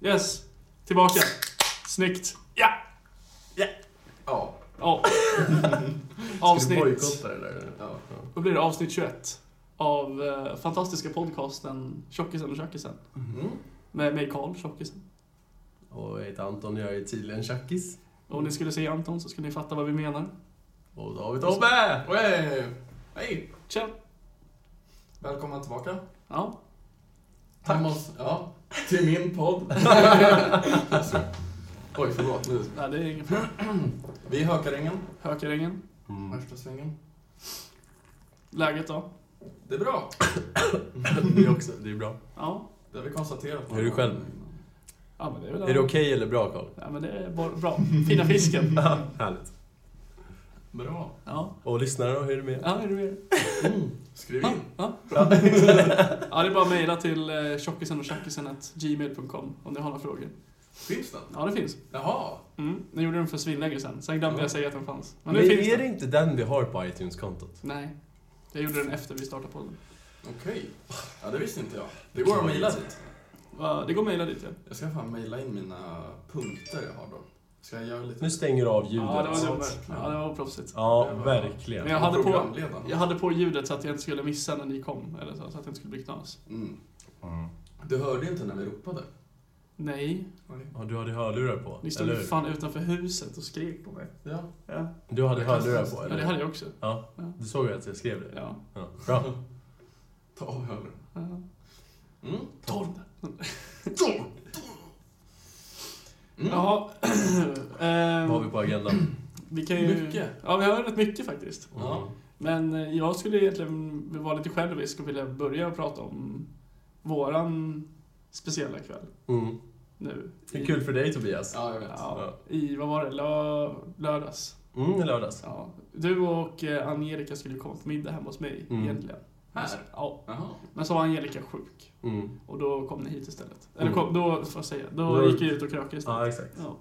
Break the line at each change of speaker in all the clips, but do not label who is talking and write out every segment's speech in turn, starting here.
Yes. Tillbaka. Snyggt. Ja! Ja!
Ja.
Ja.
Ska du
Avsnitt...
bojkotta det där?
ja.
Då blir det avsnitt 21 av eh, fantastiska podcasten Tjockisen och Tjackisen.
Mhm.
Mm.
Med mig Karl, Tjockisen.
Och jag heter Anton och jag är tydligen tjackis.
Och om ni skulle se Anton så skulle ni fatta vad vi menar.
Och då har vi Tobbe!
Oj, Hej!
Tja!
Välkomna tillbaka.
Ja.
Tack. ja, till min podd. Oj, förlåt. Nu.
Nej, det är inget problem.
Vi är Hökarängen,
Hökarängen.
Mm.
värsta svängen.
Läget då?
Det är bra.
Det också, det är bra.
Ja.
Det har vi konstaterat.
Hur är du själv?
Ja men det är väl...
Är det okej eller bra Karl?
Ja men det är bara bra. Fina fisken.
Härligt.
Bra.
Ja.
Och lyssnare då, hur är det med er?
Ja, är du med?
Skriv
Ja.
in.
Ja. ja, det är bara att mejla till eh, tjockisen och gmail.com om ni har några frågor.
Finns den?
Ja, det finns.
Jaha.
Mm. Nu gjorde den för svinlänge sen. Sen glömde
Ja.
jag säga att den fanns. Men
Men
nu finns
är
den.
det inte den vi har på iTunes-kontot?
Nej. Jag gjorde den efter vi startade podden.
Okej. Ja, det visste inte jag. Det går att mejla dit.
Va, Det går att mejla dit ja.
Jag ska fan mejla in mina punkter jag har då. Ska jag göra lite...
Nu stänger du av ljudet.
Ja, det
Ja,
var dumt.
verkligen.
Ja, det var proffsigt.
Ja,
Det var-
verkligen.
Men jag hade på-
Programledaren.
Jag hade på ljudet så att jag inte skulle missa när ni kom, eller så, så att det inte skulle bli knas.
Mm.
Mm.
Du hörde inte när vi ropade.
Nej,
Ja, du hade hörlurar på,
ni stod
eller
ju
hur?
fan utanför huset och skrek på mig.
Ja.
Ja,
Du hade hörlurar på,
ja det
eller hur?
hade jag också.
Du såg ju att jag skrev det?
Ja.
Ja. Bra.
Ta av hörlurarna.
Ja.
Mm.
Torv.
Mm.
Jaha. Ehm,
Vad har vi på agendan?
vi kan ju...
Mycket.
Ja, vi har rätt mycket faktiskt.
Ja.
Men eh, jag skulle egentligen vara lite självisk och vilja börja prata om våran speciella kväll
Mm.
nu.
Det
I-
är kul för dig Tobias.
Ja, jag vet.
Ja, I, vad var det, Lö, lördags?
Mm, i lördags.
Ja. Du och eh, Angelica skulle ju komma på middag hemma hos mig
Mm.
egentligen.
Här?
Ja.
Jaha.
Men så var Angelica sjuk
Mm.
och då kom ni hit istället. Eller
Mm.
kom, då, får jag säga, då
Då-
gick jag ut och krökade istället.
Ja, exakt.
Ja.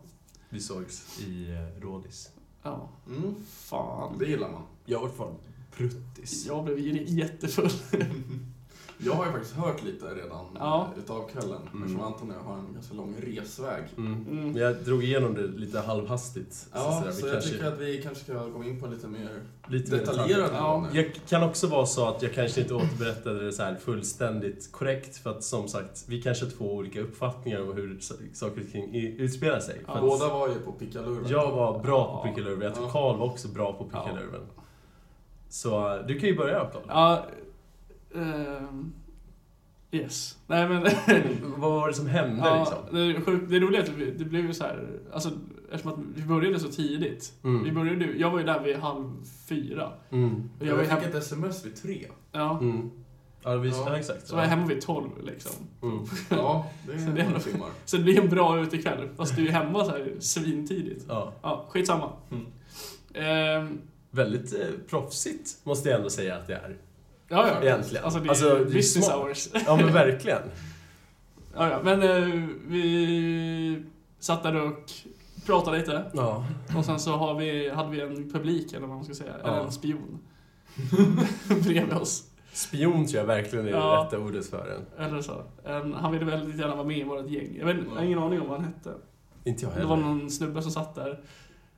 Vi sågs i eh, Rådis.
ja.
Mm.
Fan.
Det gillar man.
Jag var fan pruttis.
Jag blev ju jättefull.
Jag har ju faktiskt hört lite redan
Ja.
eh, utav kvällen.
Mm.
Eftersom Anton och jag har en ganska lång resväg.
Mm.
Mm.
Men jag drog igenom det lite halvhastigt. så att
Ja,
säga.
så,
Vi
jag
kanske-
tycker att vi kanske ska gå in på lite mer
lite mer
detaljerade
detaljer.
Ja.
ja. nu.
Jag kan också vara så att jag kanske inte återberättade det så här fullständigt korrekt för att som sagt, vi kanske har två olika uppfattningar om hur s- saker och ting i- utspelar sig.
Ja.
För att
Båda var ju på pickalurven.
Jag var bra på
Ja.
prickelurven, jag tror
Ja.
Karl var också bra på
Ja.
prickelurven. Så eh, du kan ju börja Karl.
Ja, ehm, yes. Nej men...
Vad var det som hände
ja,
liksom?
det, är sjukt, det roliga är att vi- det blev ju så här, alltså, eftersom att vi började så tidigt.
Mm.
Vi började, ju- jag var ju där vid halv fyra.
Mm.
Och
Jag,
jag var ju
fick
hemma,
ett sms vid tre.
ja,
Mm. Ja, vi,
Ja.
ja. exakt.
så var jag hemma vid tolv liksom.
Mm.
Ja, det
Så det
är
är
några
ändå-
timmar.
Så det blev en bra utekväll, fast du är hemma så här svintidigt.
Ja.
Ja, skitsamma.
Mm.
Ehm,
Väldigt eh, proffsigt, måste jag ändå säga att det är.
ja, ja.
Egentligen.
Alltså det är
Alltså, det är
business
smart.
hours.
Ja, men verkligen.
Ja, ja. Men eh, vi satt där och pratade lite.
Ja.
Och sen så har vi, hade vi en publik, eller vad man ska säga, eller
Ja.
en spion. bredvid oss.
Spion tror jag verkligen är
Ja.
det rätta ordet för en.
Eller så. En, han ville väldigt gärna vara med i vårt gäng. Jag, vet, inte- jag har ingen aning om vad han hette.
Inte jag
Det
heller.
var någon snubbe som satt där.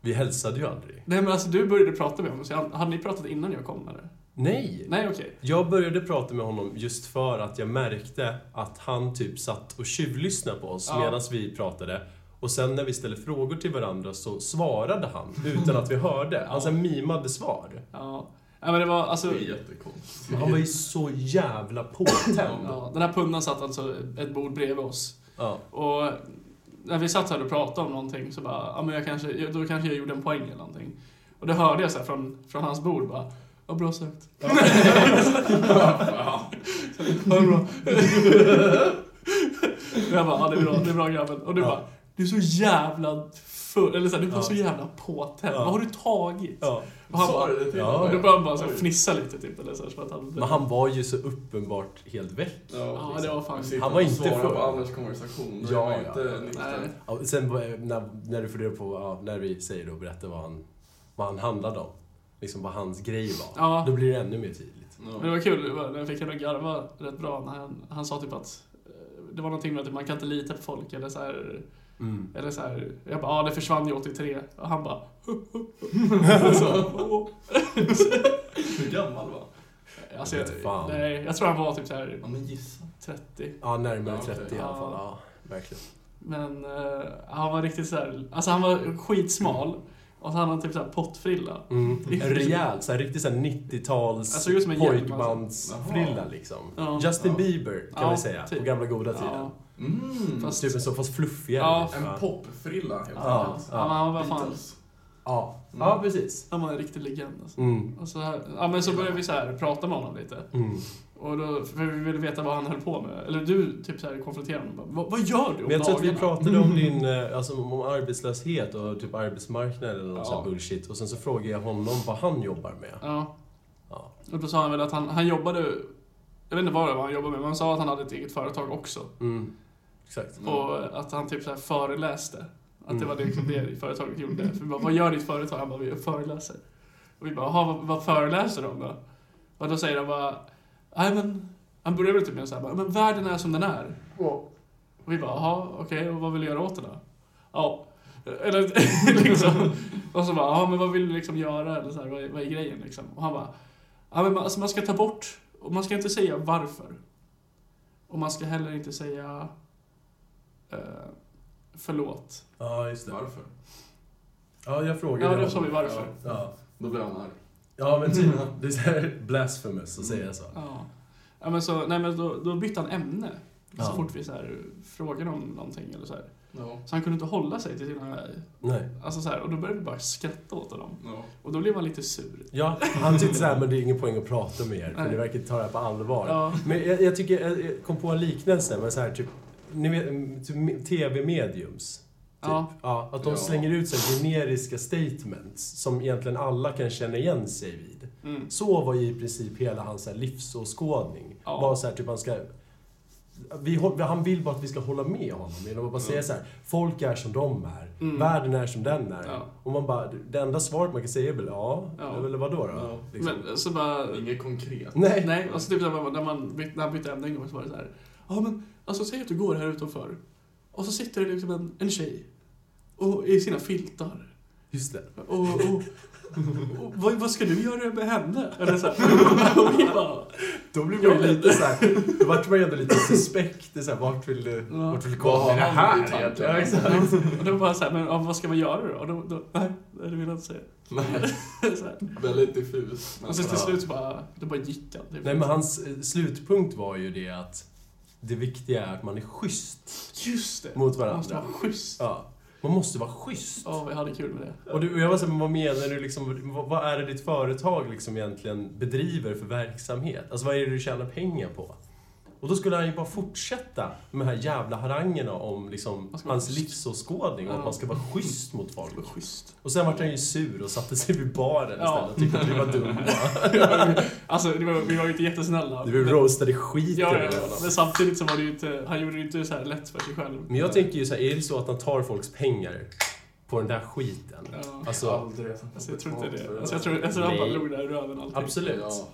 Vi hälsade ju aldrig.
Nej men alltså du började prata med honom, så jag, hade ni pratat innan jag kom eller?
Nej!
Nej okej.
Jag började prata med honom just för att jag märkte att han typ satt och tjuvlyssnade på oss
Ja.
medan vi pratade. Och sen när vi ställde frågor till varandra så svarade han utan att vi hörde. Han så här mimade svar.
Ja. Nej men det var
Det
alltså...
är jättekonstigt.
Han var ju så jävla påtänd.
Ja, den här pundan satt alltså ett bord bredvid oss.
Ja.
Och när vi satt här och pratade om någonting så bara, ja men jag kanske, jag- då kanske jag gjorde en poäng eller någonting. Och det hörde jag så här från, från hans bord bara, vad bra sökt.
Ja,
Ja, det är bra. Och jag bara, ja det är bra, det är bra grabben. Och du
Ja.
bara, du är så jävla full, eller så här, du var
Ja.
så jävla påtänd.
Ja.
Vad har du tagit?
Ja.
Och han
Sa
bara,
du det till
Ja,
och
honom?
då började han bara så här,
Oj.
fnissa lite typ. Eller så här, som att han,
Men han var ju så uppenbart helt väck.
ja det var fan...
liksom. Sitter
Han var
och
inte
svarar
full.
på andras konversation. Då
Ja,
är man
ja.
inte
Nej.
nykter.
Ja, sen var- när, när du funderar på, ja, när vi säger och berättar vad han, vad han handlade om. Liksom vad hans grej var.
Ja.
Då blir det ännu mer tydligt.
Ja.
Men det var kul, det var- jag fick ändå garva rätt bra när han, han sa typ att eh, det var någonting med att man kan inte lita på folk eller så här,
Mm.
eller så här Jag bara, ja ah, det försvann ju 83. Och han bara, och så, "Åh."
Hur gammal var han?
alltså,
Jag vet
jag,
fan.
nej, jag tror han var typ så här
Ja, men gissa.
30.
Ja, närmare
Ja, okej.
30 i alla fall.
Ja.
Ja, verkligen.
Men eh, han var riktigt så här, alltså han var skitsmal. Och så hade han typ så här pottfrilla.
Mm. En rejäl, så här, riktig så här 90-tals
Jag såg ut som en hjälm,
pojkbandsfrilla
Jaha.
liksom.
alltså. Ja.
Justin
Ja.
Bieber kan
Ja,
vi säga,
typ.
på gamla goda tiden.
Ja,
Mm.
Fast-
Typ en så, fast fluffigare.
Ja.
typ, va?
En popfrilla helt
Ja.
enkelt.
ja, men han var fan,
Beatles.
Ja.
Mm.
ja, precis.
han var en riktig legend alltså.
Mm.
Och så här, ja men så började vi så här prata med honom lite.
Mm.
Och då, för vi ville veta vad han höll på med. Eller du typ så här konfronterade honom. Bara, Vad, vad gör du om
Men jag tror att vi
dagarna?"
pratade om din, eh, alltså om arbetslöshet och typ arbetsmarknad eller någon
Ja.
sån här bullshit. Och sen så frågade jag honom vad han jobbar med.
Ja.
Ja.
Och då sa han väl att han, han jobbade, jag vet inte vad det var han jobbade med, men han sa att han hade ett eget företag också.
Mm. Exakt.
Mm.
Och att han typ så här föreläste. Att det
Mm.
var det, liksom det företaget gjorde. För vi bara, vad gör ditt företag? Han bara, vi föreläser. Och vi bara, jaha, vad, vad föreläser de då? Och då säger de bara, nej men, han börjar väl typ med så här, bara, men världen är som den är. Och vi bara, jaha, okej, och vad vill du göra åt det då? Ja. Eller liksom. Och så bara, ja men vad vill du liksom göra? Eller så här, vad, är, vad är grejen liksom? Och han bara, ja men man, alltså, man ska ta bort, och man ska inte säga varför. Och man ska heller inte säga eh, förlåt.
Ja, just det.
Varför?
Ja, jag frågade
Ja, då
honom.
sa vi varför.
Ja.
Då blev han arg.
Ja, men typ. Det är så här blasphemous att säga så.
Ja. Ja, men så, nej, men då, då bytte han ämne. Så
Ja.
fort vi så här, frågade om någonting eller så här.
Ja.
Så han kunde inte hålla sig till sina...
Nej.
Alltså så här, och då började vi bara skratta åt honom.
Ja.
Och då blev man lite sur.
Ja, han tyckte såhär, men det är ingen poäng att prata med er, för
Nej.
ni verkar inte ta det här på allvar.
Ja.
Men jag, jag tycker, jag jag kom på en liknelse, men så här typ, ni vet, mm, typ me- TV-mediums. Typ.
Ja.
Ja. att de
Ja.
slänger ut så här generiska statements som egentligen alla kan känna igen sig vid.
Mm.
Så var ju i princip hela hans så här livsåskådning.
Ja.
Bara så här, typ han ska... Vi, hå- han vill bara att vi ska hålla med honom genom att bara säga så här, folk är som de är,
Mm.
världen är som den är.
Ja.
Och man bara, det enda svaret man kan säga är väl ja,
Ja.
eller vadå då?
Ja.
Liksom.
Men så bara...
Inget konkret.
nej.
Nej, och så typ så här, när, man bytte, när han bytte ämne en gång så var det så här. Ja men, alltså säg att du går här utanför. Och så sitter det liksom en, en tjej. Och i sina filtar.
Just det.
Och, och, och vad, vad ska du göra med henne? Eller så här. Och vi bara,
Då blev man ju lite såhär, då vart man ju ändå lite suspekt. Det är så här, vart vill du,
Ja.
vart vill du
Vad
komma
har
med det
han i
här
tanken?
egentligen? Ja, exakt.
och då bara så här, men ja, vad ska man göra då? Och då, då nej, det vill jag inte säga.
Nej,
Så här.
väldigt diffus.
Och så till
Ja.
slut så bara, då bara gick han. Typ.
Nej men hans eh, slutpunkt var ju det att det viktiga är att man är schysst
Just det!
mot
Man måste
varandra.
vara schysst.
Ja. Man måste vara schysst.
Ja, vi hade kul med det.
Och, du, och jag var såhär, men vad menar du liksom, vad, vad är det ditt företag liksom egentligen bedriver för verksamhet? Alltså vad är det du tjänar pengar på? Och då skulle han ju bara fortsätta med de här jävla harangerna om liksom
Man ska vara
hans
schysst.
livsåskådning och
Ja.
att man ska vara schysst mot folk.
Schysst.
Och sen vart han ju sur och satte sig vid baren
Ja.
istället och tyckte att vi var dumma.
alltså, det var, vi var ju inte jättesnälla.
Vi
Men-
roastade skiten
Ja, ja,
ur
ja.
honom.
men samtidigt så var det ju inte, han gjorde det ju inte så här lätt för sig själv.
Men jag tänker ju så här, är det så att han tar folks pengar på den där skiten?
Ja.
Alltså,
Aldrig.
Alltså, jag tror inte
För
det.
där.
Alltså, jag tror, jag tror han bara
Nej.
log där i röven allting.
absolut.
Ja.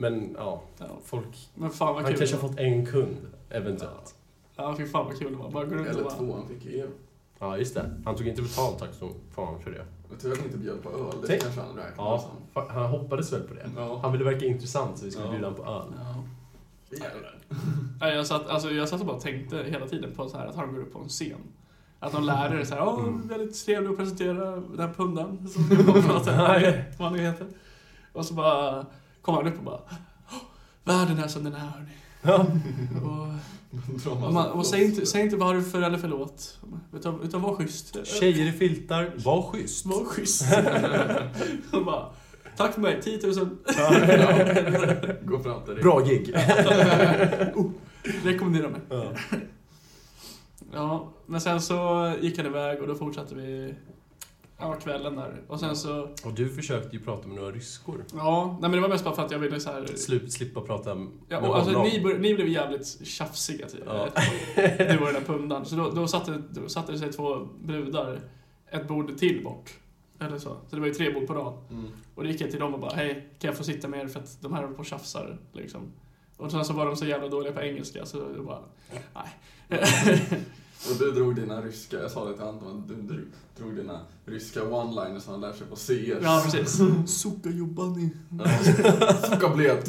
Men ja,
Ja.
folk...
Men fan vad
Han
kul.
kanske har fått en kund, eventuellt.
Ja, fy fan vad kul det var. Bara gå runt och
Eller
bara...
två, han fick er.
Ja, just det. Han tog inte betalt, tack som fan för det.
Jag tror att ni inte bjöd på öl, det
Tänk-
kanske han räknade
Ja,
som.
fa- han hoppades väl på det.
Ja.
Han ville verka intressant, så vi skulle
Ja.
bjuda honom på öl.
Ja.
Jävlar.
Nej, jag, satt, alltså, jag satt och bara tänkte hela tiden på så här att han går upp på en scen. Att de lärare säger åh,
Mm.
väldigt trevlig att presentera den här pundan som ska komma och prata.
Nej.
Vad han nu heter. Och så bara kom han upp och bara, "Åh, världen är som den är hörni.
Ja.
Och
Drar man
Och, man, och säg, inte,
plåster.
säg inte varför eller förlåt. Utan, utan var schysst.
Tjejer i filtar, var schysst.
Var schysst. och bara, tack för mig, 10 000.
Gå fram till dig.
Bra gig.
Oh, Rekommendera mig.
Ja.
Ja, men sen så gick han iväg och då fortsatte vi ja, kvällen där. Och sen så,
Och du försökte ju prata med några ryskor.
ja, nej men det var mest bara för att jag ville så här.
Slu, slippa prata med
Ja, och
honom.
alltså, ni, bör, ni blev jävligt tjafsiga typ.
Ja.
Du var den där pundan. Så då, då, satte, då satte det sig två brudar ett bord till bort. Eller så. Så det var ju tre bord på rad.
Mm.
Och då gick jag till dem och bara, hej, kan jag få sitta med er för att de här håller på och tjafsar? Liksom. Och sen så var de så jävla dåliga på engelska så det bara, nej.
Och du drog dina ryska, jag sa det till Anton, du drog- drog dina ryska one-liners som han lär sig på CS.
ja, precis. Suka jobbani.
Sucka blöt.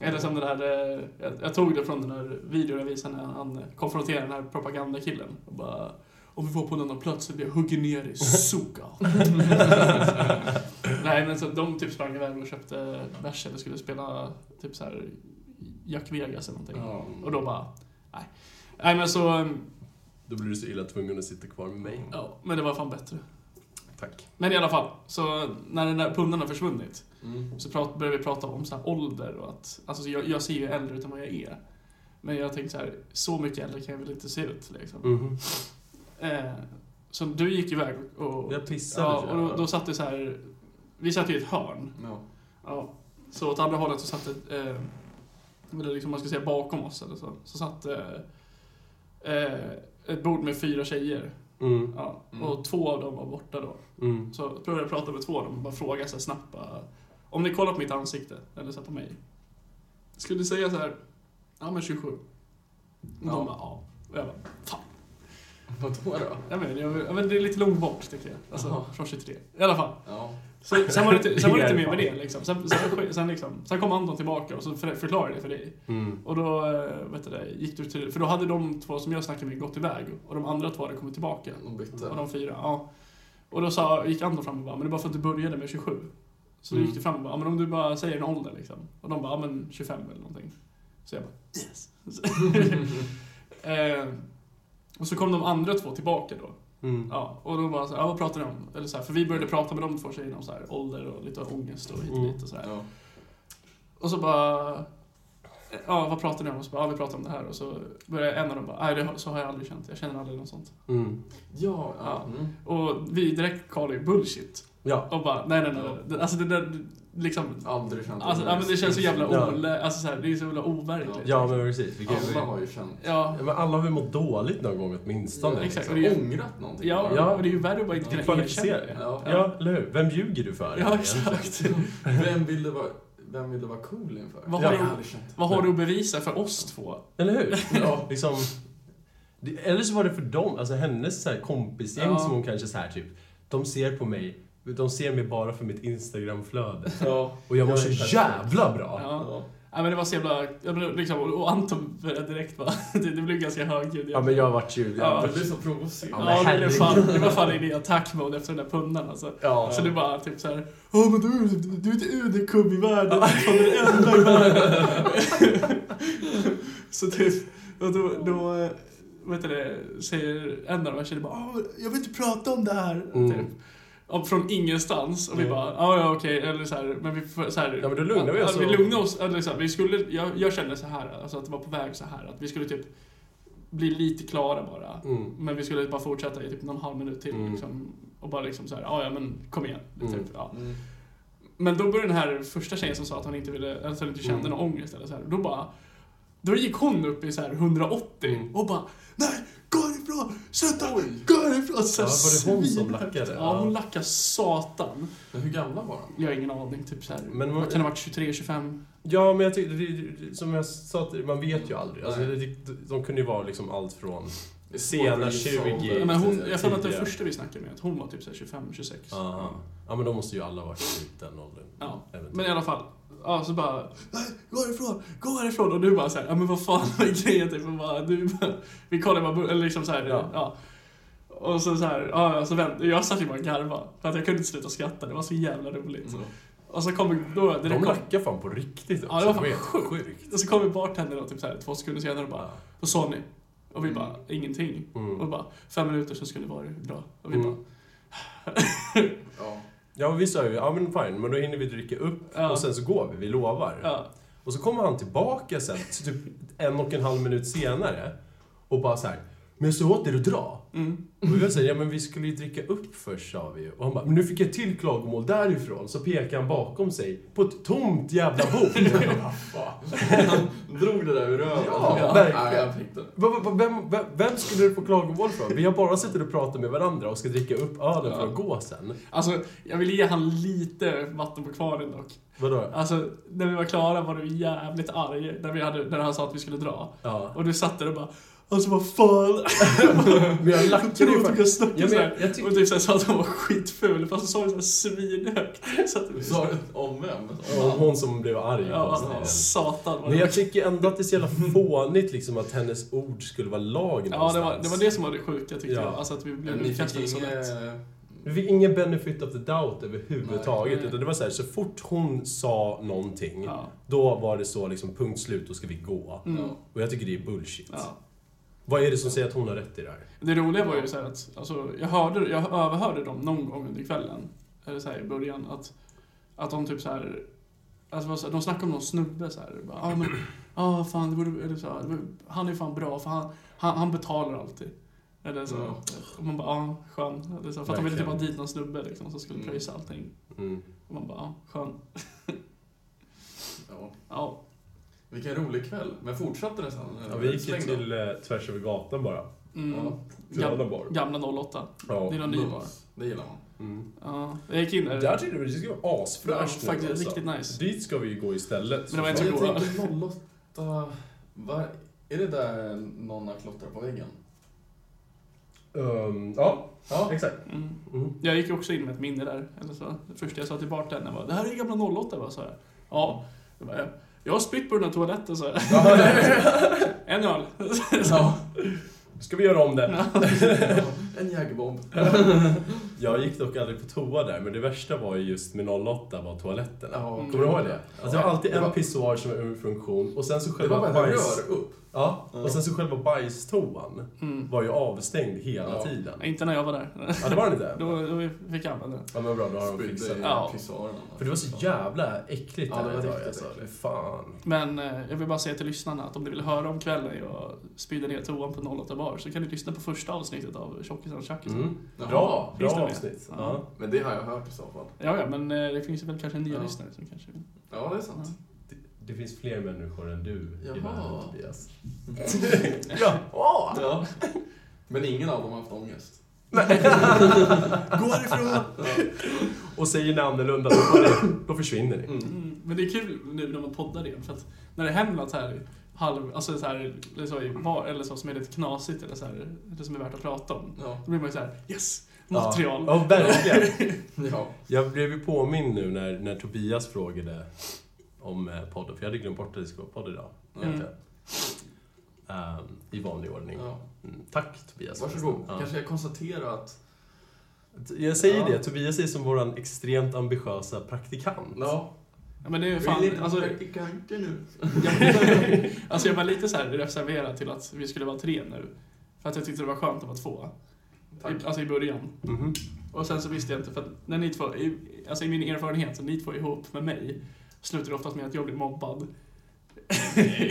Eller som den här, eh, jag, jag tog det från den här videon jag visade när han konfronterade den här propagandakillen. Och bara, om vi får på en annan plats så blir jag hugger ner dig, suka. Nej men så de typ sprang iväg och köpte bärs eller skulle spela typ så här Jack Vegas eller någonting.
Ja.
Och då bara, nej. Nej men så, eh,
Då blir du så illa tvungen att sitta kvar med mig.
ja, men det var fan bättre.
Tack.
Men i alla fall, så när den där pundan har försvunnit
Mm.
så prat, började vi prata om så här ålder och att, alltså så jag, jag ser ju äldre ut än vad jag är. Men jag tänkte så här, så mycket äldre kan jag väl inte se ut liksom.
Mhm.
Eh, så du gick iväg och...
Jag pissade.
Ja,
tror
och
jag.
då, då satt det så här, vi satt i ett hörn.
Ja.
Ja. Så åt andra hållet så satt det, eh, eller liksom man ska säga bakom oss eller så, så satt eh, eh, ett bord med fyra tjejer.
Mm.
Ja.
Mm.
Och två av dem var borta då.
Mm.
Så började jag prata med två av dem och bara fråga så här snabbt bara, Om ni kollar på mitt ansikte, eller så här på mig. Skulle ni säga så här, ja men 27? Och
Ja.
de bara, ja. Och jag bara, fan.
Vadå då?
Jag men, jag, jag men, det är lite långt bort tycker jag. Alltså,
Jaha.
från 23. I alla fall.
Ja.
Så, sen var det inte, sen var det inte mer med
Erfarenhet.
det liksom. Sen, sen, sen, liksom, sen kom Anton tillbaka och så för- förklarade det för dig.
Mm.
Och då, eh, vet du det, gick du till, för då hade de två som jag snackade med gått iväg och de andra två hade kommit tillbaka.
De bytte.
Och de fyra, ja. Och då sa, gick Anton fram och bara, men det är bara för att du började med 27. Så då
Mm.
gick du fram och bara, ja, men om du bara säger en ålder liksom. Och de bara, ja men 25 eller någonting. Så jag bara, yes. eh, och så kom de andra två tillbaka då.
Mm.
Ja, och då bara så här, ja, vad pratar ni om? Eller så här, för vi började prata med de två tjejerna om så här, ålder och lite ångest och hit och
Mm.
dit och så här.
Ja.
Och så bara... "Eh, Ja, vad pratar ni om? Och så bara, ja, vi pratar om det här. Och så börjar en av dem bara, nej, det, har- så har jag aldrig känt. Jag känner aldrig något sånt.
Mm.
Ja.
Ja.
ja. Mm.
Och vi direkt kallar ju bullshit.
Ja.
Och bara, nej, nej, nej. nej. Det- Alltså det där, liksom...
Aldrig känt
Alltså, ja, men det känns så jävla
Ja.
olä... Alltså så här, det är så jävla overkligt.
Ja, men precis. Vi kan,
Alla har ju känt.
Ja,
Ja, men alla har väl mått dåligt någon gång åtminstone.
Ja,
exakt.
liksom.
Och det är ju-
Ångrat någonting.
ja,
bara.
och det är ju värre att bara inte kunna
Kvalificera.
erkänna det.
Ja.
Ja, eller hur? Vem ljuger du för?
Ja, exakt.
Vem vill du vara, vem vill du vara cool inför?
Vad
har
jag
du-
har aldrig känt.
Vad har du att bevisa för oss två?
Eller hur?
Ja.
Liksom, det- eller så var det för dem, alltså hennes så här kompisgäng
Ja.
som hon kanske så här typ, de ser på mig, de ser mig bara för mitt Instagramflöde.
Ja.
Och jag mår
Ja,
så
exakt.
jävla bra!
Ja.
Ja.
Ja, men det var så jävla... ja, men Liksom, och- och Anton började direkt bara... Det, det blev ganska högljudd.
Ja, men jag vart ju...
Ja.
Du blir så provocerad.
Ja,
Ja,
men
det blev
herregud.
fan, det var fan in i attack-mode efter den där pundan alltså.
Ja.
Så det bara typ såhär, ja men du, du, du är inte UD-kubb i världen, du är fan den enda i världen. så typ, och då, då eh, vet du det, säger en av de här tjejerna bara, "Ah, jag vill inte prata om det här.
Mm.
Typ. Och från ingenstans. Och vi
Mm.
bara, "Ah, ja ja okej, eller så här, men vi får så här,
Ja, men då lugnar vi oss
Ja, vi
och-
lugnar oss. Eller så här, vi skulle, jag, jag kände så här, alltså att det var på väg så här, att vi skulle typ bli lite klara bara.
Mm.
Men vi skulle bara fortsätta i typ någon halv minut till
Mm.
liksom, och bara liksom såhär, ja ja men kom igen.
Mm.
Typ, ja.
Mm.
Men då började den här första tjejen som sa att hon inte, ville, alltså, inte kände
Mm.
någon ångest eller så här, då bara då gick hon upp i så här 180
Mm.
och bara Nej, gå härifrån! Sluta! Gå härifrån! Så här
Ja, var det hon som
svinhögt.
lackade?
Ja, hon
Ja.
lackade satan.
Men hur gamla var de?
Jag har ingen aning, typ så här.
Men
man
man-
kan ha varit 23, 25.
Ja, men jag tyckte, det- det- som jag sa, till- man vet ju aldrig. Alltså,
Nej.
det- det- de kunde ju vara liksom allt från...
Det är
Sena
svårt att gissa
20.
ålder.
Ja, men hon, jag har för mig att den
tidigare.
första vi snackade med, att hon var typ så här 25, 26.
Aha. Ja, men då måste ju alla varit i den åldern.
Ja,
Eventuellt.
Men i alla fall, ja, så bara "Nej, Gå härifrån, gå härifrån! Och du bara såhär, ja men vad fan vad är grejen? Typ, och bara, du, bara, vi kollar bara, eller liksom såhär, ja.
Ja.
Och så såhär, ja, ja, så vänt, jag satt ju bara och garvade. För att jag kunde inte sluta skratta, det var så jävla roligt.
Mm.
Och så kom då,
De
direkt kom,
lackar fan på riktigt också.
Ja, det var fan
helt
sjukt. och så kom vi bartendern då, typ såhär två sekunder senare och bara,
Ja.
vad sa ni? Och vi
Mm.
bara, ingenting.
Mm.
Och bara, fem minuter så skulle det vara bra. Och vi
Mm.
bara,
Ja.
Ja, men vi sa ju, ja men fine, men då hinner vi dricka upp
Ja.
och sen så går vi, vi lovar.
ja.
Och så kommer han tillbaka sen, så typ en och en halv minut senare och bara så här. Men jag sa åt er att dra.
Mm.
Och vi var såhär, ja men vi skulle ju dricka upp först sa vi ju. Och han bara, men nu fick jag till klagomål därifrån. Så pekade han bakom sig på ett tomt jävla bord.
Han drog det där ur röven.
Ja,
Nej,
verkligen.
jag fick det.
Va- va- va- Vem, vem, vem skulle du få klagomål från? Vi har bara suttit och pratat med varandra och ska dricka upp ölen för att gå sen.
Alltså, jag vill ge han lite vatten på kvarnen dock.
Vadå?
Alltså, när vi var klara var du jävligt arg när, vi hade, när han sa att vi skulle dra.
Ja.
Och du satt där och bara Alltså vad fan!
Men jag lackade ju
Tror att
faktiskt.
jag snackade
Ja, men
såhär.
jag- jag tycker-
Och typ såhär sa att han var skitful, fast så sa vi såhär svinhögt. Så att vi...
Sa du om vem?
Ja, Hon som blev arg på oss.
Ja, satan vad
Men
det
jag tycker ändå att det är så jävla fånigt liksom att hennes ord skulle vara lag
Ja, det var,
någonstans.
det var det som var det sjuka tyckte
Ja.
jag. Alltså att vi
Men
blev
ni fick
utkastade så lätt.
inget...
Vi fick ingen benefit of the doubt överhuvudtaget.
Nej.
Utan det var så här, så fort hon sa någonting,
Ja.
då var det så liksom punkt slut, då ska vi gå.
Mm.
Och jag tycker det är bullshit.
Ja.
Vad är det som säger att hon har rätt i det här?
Det roliga var ju så här att alltså, jag, hörde, jag överhörde dem någon gång under kvällen, eller så här i början, att, att de typ så här Alltså vad så här, de snackade om någon snubbe så här. Bara, ah, men, ah, fan, det borde, eller så här, han är fan bra för han, han, han betalar alltid. Eller så.
Ja.
Och man bara, ah, skön. Eller så, för att de ville typ
Verkligen.
ha dit någon snubbe liksom, som skulle
Mm.
pröjsa allting.
Mm.
Och man bara, ah, skön.
Ja.
Ja.
Vilken rolig kväll. Men fortsatte det sen?
Ja, vi gick ju
Slängde.
till eh, tvärs över gatan bara.
Mm.
Ja.
Till
Gam-
alla bar.
Gamla 08.
Ja.
Det är någon ny bar.
Nice. Det gillar man.
Mm.
Ja, jag gick in där.
Där tyckte vi det skulle vara
Ja,
asfräscht nu,
faktiskt
alltså.
riktigt nice.
Dit ska vi ju gå istället.
Men det var inte
Men
så
jag
goda.
tänker 08... Vad- Är det där någon har klottrat på väggen?
Ehm, ja,
Ja.
exakt.
Mm.
Mm.
Jag gick ju också in med ett minne där. Eller så. Det första jag sa till bartendern var det här är ju gamla 08 va? Så jag. Ja. Då bara, "Ja, jag har spytt på den här toaletten så här. En öl.
Ja.
Ska vi göra om det?
En jägerbomb.
Jag gick dock aldrig på toa där, men det värsta var ju just med 08 var toaletten.
Ja.
Mm.
Kommer du ihåg det? Alltså, det var alltid
Det var-
en pissoar som var ur funktion och sen så
Det
själva
var bara ett
bajs...
rör upp.
Ja,
Ja.
och sen så själva bajstoan
Mm.
var ju avstängd hela
Ja.
tiden.
Inte när jag var där.
Ja, det var den inte?
Då, då fick jag använda den.
Ja, men bra, då har de fixat
Spydde i
det.
Ja.
pissoaren.
För det var så jävla äckligt
Ja, det
där
var
idag,
riktigt
alltså.
äckligt.
Fan.
Men eh, jag vill bara säga till lyssnarna att om ni vill höra om kvällen jag spydde ner toan på 08 bar så kan ni lyssna på första avsnittet av Tjockisen och Tjackisen.
Mm.
Jaha.
Bra,
Finns
bra
det med?
avsnitt.
Ja.
Ja.
Men det har jag hört i så fall.
Ja, ja, men eh, det finns ju väl kanske nya
Ja.
lyssnare som kanske vill.
Ja, det är sant.
Det, det finns fler människor än du i
Jaha.
världen, Tobias. ja.
Ja. Men ingen av dem har haft ångest.
Gå härifrån! Och säger ni annorlunda, då, får ni- då försvinner ni.
Mm. Men det är kul nu när man poddar igen för att när det händer något så här halv, alltså så här, eller så, i var, eller så som är lite knasigt eller så här, eller som är värt att prata om.
Ja.
Då blir man ju så här, yes! Material!
Ja, ja verkligen.
ja.
Jag blev ju påmind nu när, när Tobias frågade om eh, podden, för jag hade glömt bort att det skulle vara podd idag.
Mm.
Ehm, I vanlig ordning.
ja.
Mm, tack Tobias.
Varsågod.
Ja.
Kanske jag konstaterar att...
Jag säger
Ja.
det, Tobias är som våran extremt ambitiösa praktikant.
Ja.
Ja, men det är ju
Vi är
fan,
lite
alltså,
praktikanter nu.
jag, alltså jag var lite så här reserverad till att vi skulle vara tre nu. För att jag tyckte det var skönt att vara två.
Tack.
I, alltså i början.
Mhm.
Och sen så visste jag inte, för att när ni två, i- alltså i min erfarenhet, så ni två ihop med mig slutar det oftast med att jag blir mobbad.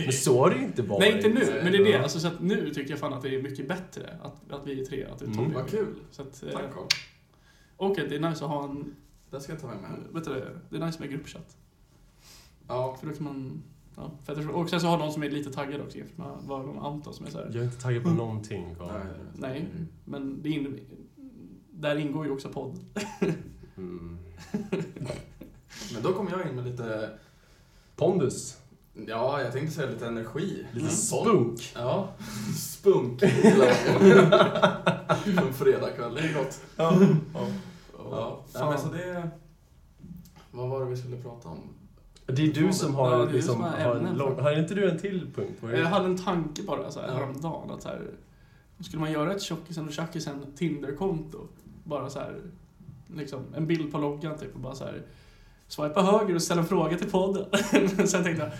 Men så har det ju inte varit.
Nej, inte nu,
Nej,
men det är det.
ja.
Alltså, så att nu tycker jag fan att det är mycket bättre att, att vi är tre, att det är
Mm.
Tommy.
Vad kul.
Så att, eh,
Tack Carl.
och att det är nice att ha en,
Det ska jag ta med mig hem.
vet du det, det är nice med gruppchatt.
Ja.
För då kan man, ja, för att jag tror- och sen så har någon som är lite taggad också jämfört med vad de Anton som är så här.
Jag är inte taggad på
Mm.
någonting. Carl.
Nej,
Mm.
men det in, där ingår ju också podd.
Mm.
Men då kom jag in med lite,
Pondus.
ja jag tänkte säga lite energi.
Lite
Mm.
spunk.
Ja, spunk gillar jag. En fredagkväll, det är gott.
Ja. Ja.
Ja,
fan.
Nej, men så det... Vad var det vi skulle prata om?
Det är du som
Ja, det
har...
är du
liksom,
som har
har,
ämnen.
lång, har inte du en till punkt? Vad är det?
Eh, Jag hade en tanke bara så här
Ja.
häromdagen att så här, skulle man göra ett tjockisen och tjackisen Tinder-konto? Bara så här, liksom en bild på loggan typ och bara så här, swipa höger och ställa en fråga till podden. Men Sen tänkte jag,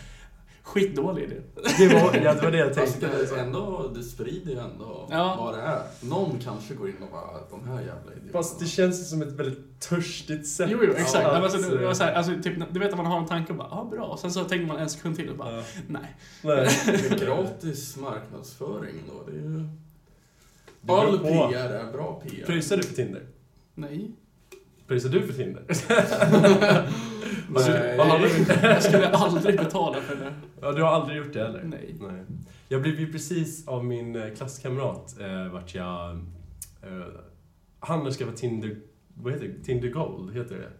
skitdålig idé.
Det var, ja, det var det jag
Alltså,
tänkte.
det, är ändå, det sprider ju ändå
Ja.
vad det är. Någon kanske går in och bara, de här jävla idioterna.
Fast det känns som ett väldigt törstigt sätt.
Jo, jo, exakt.
att-
Men alltså, det, det var så här, alltså, typ, du vet att man har en tanke och bara, ja ah, bra. Och sen så tänker man en sekund till och bara,
Ja.
nej.
Nej.
Det är gratis marknadsföring då. Det är ju...
Det beror
All
på.
PR är bra PR.
Pröjsar du för Tinder?
Nej.
Pröjsar du för Tinder?
Nej.
Vad har du?
Jag skulle aldrig betala för det.
Ja, du har aldrig gjort det heller?
Nej.
Nej. Jag blev ju precis av min eh, klasskamrat eh, vart jag... Eh, han har skaffat Tinder... Vad heter det? Tinder Gold, heter det.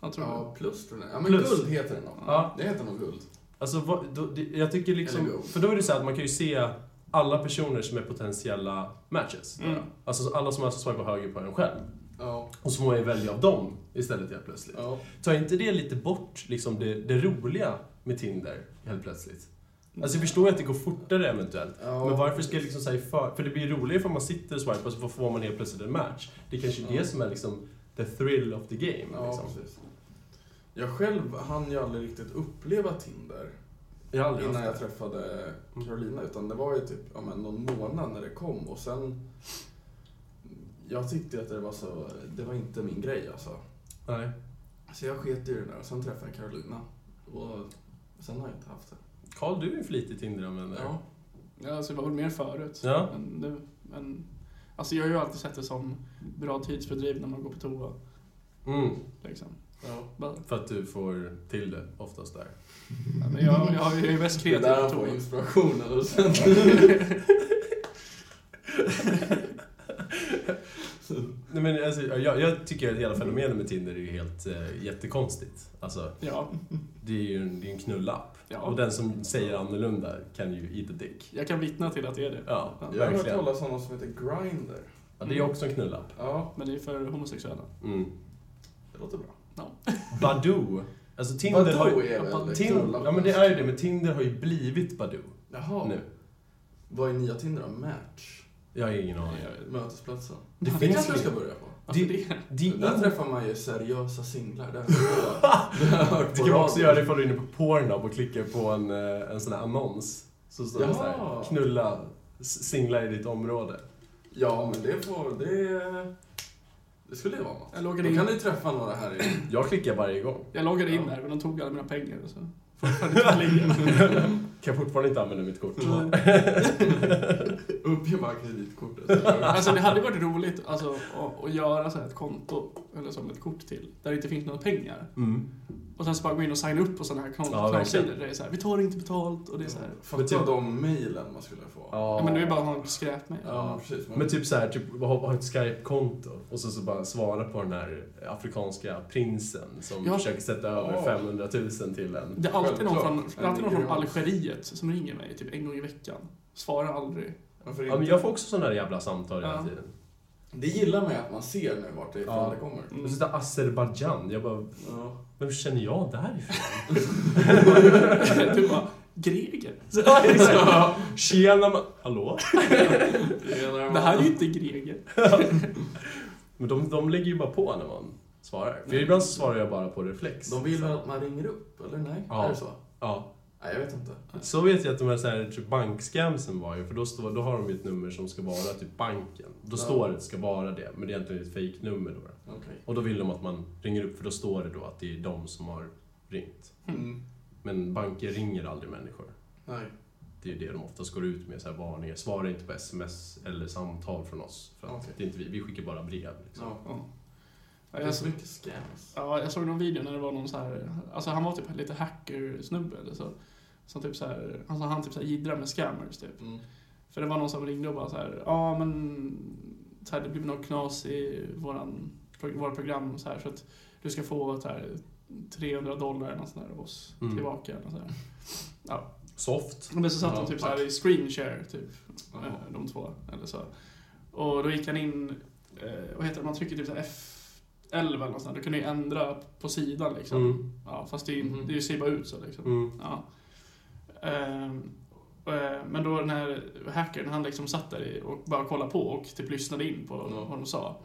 Jag tror det.
Ja, plus tror jag. Ja, men
Plus.
guld heter den nog.
Ja.
Det heter nog guld.
Alltså, vad, då, det, jag tycker
Eller
liksom...
Gold.
För då är det så här att man kan ju se alla personer som är potentiella matches.
Mm.
Alltså alla som alltså swipar höger på en själv.
Ja.
Och så får man ju välja av dem istället helt plötsligt.
ja.
Tar inte det lite bort liksom, det, det roliga med Tinder helt plötsligt? Alltså jag förstår ju att det går fortare eventuellt.
Ja.
Men varför ska jag liksom säga för... För det blir roligare om man sitter och swipar så får man helt plötsligt en match. Det är kanske är
Ja.
det som är liksom the thrill of the game.
Ja,
liksom.
precis. Jag själv hann ju aldrig riktigt uppleva Tinder
Jag har aldrig
innan jag
haft det. Mm.
träffade Carolina. Utan det var ju typ ja, men någon månad när det kom och sen... Jag tyckte att det var så... Det var inte min grej alltså.
Nej.
Så jag sket i det där och sen träffade jag Carolina. Och sen har jag inte haft det.
Karl, du är en flitig Tinder-användare.
Ja.
Ja, alltså, det var väl mer förut.
Ja.
Men nu, men, alltså, jag har ju alltid sett det som bra tidsfördriv när man går på toa.
Mm,
Liksom.
ja.
Bara,
för att du får till det oftast där.
ja, men jag, jag, jag är mest
Det är
kreativ
där
på
han får
toa.
inspirationen. Och sen...
Nej, men alltså, jag, jag tycker att hela fenomenet med Tinder är ju helt eh, jättekonstigt. Alltså,
Ja,
det är ju en, det är en knullapp. Och
ja,
den som säger annorlunda kan ju eat a dick.
jag kan vittna till att det är det.
Ja,
Ja,
Jag har hört
verkligen.
talas om någon som heter Grindr.
Ja, det är också en knullapp.
Ja,
Men det är för homosexuella.
Mm.
det låter bra.
Badoo. Alltså Tinder har ju...
är väl
Tinder,
knullappen?
ja men det är ju det, men Tinder har ju blivit Badoo
Jaha.
nu.
Vad är nya Tinder då? Match?
Jag har ingen aning.
Mötesplatsen?
Det
Det,
finns
det kanske
ju-
vi ska börja på.
Varför
Det-
Alltså, det?
Det, är
Där
in-
träffar man ju seriösa singlar. Det har jag- det har jag hört
det
på
kan man också
radio.
göra ifall du är inne på Pornhub och klickar på en, eh, en sån här annons. Så står det så här,
Jaha.
knulla s- singlar i ditt område.
Ja, men det får... Det, det skulle ju vara något.
Jag loggade
Då kan
in,
ni träffa några här i...
Jag klickar varje gång.
jag loggade in där men de tog alla mina pengar. Så. fortfarande inte ligga.
Kan fortfarande inte använda mitt kort.
Mm.
Mm.
Uppge bara kreditkortet. så gör vi.
Alltså det hade varit roligt alltså, att, att göra så här ett konto, eller som ett kort till, där det inte finns några pengar.
Mm.
Och sen så bara gå in och signa upp på sådana här
Ja,
kontosidor
verkligen.
där det är så här, vi tar inte betalt och det är så här.
Men typ-
Mm. Fatta de mejlen man skulle få.
Ja, men det är bara att ha en skräpmejl.
Ja, precis. Man-
Men typ så här, typ, ha, ha ett Skype-konto och så, så bara svara på den här afrikanska prinsen som
Ja.
försöker sätta över
Ja.
500 000 till en.
Det är alltid någon från,
Självklart.
det är alltid någon från
Ja.
Algeriet som ringer mig typ en gång i veckan. Svarar aldrig.
Varför
Ja, men
inte?
jag får också sådana här jävla samtal hela
Ja.
tiden.
Det gillar mig att man ser nu vart det ifrån
Ja.
det kommer.
Mm.
Och så sitter Azerbajdzjan. Jag bara,
Ja.
vem känner jag därifrån?
du bara, greker?
Ja, exakt. liksom, Tjena ma- Hallå?
Det här är ju inte greker.
Men de, de lägger ju bara på när man svarar.
Mm.
För ibland så svarar jag bara på reflex.
De vill väl att man ringer upp, eller nej?
Ja.
Är det så?
Ja.
Nej, jag vet inte.
Så vet jag att de här, så här typ bankscamsen var ju, för då, står, då har de ju ett nummer som ska vara typ banken.
Ja.
Då står det att det ska vara det, men det är egentligen ett fejknummer då.
Okej.
Och då vill de att man ringer upp, för då står det då att det är de som har ringt.
Mm.
Men banker ringer aldrig människor.
Nej.
Det är ju det de oftast går ut med, så här varningar. Svara inte på sms eller samtal från oss. För att
Okej.
det är inte vi, vi skickar bara brev. Liksom.
Ja.
Ja. Ja,
Det är
jag,
så mycket scams.
ja, jag såg någon video när det var någon så här, alltså han var typ lite hacker-snubbe eller så. Som typ så här, alltså han typ så här jiddrar med scammers typ.
Mm.
För det var någon som ringde och bara så här, ja men så här, det blev något knas i våran, våra program så här så att du ska få så här, 300 dollar eller något sånt där av oss
Mm.
tillbaka. Eller så här.
Soft.
Men så satt de
Ja,
typ så
tack.
här i screen share typ,
Ja.
eh, de två eller så. Och då gick han in, eh, vad heter det, man trycker typ så här F11 eller något sånt där, då kan du ju ändra på sidan liksom.
Mm.
Ja, fast det, är-
Mhm.
det ser bara ut så liksom.
Mm.
Ja. Ehm, eh, Men då när hackern, han liksom satt där i och bara kollade på och typ lyssnade in på
Ja.
vad de sa.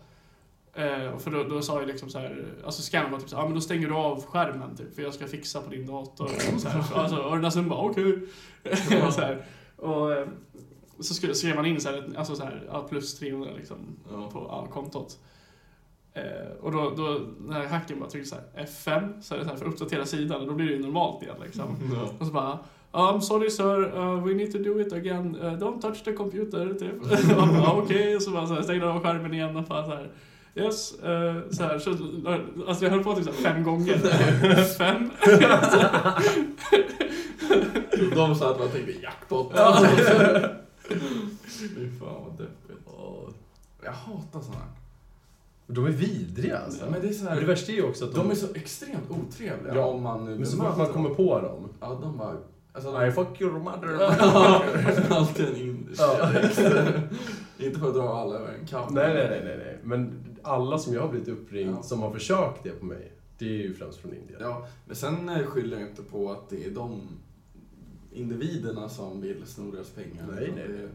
Eh, och För då, då sa jag liksom så här, alltså scannen var typ så här, ah, men då stänger du av skärmen typ, för jag ska fixa på din dator. Och, så här, så, alltså, och den där snubben bara, okej.
Ja.
så här. och eh, så skulle, skrev man in så här, alltså så här, ja, plus 300 liksom
Ja.
på ja, kontot. Eh, och då, då när
Mm.
hacken bara trycker så här F5 så är det så här för att uppdatera sidan och då blir det ju normalt igen liksom.
Ja.
Och så bara, ja I'm sorry sir, uh, we need to do it again. Uh, don't touch the computer, typ. Han bara, Okej, och så bara så här, stängde han av skärmen igen och bara så här. Yes, uh, så här. Så, alltså jag höll på typ så här fem gånger. fem.
De sa att man tänkte jackpot.
Ja.
Fy fan vad deppigt. Jag hatar såna här.
De är vidriga alltså.
Men det är så
Men det
här.
värsta är ju också att de...
De är så extremt otrevliga
Ja.
om man nu
men så fort
bemöter
man
dem.
kommer på dem.
Ja, de bara... Alltså,
Nej, fuck your mother.
Alltid en indisk
Ja.
dialekt. Inte för att dra alla över en kam.
Nej, nej, nej, nej, nej. Men alla som jag har blivit uppringd
Ja.
som har försökt det på mig, det är ju främst från Indien.
Ja, men sen eh, skyller jag inte på att det är de individerna som vill sno deras pengar.
Nej,
Utan
nej,
det-
nej.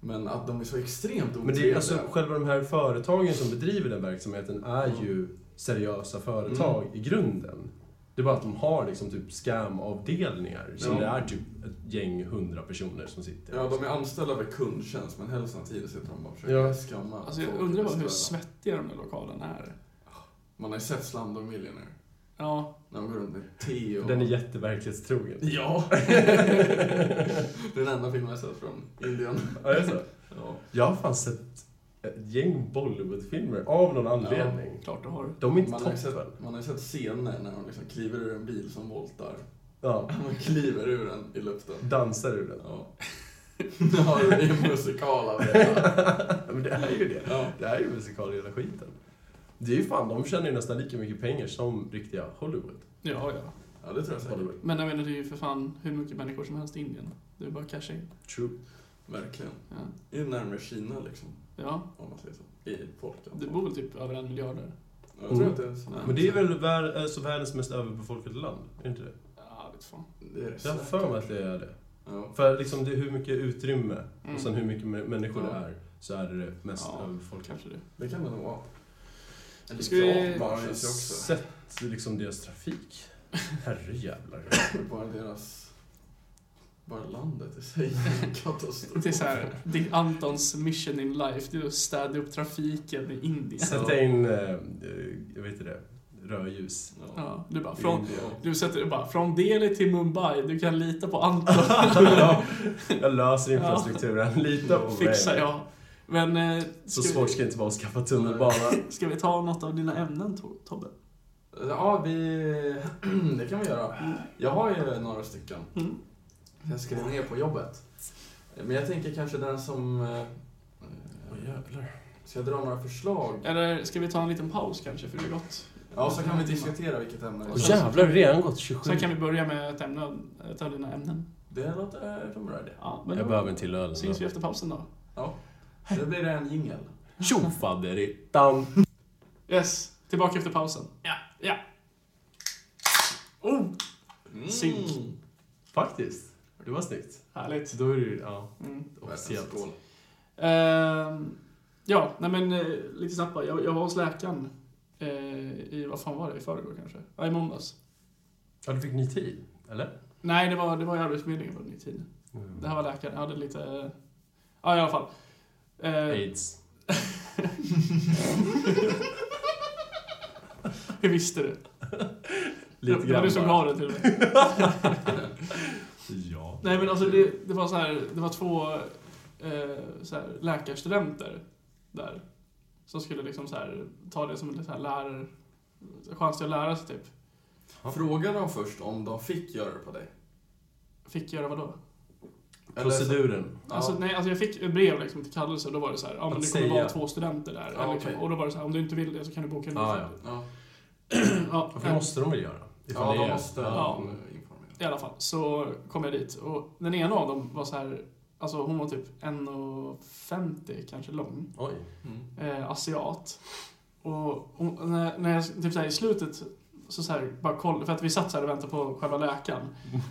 Men att de är så extremt
Men det är,
otrevliga.
alltså, själva de här företagen som bedriver den verksamheten är ju seriösa företag
Mm.
i grunden. Det är bara att de har liksom typ scam-avdelningar som
Ja.
det är typ ett gäng hundra personer som sitter.
Ja, de är anställda för kundtjänst, men hälften av tiden sitter de bara och försöker
Ja.
skamma
Alltså jag
folk i
undrar bara hur
restaurangen.
svettiga de där lokalerna är.
Man har ju sett Slumdog Millionaire.
Ja,
När de går runt med te och...
Den är jätteverklighetstrogen.
Ja! det är den enda filmen jag sett från Indien.
Ja, det är så.
Ja.
Jag har fan sett ett gäng Bollywoodfilmer av någon anledning.
klart du har.
De är inte
Man har, ju sett,
toppen.
man har ju sett scener när de liksom kliver ur en bil som voltar.
Ja,
Man kliver ur den i luften.
dansar ur den.
Ja. ja, det är en musikal av det.
Men det är ju det.
Ja.
Det är ju musikal i hela skiten. Det är ju fan, de tjänar ju nästan lika mycket pengar som riktiga Hollywood.
Ja, ja.
ja, det tror jag säkert.
Hollywood.
Men jag menar, det är ju för fan hur mycket människor som helst i Indien. Det är bara cash in.
True.
Verkligen.
Ja.
Det är närmare Kina liksom,
ja,
om man säger så. I folktal.
det bor väl typ över en miljard där.
Ja, Jag tror att det är så.
Mm. Men det är väl vär, alltså världens mest överbefolkade land? Är det inte det?
Ja, vet fan.
Det är det
Jag har
säkert.
för mig att det är det.
Ja.
För liksom det är hur mycket utrymme
Mm.
och sen hur mycket mä- människor det
Ja.
är så är det det mest
Ja,
överbefolkade.
Mm. Kanske det.
Det kan det nog vara. Eller
Ska vi-
bara
Jag har
finns ju också.
sett liksom deras trafik. Herrejävlar.
Bara deras... Bara landet i sig katastrof.
Det är såhär, det är Antons mission in life, det är att städa upp trafiken i Indien.
Sätta in, eh, eh, jag vet inte det, rödljus.
Ja, du bara,
i
Mm.
från,
Indien.
du sätter du bara, från Delhi till Mumbai, du kan lita på Anton.
Ja, jag löser infrastrukturen, lita på mig.
Fixar jag. Men, eh,
Så
vi-
svårt ska det inte vara att skaffa tunnelbana.
Ska vi ta något av dina ämnen, To- Tobbe?
Ja, vi... Det kan vi göra. Jag har ju några stycken.
Mm.
Jag skrev ner på jobbet. Men jag tänker kanske den som... eh,
Åh, jävlar.
Ska jag dra några förslag?
Eller ska vi ta en liten paus kanske, för det är gott? Mm.
Ja, så kan vi diskutera vilket ämne
Åh,
det är.
jävlar, det har redan gått 27.
Sen kan vi börja med ett ämne, ett av dina ämnen.
Det låter som bra idé.
Ja, men
Jag
då
behöver en till öl.
syns vi efter pausen då.
Det blir det en jingel.
Tjofaderittan!
Yes, tillbaka efter pausen. Ja, ja. Oh,
Mm.
Synk.
Faktiskt. Det var snyggt.
härligt.
Då är det ju, ja,
Mm.
officiellt.
Skål.
Ehm, ja, nej men eh, lite snabbt bara. jag, jag var hos läkaren eh, i, vad fan var det, i förrgår kanske? Ja, i måndags.
Ja, du fick ny tid, eller?
Nej, det var, det var i Arbetsförmedlingen på den i tiden. Det här var läkaren, jag hade lite... eh, Ja, i alla fall. Eh,
Mm. Aids.
hur visste du?
Lite
det var du
grann
som
bara.
gav det till mig.
Ja.
Nej men alltså det, det var så här, det var två eh, så här, läkarstudenter där. Som skulle liksom så här, ta det som en så här, lär, chans till att lära sig typ.
Fråga dem först om de fick göra det på dig.
Fick göra vadå?
Eller så-
Proceduren.
Ja.
Alltså, nej, alltså jag fick ett brev liksom, till kallelse och då var det så här, ja, men
Att
det kommer
säga.
vara två studenter där.
Ja,
eller liksom,
okej.
Och då var det så här, om du inte vill det så kan du boka en
Ja,
biljett.
Ja,
ja,
Varför
nej,
måste de väl göra?
ja
Ifall det
de
är-
måste
Ja.
Mm.
eh, informera.
I alla fall så kom jag dit och den ena av dem var så här, alltså hon var typ 1,50 kanske lång.
Oj.
Mm.
eh, asiat. Och hon, när, när jag typ så här, i slutet så, så här, bara koll, för att vi satt så här och väntade på själva läkaren,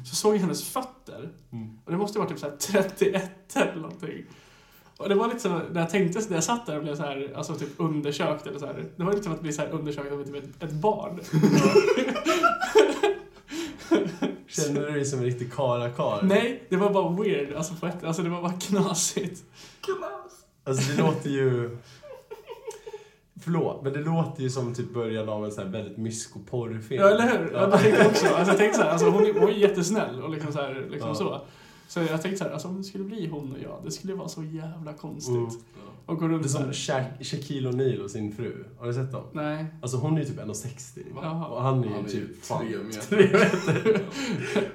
så såg jag hennes fötter.
Mm.
Och det måste ju vara typ så här 31 eller någonting. Och det var lite så, när jag tänkte så, när jag satt där och blev så här, alltså typ undersökt eller så här, det var lite som att bli så här undersökt av typ ett, ett barn.
Känner du dig som en riktig karakar?
Nej, det var bara weird, alltså, på ett, alltså det var bara knasigt.
Alltså det låter ju... Förlåt, men det låter ju som typ början av en sån här väldigt mysko porrfilm.
Ja, eller hur? Ja, det tänkte jag också. Alltså, jag tänkte så här, alltså, hon, är, hon är jättesnäll och liksom så här, liksom
Ja.
så. Så jag tänkte så här, alltså, om det skulle bli hon och jag, det skulle vara så jävla konstigt.
Mm.
Och gå
Det är
runt
som
där.
Sha- Shaquille O'Neal och sin fru. Har du sett dem?
Nej.
Alltså hon är ju typ 1,60.
Jaha.
Och han är ju
Han är ju
typ fan
tre meter.
tre meter.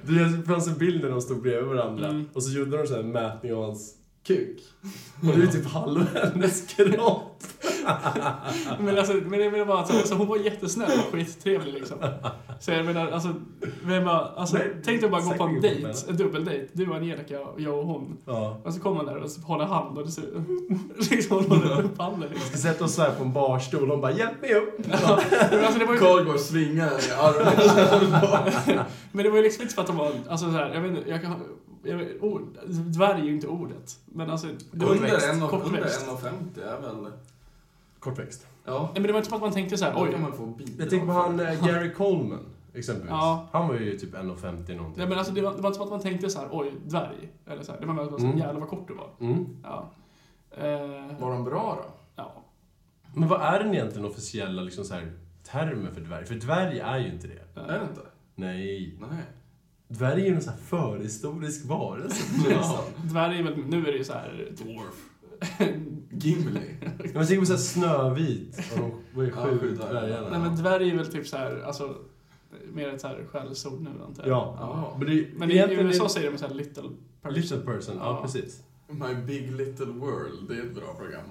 Det är- det fanns en bild när de stod bredvid varandra
Mm.
och så gjorde de så här en mätning av hans kuk. Och det är ju typ halva hennes kropp.
Men alltså, men jag menar bara att alltså, hon var jättesnäll och skittrevlig liksom. Så jag menar, alltså, vem var, alltså
Nej,
tänk dig bara gå på en
exakt
dejt,
vad jag
en dubbeldejt. Du och Angelica, jag och hon.
Ja.
Och så kommer man där och så håller hand och det ser liksom hon håller upp handen liksom.
Vi ska sätta oss så här på en barstol och bara “Hjälp mig upp!”
Men, alltså, det var ju,
Carl går och svingar i armen.
men det var ju liksom inte för att de var, alltså så här, jag vet inte, jag kan, jag vet, ord, dvärg är ju inte ordet. Men alltså, det var ju
Under en och- under
kortväxt.
1,50 är väl...
Kortväxt.
Ja.
Nej men det var inte som att man tänkte så här,
Då kan
oj.
man få bidrag.
Jag tänker på han eh, Gary Coleman, exempelvis.
Ja.
Han var ju typ 1,50 någonting.
Nej men alltså det var, det var inte som att man tänkte så här, oj, dvärg. Eller så här, det var mer att man mm.
Mm.
jävlar vad kort du var.
Mm.
Ja. Eh,
Var de bra då?
ja.
Men vad är den egentligen officiella liksom så här, termen för dvärg? För dvärg är ju inte det.
Är det inte?
Nej.
Nej.
Dvärg är ju en sån här förhistorisk varelse.
Ja.
Eh, Dvärg är väl, nu är det ju så här... typ-
Dwarf. Gimli.
Ja, men tänk på såhär Snövit och de var ju
Ja,
sju
sju
dvärgarna.
dvärgar.
Nej men dvärg är väl typ så här, alltså, mer ett så här skällsord nu antar jag.
Ja.
Ja.
Men, det,
Men i
egentligen
USA
är-
säger de så här little person.
Little person, ja,
Ja.
precis.
My Big Little World, det är ett bra program.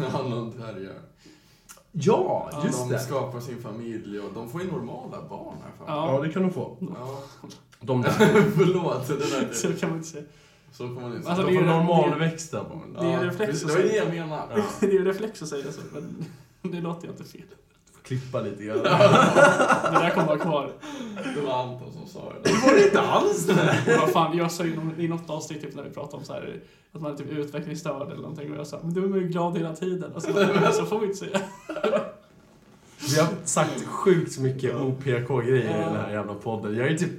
När han och dvärgar.
Ja,
Ja,
just
de
det.
skapar sin familj och de får ju normala barn här fan.
Ja.
Ja, det kan de få.
Ja.
De
Alltså,
där.
Förlåt, det där
Så
är
kan man inte säga.
Så får man inte
Alltså,
säga.
det
De
är
får
ju-
normalväxta barn.
det är ju
Ja,
reflex
precis,
att
Det var ju det
säga.
jag menade.
Ja.
Det är ju reflex att säga så, men det låter ju inte fel.
Klippa lite grann.
Det där kommer vara kvar.
Det var Anton som sa det.
Det var det inte alls det!
Och vad fan, jag sa ju någon- i något avsnitt typ när vi pratade om så här, att man är typ utvecklingsstörd eller någonting och jag sa men du är man ju glad hela tiden. Och så, bara, så får vi inte säga.
Vi har sagt sjukt mycket OPK-grejer i den här jävla podden. Jag är typ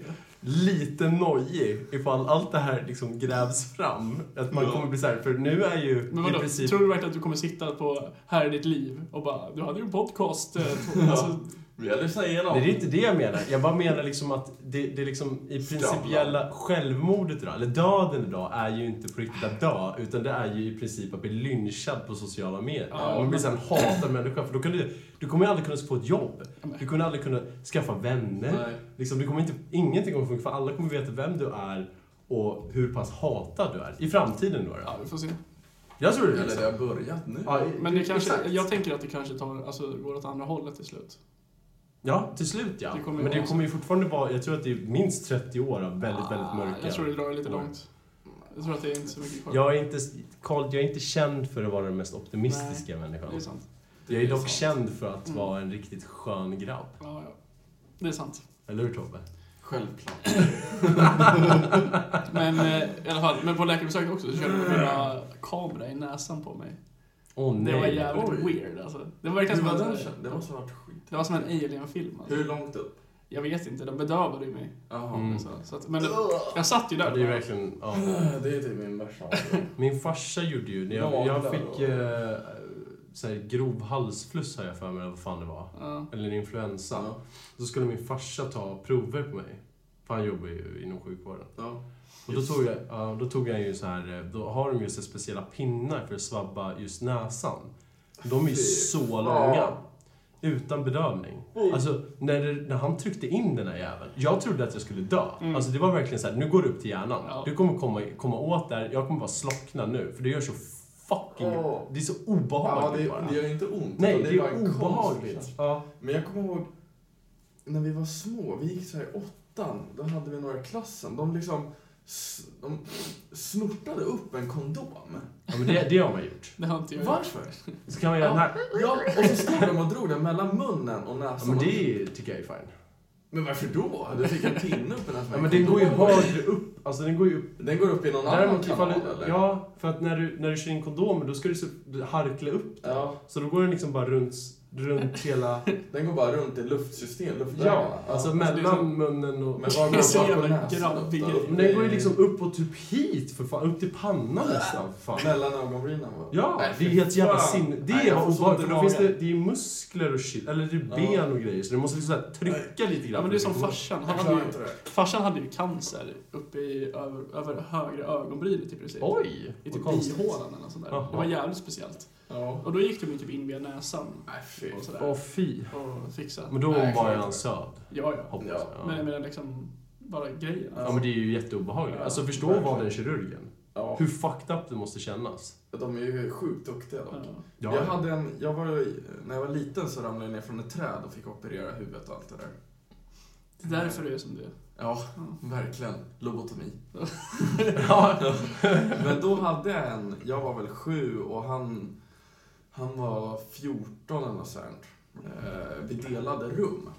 lite nojig ifall allt det här liksom grävs fram. Att man
Ja.
kommer bli såhär, för nu är ju
Men vadå,
i princip...
tror du verkligen att du kommer sitta på Här är ditt liv och bara du hade ju en podcast. eh, två-
Ja.
Alltså,
Vi har lyssnat igenom.
Nej, det är inte det jag menar. Jag bara menar liksom att det, det är liksom i principiella självmordet idag, eller döden idag, är ju inte på riktigt att dö, utan det är ju i princip att bli lynchad på sociala medier.
Ja.
Man blir såhär en hatad människa, för då kan du, du kommer ju aldrig kunna få ett jobb. Du kommer aldrig kunna skaffa vänner.
Nej.
Liksom, du kommer inte, ingenting kommer funka, för alla kommer veta vem du är och hur pass hatad du är. I framtiden då. då.
ja, vi får se.
Jag tror det.
Eller
Liksom.
det har börjat nu.
Ja, i-
Men det kanske,
exakt.
jag tänker att det kanske tar, alltså, går åt andra hållet till slut.
Ja, till slut ja.
Det kommer ju
Men det
vara så.
kommer ju fortfarande vara, jag tror att det är minst 30 år av väldigt, väldigt mörka.
Ah, Jag tror det drar lite
år.
långt. Jag tror att det är inte så mycket kvar.
Jag är inte, Carl, jag är inte känd för att vara den mest optimistiska människan.
Det är sant.
Jag är dock
sant.
känd för att
Mm.
vara en riktigt skön grabb.
Ja, ja. Det är sant.
Eller hur Tobbe?
Självklart.
Men eh, i alla fall, men på läkarbesöket också så körde de mina kamera i näsan på mig.
Åh nej.
Det var jävligt
Oj.
weird alltså. Det var verkligen
Hur
som
var
en,
den
så här-
känd? Det måste ha varit skit.
det var som en alien-film alltså.
Hur långt upp?
Jag vet inte, de bedövade ju mig.
Jaha.
Mm.
Så, så att, men det, jag satt ju
Ja,
där.
det är verkligen, ja.
Det är typ min värsta mardröm.
Min farsa gjorde ju, när jag, jag
Naglar
fick
och-
eh, så här, grov halsfluss har jag för mig, eller vad fan det var.
Ja.
Eller en influensa.
Ja.
Så skulle min farsa ta prover på mig. För han jobbar ju inom sjukvården.
Ja.
Och då
Just.
tog, jag, ja, då tog jag ju så här, eh, då har de ju så här speciella pinnar för att svabba just näsan. De är ju
Fy
så
fan.
långa. Utan bedövning. Alltså, när, det, när han tryckte in den här jäveln, jag trodde att jag skulle dö.
Mm.
Alltså det var verkligen så här, nu går det upp till hjärnan.
Ja.
Du kommer komma, komma åt där, jag kommer bara slockna nu. För det gör så fucking...
Åh.
Det är så
Ja,
obehagligt
det,
bara.
det gör ju inte ont.
Nej,
utan
det är,
bara en liksom.
obehagligt.
konstig
Ja.
Men jag kommer ihåg när vi var små, vi gick så här i åttan, då hade vi några i klassen, de liksom s- de snortade upp en kondom.
ja, men det, det har man gjort.
Det har inte jag gjort.
Varför?
Så kan man göra den här.
Ja, och så stod de och drog den mellan munnen och
Ja,
näsan.
men det är- tycker jag är fine.
Men varför då? Du fick en pinne upp i näsan.
Ja, men den går ju högre upp. Alltså den går ju upp
Den går upp i någon annan
Däremot
kanal
ifall
eller?
du, ja, för att när du, när du kör in kondomer då ska du så, harkla upp den.
Ja.
Så då går den liksom bara runt, runt hela...
Den går bara runt i luftsystem,
Ja,
luftvägarna.
alltså
men-
mellan
det är som-
munnen och...
liksom- Men vad
Det är så
går bakom
jävla
näsan? upp
grabbig
då?
grej.
Upp
Men
i-
den går ju liksom uppåt typ hit för fan, upp till pannan nästan för fan.
Mellan ögonbrynen va?
Ja,
Nej,
det är
fy
helt jävla
fan.
sinne. Det
Nej, jag får
är obehagligt.
sånt i
för Då finns det,
magen.
det är muskler och shit, eller det är ben
Ja.
och grejer. Så du måste liksom så här trycka lite
Ja,
grann.
men det är som farsan. Han
Jag
hade
klarar
ju,
inte det.
farsan hade ju cancer uppe i över, över högre ögonbrynet i princip.
Oj!
I
vad
typ
konstigt.
bihålan eller något sånt där.
Jaha.
Det var jävligt speciellt.
Ja.
Och då gick de ju typ in via näsan
Nej fy.
och sådär.
Åh fy.
Och fixade.
Men då
Nej, jag
var
klarar
ju han
inte det.
söd,
Ja, ja.
hoppas
Ja.
jag.
Men jag menar liksom, bara grejen.
Ja men det är ju jätteobehagligt.
Ja,
Alltså förstå
verkligen.
vad den kirurgen.
Ja,
Hur fucked up det måste kännas.
de är ju sjukt duktiga dock.
Ja.
Jag hade en, jag var, ju- när jag var liten så ramlade jag ner från ett träd och fick operera huvudet och allt det där.
Det är därför det är som det är.
Ja,
Mm.
verkligen. Lobotomi.
Ja.
Men då hade jag en, jag var väl sju och han, han var 14 eller något sånt. Eh, Vi delade rum.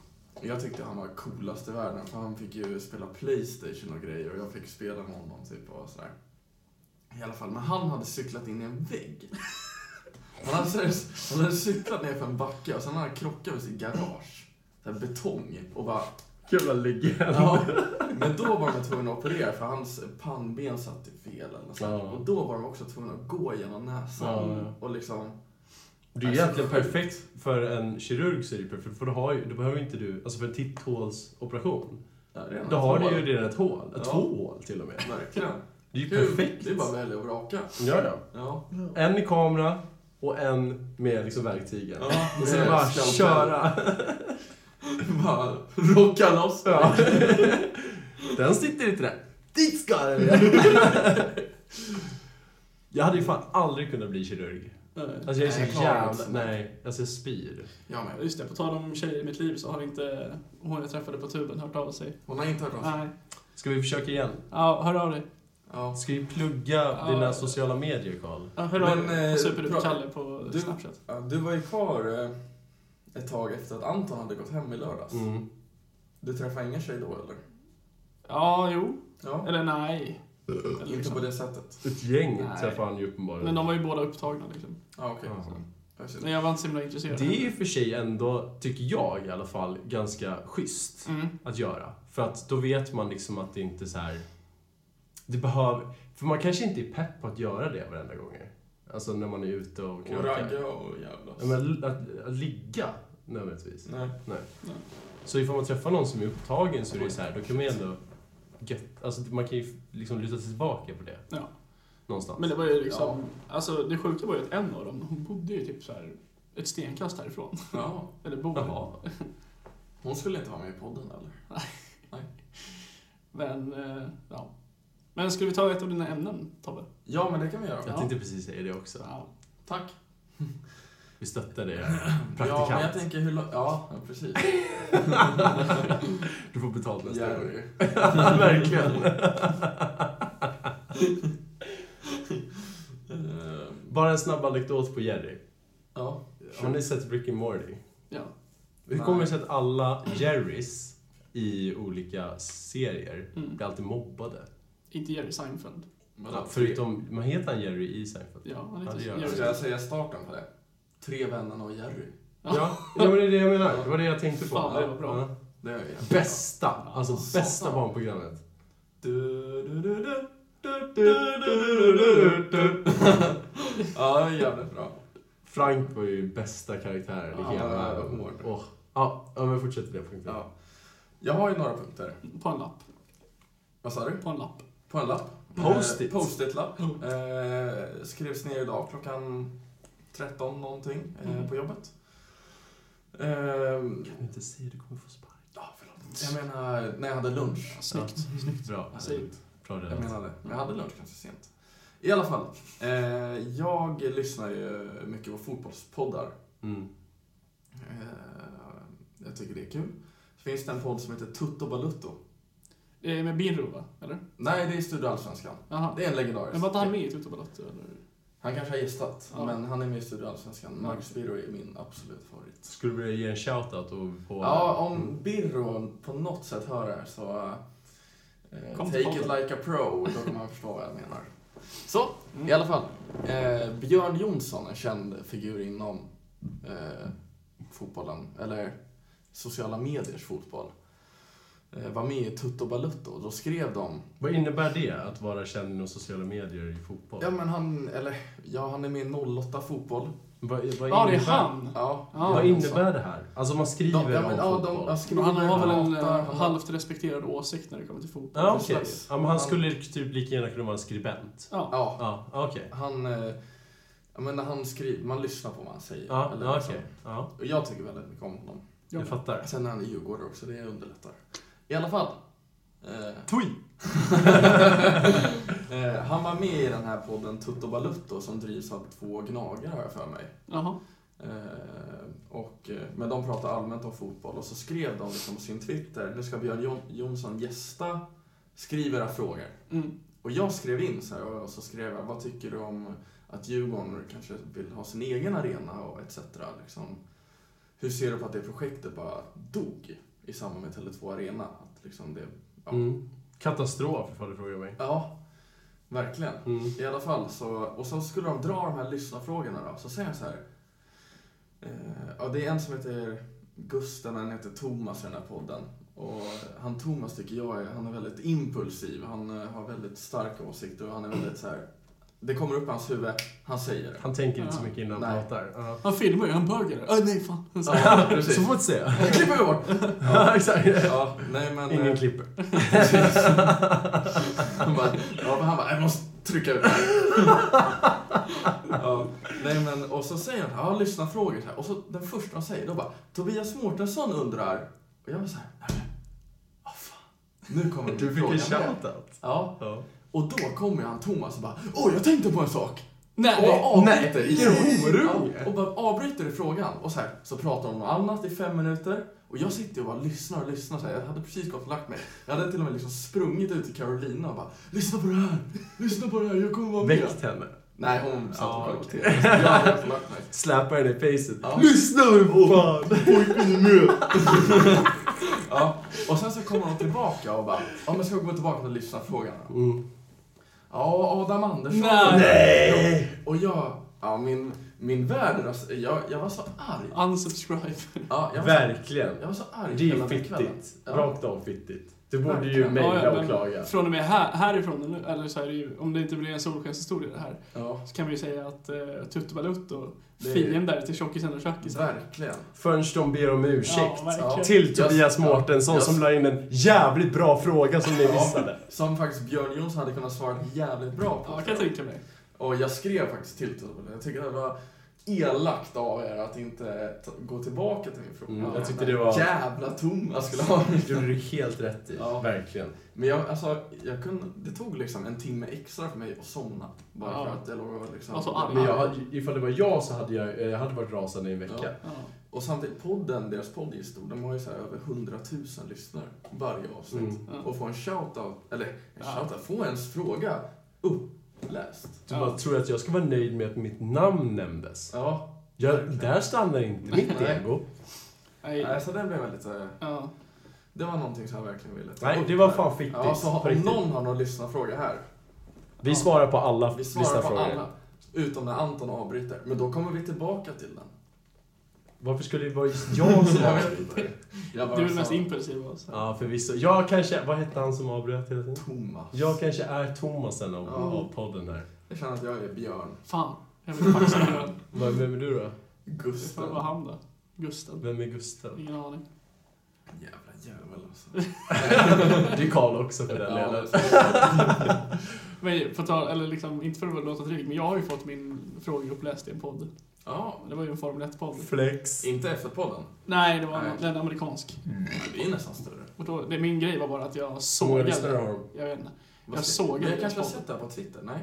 Jag tyckte han var coolast i världen för han fick ju spela Playstation och grejer och jag fick spela med honom typ och sådär. I alla fall, men han hade cyklat in i en vägg. Han hade, seriöst- han hade cyklat ner för en backe och sen hade han krockat med sitt garage. Så här betong och bara
Jävla legend.
Ja, men då var de tvungna att operera för hans pannben satt i fel eller något sånt.
Ja.
Och då var de också tvungna att gå genom näsan
Ja, ja.
och liksom...
Det är ju
Alltså,
egentligen
sjukt.
perfekt för en kirurg så är det ju perfekt. För då, har ju, då behöver inte du, alltså för en titthålsoperation.
Ja, det är
Då
något
har
hål.
du ju redan ett hål.
Ja.
Två hål till och med.
Verkligen.
Det är ju
Kul.
perfekt.
Det är bara att välja och vraka.
Ja, ja.
Ja.
En i kamera och en med liksom verktygen.
ja
Och sen bara köra.
bara rocka loss.
Ja. Den sitter inte där. Dit ska den! Jag hade ju fan aldrig kunnat bli kirurg.
Nej.
Alltså jag är
Nej,
så
jag klarar
jävla...
inte.
Nej, alltså jag spyr.
Jag med.
Just det, på tal om tjejer i mitt liv så har inte hon jag träffade på tuben hört av sig.
Hon har inte hört av sig.
Nej.
Ska vi försöka igen?
Ja, hör av dig.
Ja.
Ska vi plugga
Ja.
dina sociala medier, Karl?
Ja, hör av
Men,
dig.
eh,
på Superduper
pra-
Kalle på
du-
Snapchat.
Ja, Du var ju kvar eh, ett tag efter att Anton hade gått hem i lördags.
Mm.
Du träffade ingen tjej då eller?
Ja, jo.
Ja.
Eller nej. Eller
Inte
liksom.
på det sättet?
Ett gäng
Nej.
träffade han ju uppenbarligen.
Men de var ju båda upptagna liksom.
Ja, okej.
Ja.
Jag ser.
Men jag var inte så himla intresserad.
Det är ju för sig ändå, tycker jag i alla fall, ganska schysst.
Mm.
att göra. För att då vet man liksom att det inte så här... Det behöver... För man kanske inte är pepp på att göra det varenda gånger. Alltså när man är ute och
Och
knarkar.
ragga och jävlas.
Ja, men att, att ligga nödvändigtvis.
Nej.
Så ifall man träffar någon som är upptagen så är det ju så här, då kan man ju ändå... Gött, alltså man kan ju liksom luta sig tillbaka på det.
Ja.
Någonstans.
Men det var ju liksom... Alltså det sjuka var ju att en av dem, hon bodde ju typ så här ett stenkast härifrån.
Ja.
Eller bor.
Jaha.
Hon skulle inte vara med i podden eller?
Men, eh, ja. Men skulle vi ta ett av dina ämnen, Tobbe?
Ja, men det kan vi göra.
Jag tänkte precis säga det också.
Ja.
Tack.
Vi stöttar dig.
Ja, men
Praktikant.
jag tänker hur långt... Ja, ja, precis.
Du får betalt nästa gång.
Jerry.
Verkligen.
Eh,
Bara en snabb anekdot på Jerry.
Ja.
Har ni sett Rick and Morty?
ja.
Hur kommer det sig att alla Jerrys i olika serier
Mm.
blir alltid mobbade?
Inte Jerry Seinfeld.
Vadå?
Förutom, man heter han Jerry i Seinfeld?
Ja, han heter
Ja, det gör
Jerry.
Ska jag säga starten på det? Tre vännerna och Jerry.
Ja.
Ja, ja men det är det jag menar. Det var det jag tänkte på.
Fan, det var bra.
Ja.
Det är jag.
Bästa! Alltså
Satan.
bästa barnprogrammet.
Du, du, du, du. Du, du, du, du, du, du. Ja, det är jävligt bra.
Frank var ju bästa karaktären i
Ja,
hela
det var
världen.
hård.
Åh. Ja, ja, men fortsätt den punkten.
Ja. Jag har ju några punkter.
På en lapp.
Vad sa du?
På en lapp.
På en lapp?
Post-it.
Eh, Post-it-lapp.
Mm.
Eh, skrevs ner idag klockan 13 någonting eh,
Mm.
på jobbet. Eh,
Kan du inte säga du kommer få sparken?
Ja, förlåt. Jag menar, när jag hade lunch.
Snyggt.
Snyggt. Bra.
Säg.
Bra
Jag
redan.
menade, jag hade lunch ganska sent. I alla fall, eh, jag lyssnar ju mycket på fotbollspoddar.
Mm.
Eh, jag tycker det är kul. Så finns det en podd som heter Tutto Balutto.
Det är med Birro, va? Eller?
Nej, det är Studio Allsvenskan.
Jaha.
Det är en legendarisk.
Men var inte han med i Toto Balotto, eller?
Han kanske har gästat,
Ja.
men han är med i Studio Allsvenskan.
Ja.
Marcus Birro är min absolut favorit.
Skulle du vilja ge en shoutout och Mm. på...
Ja, om Birro på något sätt hör det här så... Eh,
Kom
take
tillbaka.
it like a pro, då kommer han förstå vad jag menar. Så,
Mm.
i alla fall. Eh, Björn Jonsson, en känd figur inom eh, fotbollen, eller sociala mediers fotboll, eh, var med i Tutto Balutto. Då skrev de
Vad innebär det, att vara känd inom sociala medier i fotboll?
Ja, men han, eller, ja, han är med i 08 fotboll.
Vad, vad
Ja, det är
innebär-
han.
Ja,
Ja,
Vad
så.
innebär det här? Alltså man skriver
De, ja, men,
om
ja,
fotboll.
de, alltså- jag skriver,
Han har väl en
hatar,
eh, halvt respekterad åsikt när det kommer till fotboll.
Ja, okej.
precis.
Ja, men han skulle typ lika gärna kunna vara en skribent.
Ja.
Ja,
Ja, okej.
han... eh, Ja, men när han skriver, man lyssnar på vad han säger.
Ja,
eller
ja,
liksom.
okej. Ja,
Och jag tycker väldigt mycket om honom.
Ja.
jag fattar.
Sen är han i Djurgården också, det underlättar. I alla fall. Eh,
Tui!
eh, han var med i den här podden Tutto Balutto som drivs av två gnagare har jag för mig.
Jaha.
Eh, och, eh, men de pratar allmänt om fotboll och så skrev de liksom på sin Twitter, nu ska Björn Jon- Jonsson gästa, skriv era frågor.
Mm.
Och jag skrev in så här och så skrev jag, vad tycker du om att Djurgården kanske vill ha sin egen arena och etc. Liksom, hur ser du på att det projektet bara dog i samband med Tele2 Arena? Att liksom det, ja.
Mm. Katastrof, ifall du frågar mig.
ja, verkligen.
Mm.
I alla fall så, och så skulle de dra de här lyssnarfrågorna då, så säger jag så här. Eh, ja, det är en som heter Gusten, han heter Thomas i den här podden. Och han Thomas tycker jag är, han är väldigt impulsiv, han eh, har väldigt starka åsikter och han är väldigt så här. Det kommer upp i hans huvud, han säger det.
Han tänker inte så mycket innan han
Nej.
pratar. Ja.
Han filmar ju hamburgare. Äh, nej, fan.
Ja,
Så
precis.
får man säga.
Klipper vi bort!
Ja, exakt.
Ja, nej men... eh,
Ingen klipper.
Precis. Han bara, ja, men han bara, jag måste trycka ut det här. ja, nej men, och så säger han, ja lyssna frågor så här. Och så den första han säger, då bara, Tobias Mårtensson undrar. Och jag var så här, nej men, vad fan. Nu kommer
Du fick
frågan
en
med.
shoutout.
Ja,
Ja.
och då kommer han Thomas och bara, åh jag tänkte på en sak.
Nej.
Och
nej,
avbryter.
vilken oro.
Ja, och bara avbryter i frågan. Och så här, så pratar de om något annat i fem minuter. Och jag sitter och bara lyssnar och lyssnar. Så här. Jag hade precis gått och lagt mig. Jag hade till och med liksom sprungit ut till Carolina och bara Lyssna på det här! Lyssna på det här, jag kommer vara med!
Väckt henne.
Nej, hon satt
Ja,
och kollade på
okej.
TV. Jag hade gått och lagt mig.
Släpar henne i facet. Oh.
Ja.
Lyssna nu för fan!
Pojken är med! ja, och sen så kommer de tillbaka och bara Ja men ska vi gå tillbaka till lyssnarfrågan då?"
Mm.
Ja, Adam Andersson.
Nej.
Nej!
Och jag, ja min, min värld, alltså, jag, jag var så arg.
Unsubscribe.
Ja, jag var så
Verkligen.
Jag var så arg
Det
hela
är
den kvällen.
fittigt.
Ja.
Rakt av fittigt. Du borde ju
Verkligen.
Ja,
mejla
ja,
och
men-
klaga.
Från och med här, härifrån, eller- eller så är det ju, om det inte blir en solskenshistoria det här,
Ja,
så kan vi ju säga att eh, Tutte Balutto,
Det är-
fiender till tjockisen och tjackisen.
verkligen.
Förrän de ber om ursäkt.
Ja, verkligen.
Till
Ja.
Tobias Mårtensson
Ja.
som la in en jävligt bra fråga som ni
Ja.
missade.
Som faktiskt Björn Jonsson hade kunnat svara jävligt bra på.
Ja, kan jag tänka mig.
och jag skrev faktiskt till Tullberg. Jag tycker det var elakt av er att inte ta- gå tillbaka till min fråga.
Mm,
jag
tyckte det var-
Jävla Thomas skulle ha.
Det gjorde du helt rätt i.
Ja.
Verkligen.
Men jag, alltså, jag kunde, det tog liksom en timme extra för mig att somna. Bara
Ja.
för att jag låg och liksom...
Alltså, arg.
Men jag, hade- ifall det var jag så hade jag, jag hade varit rasande i en vecka.
Ja.
Ja.
Och samtidigt, podden, deras podd är ju stor. De har ju så här över 100 000 lyssnare varje avsnitt.
Mm.
Ja.
Och få en shoutout, eller en
Ja.
shoutout, få ens fråga uppläst.
Du
Ja.
bara, tror du att jag ska vara nöjd med att mitt namn nämndes?
Ja,
Jag, där stannar inte mitt
Nej.
ego.
Nej.
nej, så den blev jag lite...
Ja.
Det var någonting som jag verkligen ville ta
Nej,
upp
det var
där.
fan fiktigt.
Ja, så
på
har, om
riktigt.
någon har någon lyssnarfråga här.
Vi svarar på alla
Vi svarar på
lyssnarfrågor.
alla. Utom när Anton avbryter. Men då kommer vi tillbaka till den.
Varför skulle det vara just jag som
Jag vet
avbryter?
Jag
Du
bara
är väl
sa,
mest impulsiv av oss.
ja, förvisso. Jag kanske... Vad hette han som avbröt hela tiden?
Thomas.
Jag kanske är Thomasen av,
Ja.
av podden här.
Jag känner att jag är Björn.
Fan, jag vill faktiskt göra det.
Vad- Vem är du då?
Det får vara
Gusten.
han då. Gusten.
Vem är Gusten?
Ingen aning.
Jävla jävel alltså.
Det är Karl också för den
Ja,
delen.
Men för att ta, eller liksom, inte för att låta dryg, men jag har ju fått min fråga uppläst i en podd.
ja,
Det var ju en Formel 1-podd.
Flex.
inte F1-podden.
Nej, det var
Nej.
en, en amerikansk.
Nej, Det är nästan större.
Och då, det, min grej var bara att jag
Så många
sågade.
lyssnare har de.
Jag vet inte.
Vad
Jag
ska-
såg
Men jag
inte
kanske har
podden.
sett det här på Twitter? Nej?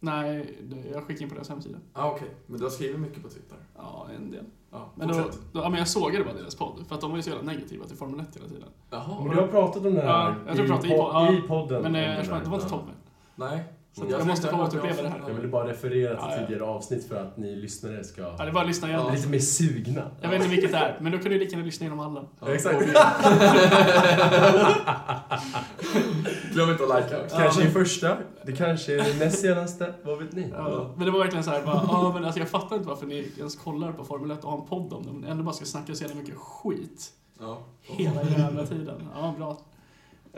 Nej, det, jag skickade in på deras hemsida.
Ja, ah, okej. Men du har skrivit mycket på Twitter?
Ja, en del.
Ja,
Men, då, då, ja, men jag sågade bara deras podd, för att de var ju så jävla negativa till Formel 1 hela tiden.
Jaha.
Men du har pratat om det här
Ja, jag tror jag pratade i
po-
podden. Ja.
i podden.
Men
om
eh,
det
jag tror
där.
att det var inte
Ja.
Tommy.
Nej.
Så att jag måste få återuppleva det
Jag
här.
ville bara referera
Ja,
till
ja.
tidigare avsnitt för att ni lyssnare ska
Ja, det är bara att lyssna
bli
igen.
lite mer sugna.
Jag vet inte vilket det är, men då kan du lika gärna lyssna igenom alla.
Ja,
Exakt.
och- Glöm inte att likea också.
Kanske är första, det kanske är det näst senaste, vad vet ni?
Ja, men det var verkligen så här, bara, ja, men alltså jag fattar inte varför ni ens kollar på Formel 1 och har en podd om det, men ändå bara ska snacka så jävla mycket skit
Ja.
hela jävla tiden. Ja, bra. Eh,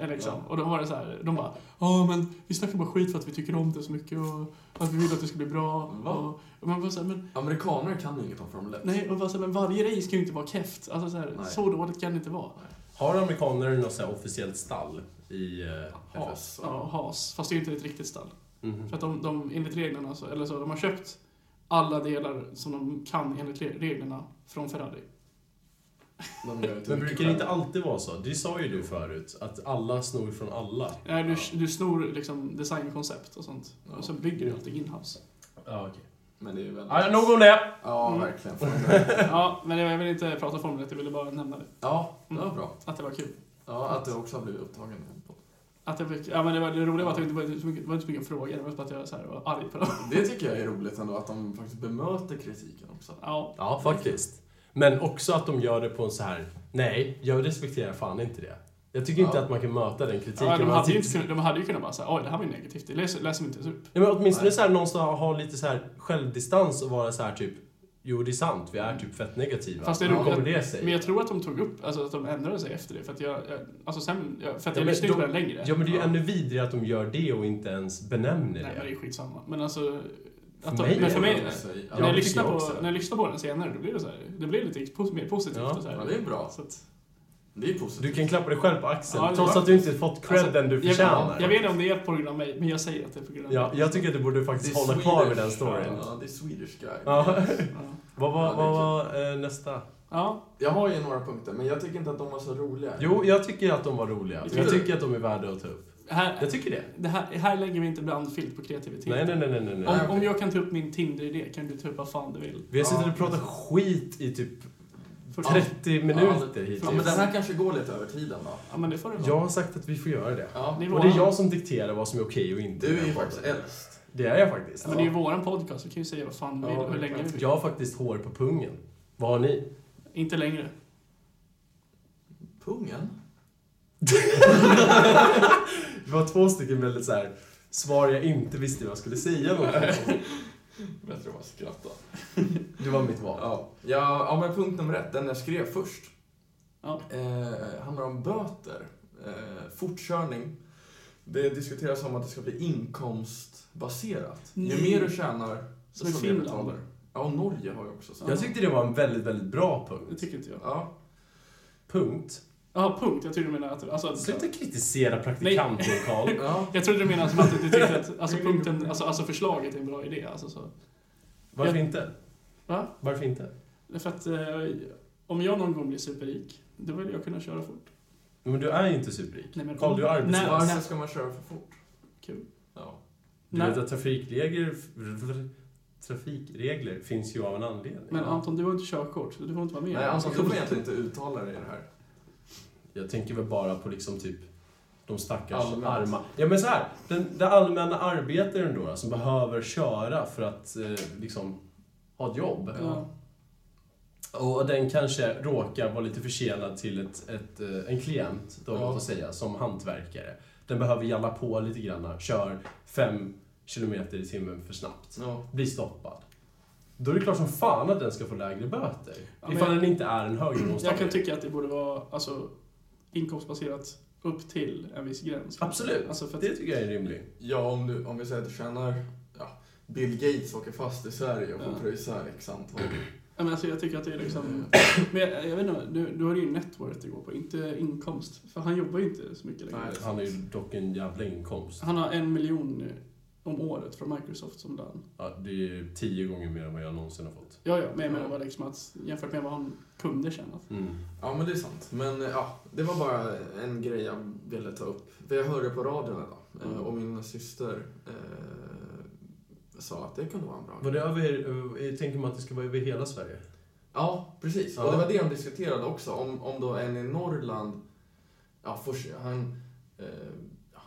Liksom.
Ja.
Och då var det så här, de bara ja men vi snackar bara skit för att vi tycker om det så mycket och att vi vill att det ska bli bra.
Va?
Och, och man bara så här, men,
Amerikaner kan ju inget om Formel 1.
nej, och bara så här, men varje race kan ju inte vara keft. Alltså så, här,
Nej.
så dåligt kan det inte vara.
Har amerikaner något så här officiellt stall i eh, FS?
Has.
Ja, has, fast det är ju inte ett riktigt stall.
Mhm.
För att de, de enligt reglerna, så, eller så, de har köpt alla delar som de kan enligt re- reglerna från Ferrari.
De gör ju typ inte
Men
mycket
brukar det inte
själva.
alltid vara så? Det sa ju du förut, att alla snor från alla.
Nej, Eh, du,
Ja.
du snor liksom designkoncept och sånt.
Ja.
Och så bygger du allting inhouse.
Ja, okej.
Men det är ju väldigt...
Ja, nog om det!
Ja,
Mm.
verkligen. Formel 1.
ja, men jag vill inte prata Formel 1, jag ville bara nämna det.
Ja, det var bra.
Att det var kul.
Ja, att du också har blivit upptagen i en podd.
Att jag fick, ja, men det, var, det roliga var att det inte var så mycket, det var inte så mycket frågor, det var bara att jag så här, var arg på dem.
Det tycker jag är roligt ändå, att de faktiskt bemöter kritiken också.
Ja,
Ja, faktiskt. Men också att de gör det på en så här. nej, jag respekterar fan inte det. Jag tycker inte
Ja.
att man kan möta den kritiken.
ja de,
Man
hade ju
tycker-
inte, kunnat- de hade ju kunnat bara säga oj, det här var ju negativt, det läser, läser vi inte ens upp.
Ja, men åtminstone
Nej.
så här, någon som har lite så här självdistans och vara så här typ Jo, det är sant. Vi är typ fett negativa.
Fast det är
Hur
roligt
kommer
att-
det sig?
Men jag tror att de tog upp, alltså att de ändrade sig efter det, för att jag, jag alltså sen, jag, för att
Ja,
jag
men
lyssnade inte på
de-
den längre.
Ja, men det är ju ännu vidrigare att de gör det och inte ens benämner
Nej, men det är
det.
skitsamma. Men alltså... Att
För
de,
mig
men
är
för
det
mig,
bra.
Ja,
när, jag
tycker
lyssnar
jag
på,
också.
när jag lyssnar på den senare, då blir det så här, det blir lite pos- mer positivt.
Ja.
och så här.
Ja, det är bra.
Så att,
Det är positivt.
Du kan klappa dig själv på axeln,
Ja, det är
trots
bra. Alltså,
att du inte fått credden du
jag-
förtjänar.
Jag vet inte om det är på grund av mig, men jag säger att det är på grund av
Ja,
mig.
jag tycker att du borde
Det
faktiskt
är
hålla kvar vid den
Swedish.
storyn.
Ja, det är Swedish guy.
Ja.
Ja.
Vad var,
Ja, det är
vad var eh, nästa?
Ja.
Jag har ju några punkter, men jag tycker inte att de var så roliga.
Jo, jag tycker att de var roliga.
Tycker
Jag
du?
tycker att de är värda att ta upp.
Här,
Jag tycker det.
det här, här lägger vi inte brandfilt på kreativitet.
Nej, nej, nej, nej, nej. nej.
Ja.
Om, om jag kan ta upp min Tinder-idé kan du ta upp vad fan du vill.
Vi har suttit
Ja,
och pratat
precis.
skit i typ
Först-
30 minuter
Ja, men
hittills.
den här kanske går lite över tiden då.
Ja, men det får det vara.
Jag har sagt att vi får göra det.
Ja.
Ni-
Och det är jag som dikterar vad som är okej och inte. i
Du är
den
ju
podden.
faktiskt äldst.
Det är jag faktiskt.
Ja, men det är ju våran podcast, vi kan ju säga vad fan vi vill
Ja,
och hur länge vi vill.
Jag har faktiskt hår på pungen. Vad har ni?
Inte längre.
Pungen?
Det var två stycken väldigt så här svar jag inte visste vad jag skulle säga. någonting.
Bättre att bara skratta.
Det var mitt val.
Ja. Ja, ja, men punkt nummer ett, den jag skrev först,
Ja.
eh, handlar om böter. Eh, fortkörning. Det diskuteras om att det ska bli inkomstbaserat.
Nej.
Ju mer du tjänar,
Som i
desto mer
Finland.
betalar du. Ja, och Norge har ju också så.
Jag tyckte det var en väldigt, väldigt bra
Det
punkt.
tycker inte jag.
Ja.
Punkt.
Jaha, punkt. Jag trodde du menade att... Alltså, att-
Sluta kritisera praktikanten, Karl.
ja.
Jag trodde du menade som att du tyckte att alltså, punkten, alltså, alltså förslaget är en bra idé. Alltså, så.
Varför
Jag-
inte?
Va?
Varför inte?
Därför att eh, om jag någon gång blir superrik, då vill jag kunna köra fort.
Men du är ju inte superrik.
Nej, men-
Karl, du är arbetslös.
Nej,
Varför
nej.
ska man köra för fort?
Kul.
Ja.
Du
Nej.
vet att trafikregler, trafikregler finns ju av en anledning.
Men Anton, du har inte körkort, så du får inte vara med.
Nej, Anton, du får egentligen inte uttala dig i det här.
Jag tänker väl bara på liksom typ de stackars
Allmänt.
arma... Ja men så här, den, den allmänna arbetaren då, som behöver köra för att eh, liksom ha ett jobb.
Ja.
Och den kanske råkar vara lite försenad till ett, ett, eh, en klient, då,
Ja.
låt oss säga, som hantverkare. Den behöver jalla på lite grann, kör 5 kilometer i timmen för snabbt.
Ja.
blir stoppad. Då är det klart som fan att den ska få lägre böter.
Ja, men-
ifall den inte är en
Jag kan
höginkomsttagare.
tycka att det borde vara alltså, inkomstbaserat upp till en viss gräns.
Absolut.
Alltså, för att,
Det tycker jag är rimligt.
Ja, om, du, om vi säger att du tjänar... Ja, Bill Gates åker fast i Sverige och får
Ja.
pröjsa liksom. x antal.
ja, men, alltså, jag tycker att det är liksom... Men jag, jag vet inte, du, du har ju networth att gå på, inte inkomst. För han jobbar ju inte så mycket längre.
Nej.
Han har ju dock en jävla inkomst.
Han har en miljon eh, om året från Microsoft som lön.
Ja, det är tio gånger mer än vad jag någonsin har fått.
Ja, ja, men jag menar bara liksom att jämfört med vad han kunde tjäna.
Mm.
Ja, men det är sant. Men ja, det var bara en grej jag ville ta upp. För jag hörde på radion idag eh,
Mm.
och min syster eh, sa att det kunde vara en bra
Var det över, eh, tänker man att det ska vara över hela Sverige?
Ja, precis.
Ja.
Och det var det han diskuterade också. Om, om då en i Norrland... Ja, får, han, eh, ja,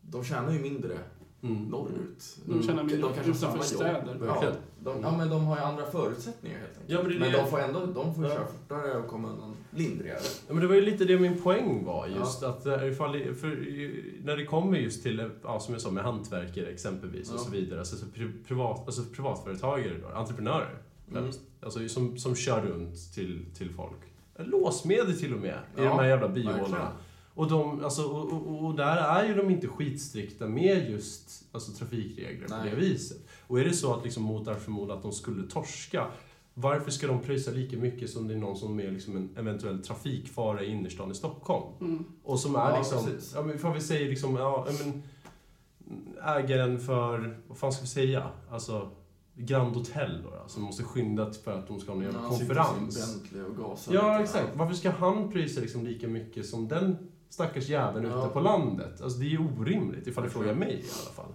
de tjänar ju mindre
Mm.
norrut.
De tjänar
Typ,
mindre utanför
samma jobb.
städer.
Ja,
Verkligen.
de, ja, men de har ju andra förutsättningar helt enkelt.
Ja, men det är det
de
jag-
får ändå de får
Ja.
köra fortare och komma undan lindrigare.
Ja, men det var ju lite det min poäng var just. Att eh, ifall det, för, eh, när det kommer just till, eh, ja, som jag sa, med hantverkare exempelvis och
Ja.
så vidare. Alltså, så pri- privat, alltså privatföretagare, då, entreprenörer.
Mm.
främst. Alltså, som, som kör runt till, till folk. Låsmedel till och med, i
Ja,
de här jävla
verkligen.
bihålorna. Och, de, alltså, och, och, och där är ju de inte skitstrikta med just alltså, trafikregler på
Nej.
det viset. Och är det så att liksom, mot all förmodan att de skulle torska, varför ska de pröjsa lika mycket som det är någon som är liksom en eventuell trafikfara i innerstan i Stockholm?
Mm.
Och som är
Ja,
liksom,
precis.
ja, men ifall vi säger liksom, ja, ja, men, ägaren för, vad fan ska vi säga, alltså Grand Hotel då, då som måste skynda till- för att de ska ha en jävla
Han sitter i sin
konferens.
Bentley typ och gasar
Ja,
lite.
exakt. Varför ska han pröjsa liksom lika mycket som den stackars jäveln
Ja.
ute på landet? Alltså det är ju orimligt, ifall du
Verkligen.
frågar mig i alla fall.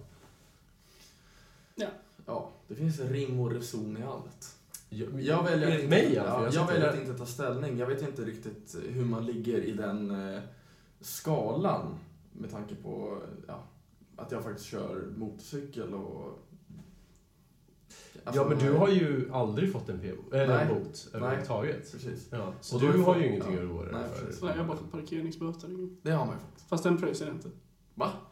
Ja, det finns rim och reson i allt.
Jag,
Jag väljer, att
enligt
inte,
mig i alla fall.
ja,
Jag
jag
sitter-
väljer att inte ta ställning. Jag vet inte riktigt eh, hur man ligger i den eh, skalan med tanke på eh, ja, att jag faktiskt kör motorcykel och... Alltså,
ja, men du har ju aldrig fått en PO, eller en
Nej.
bot överhuvudtaget.
Precis.
Ja.
Så
Och
då är
du
det
har
fan-
ju ingenting
ja.
att oroa dig
Nej,
för.
precis.
Så jag har bara fått parkeringsböter.
Det har man ju fått.
Fast den pröjsade jag inte.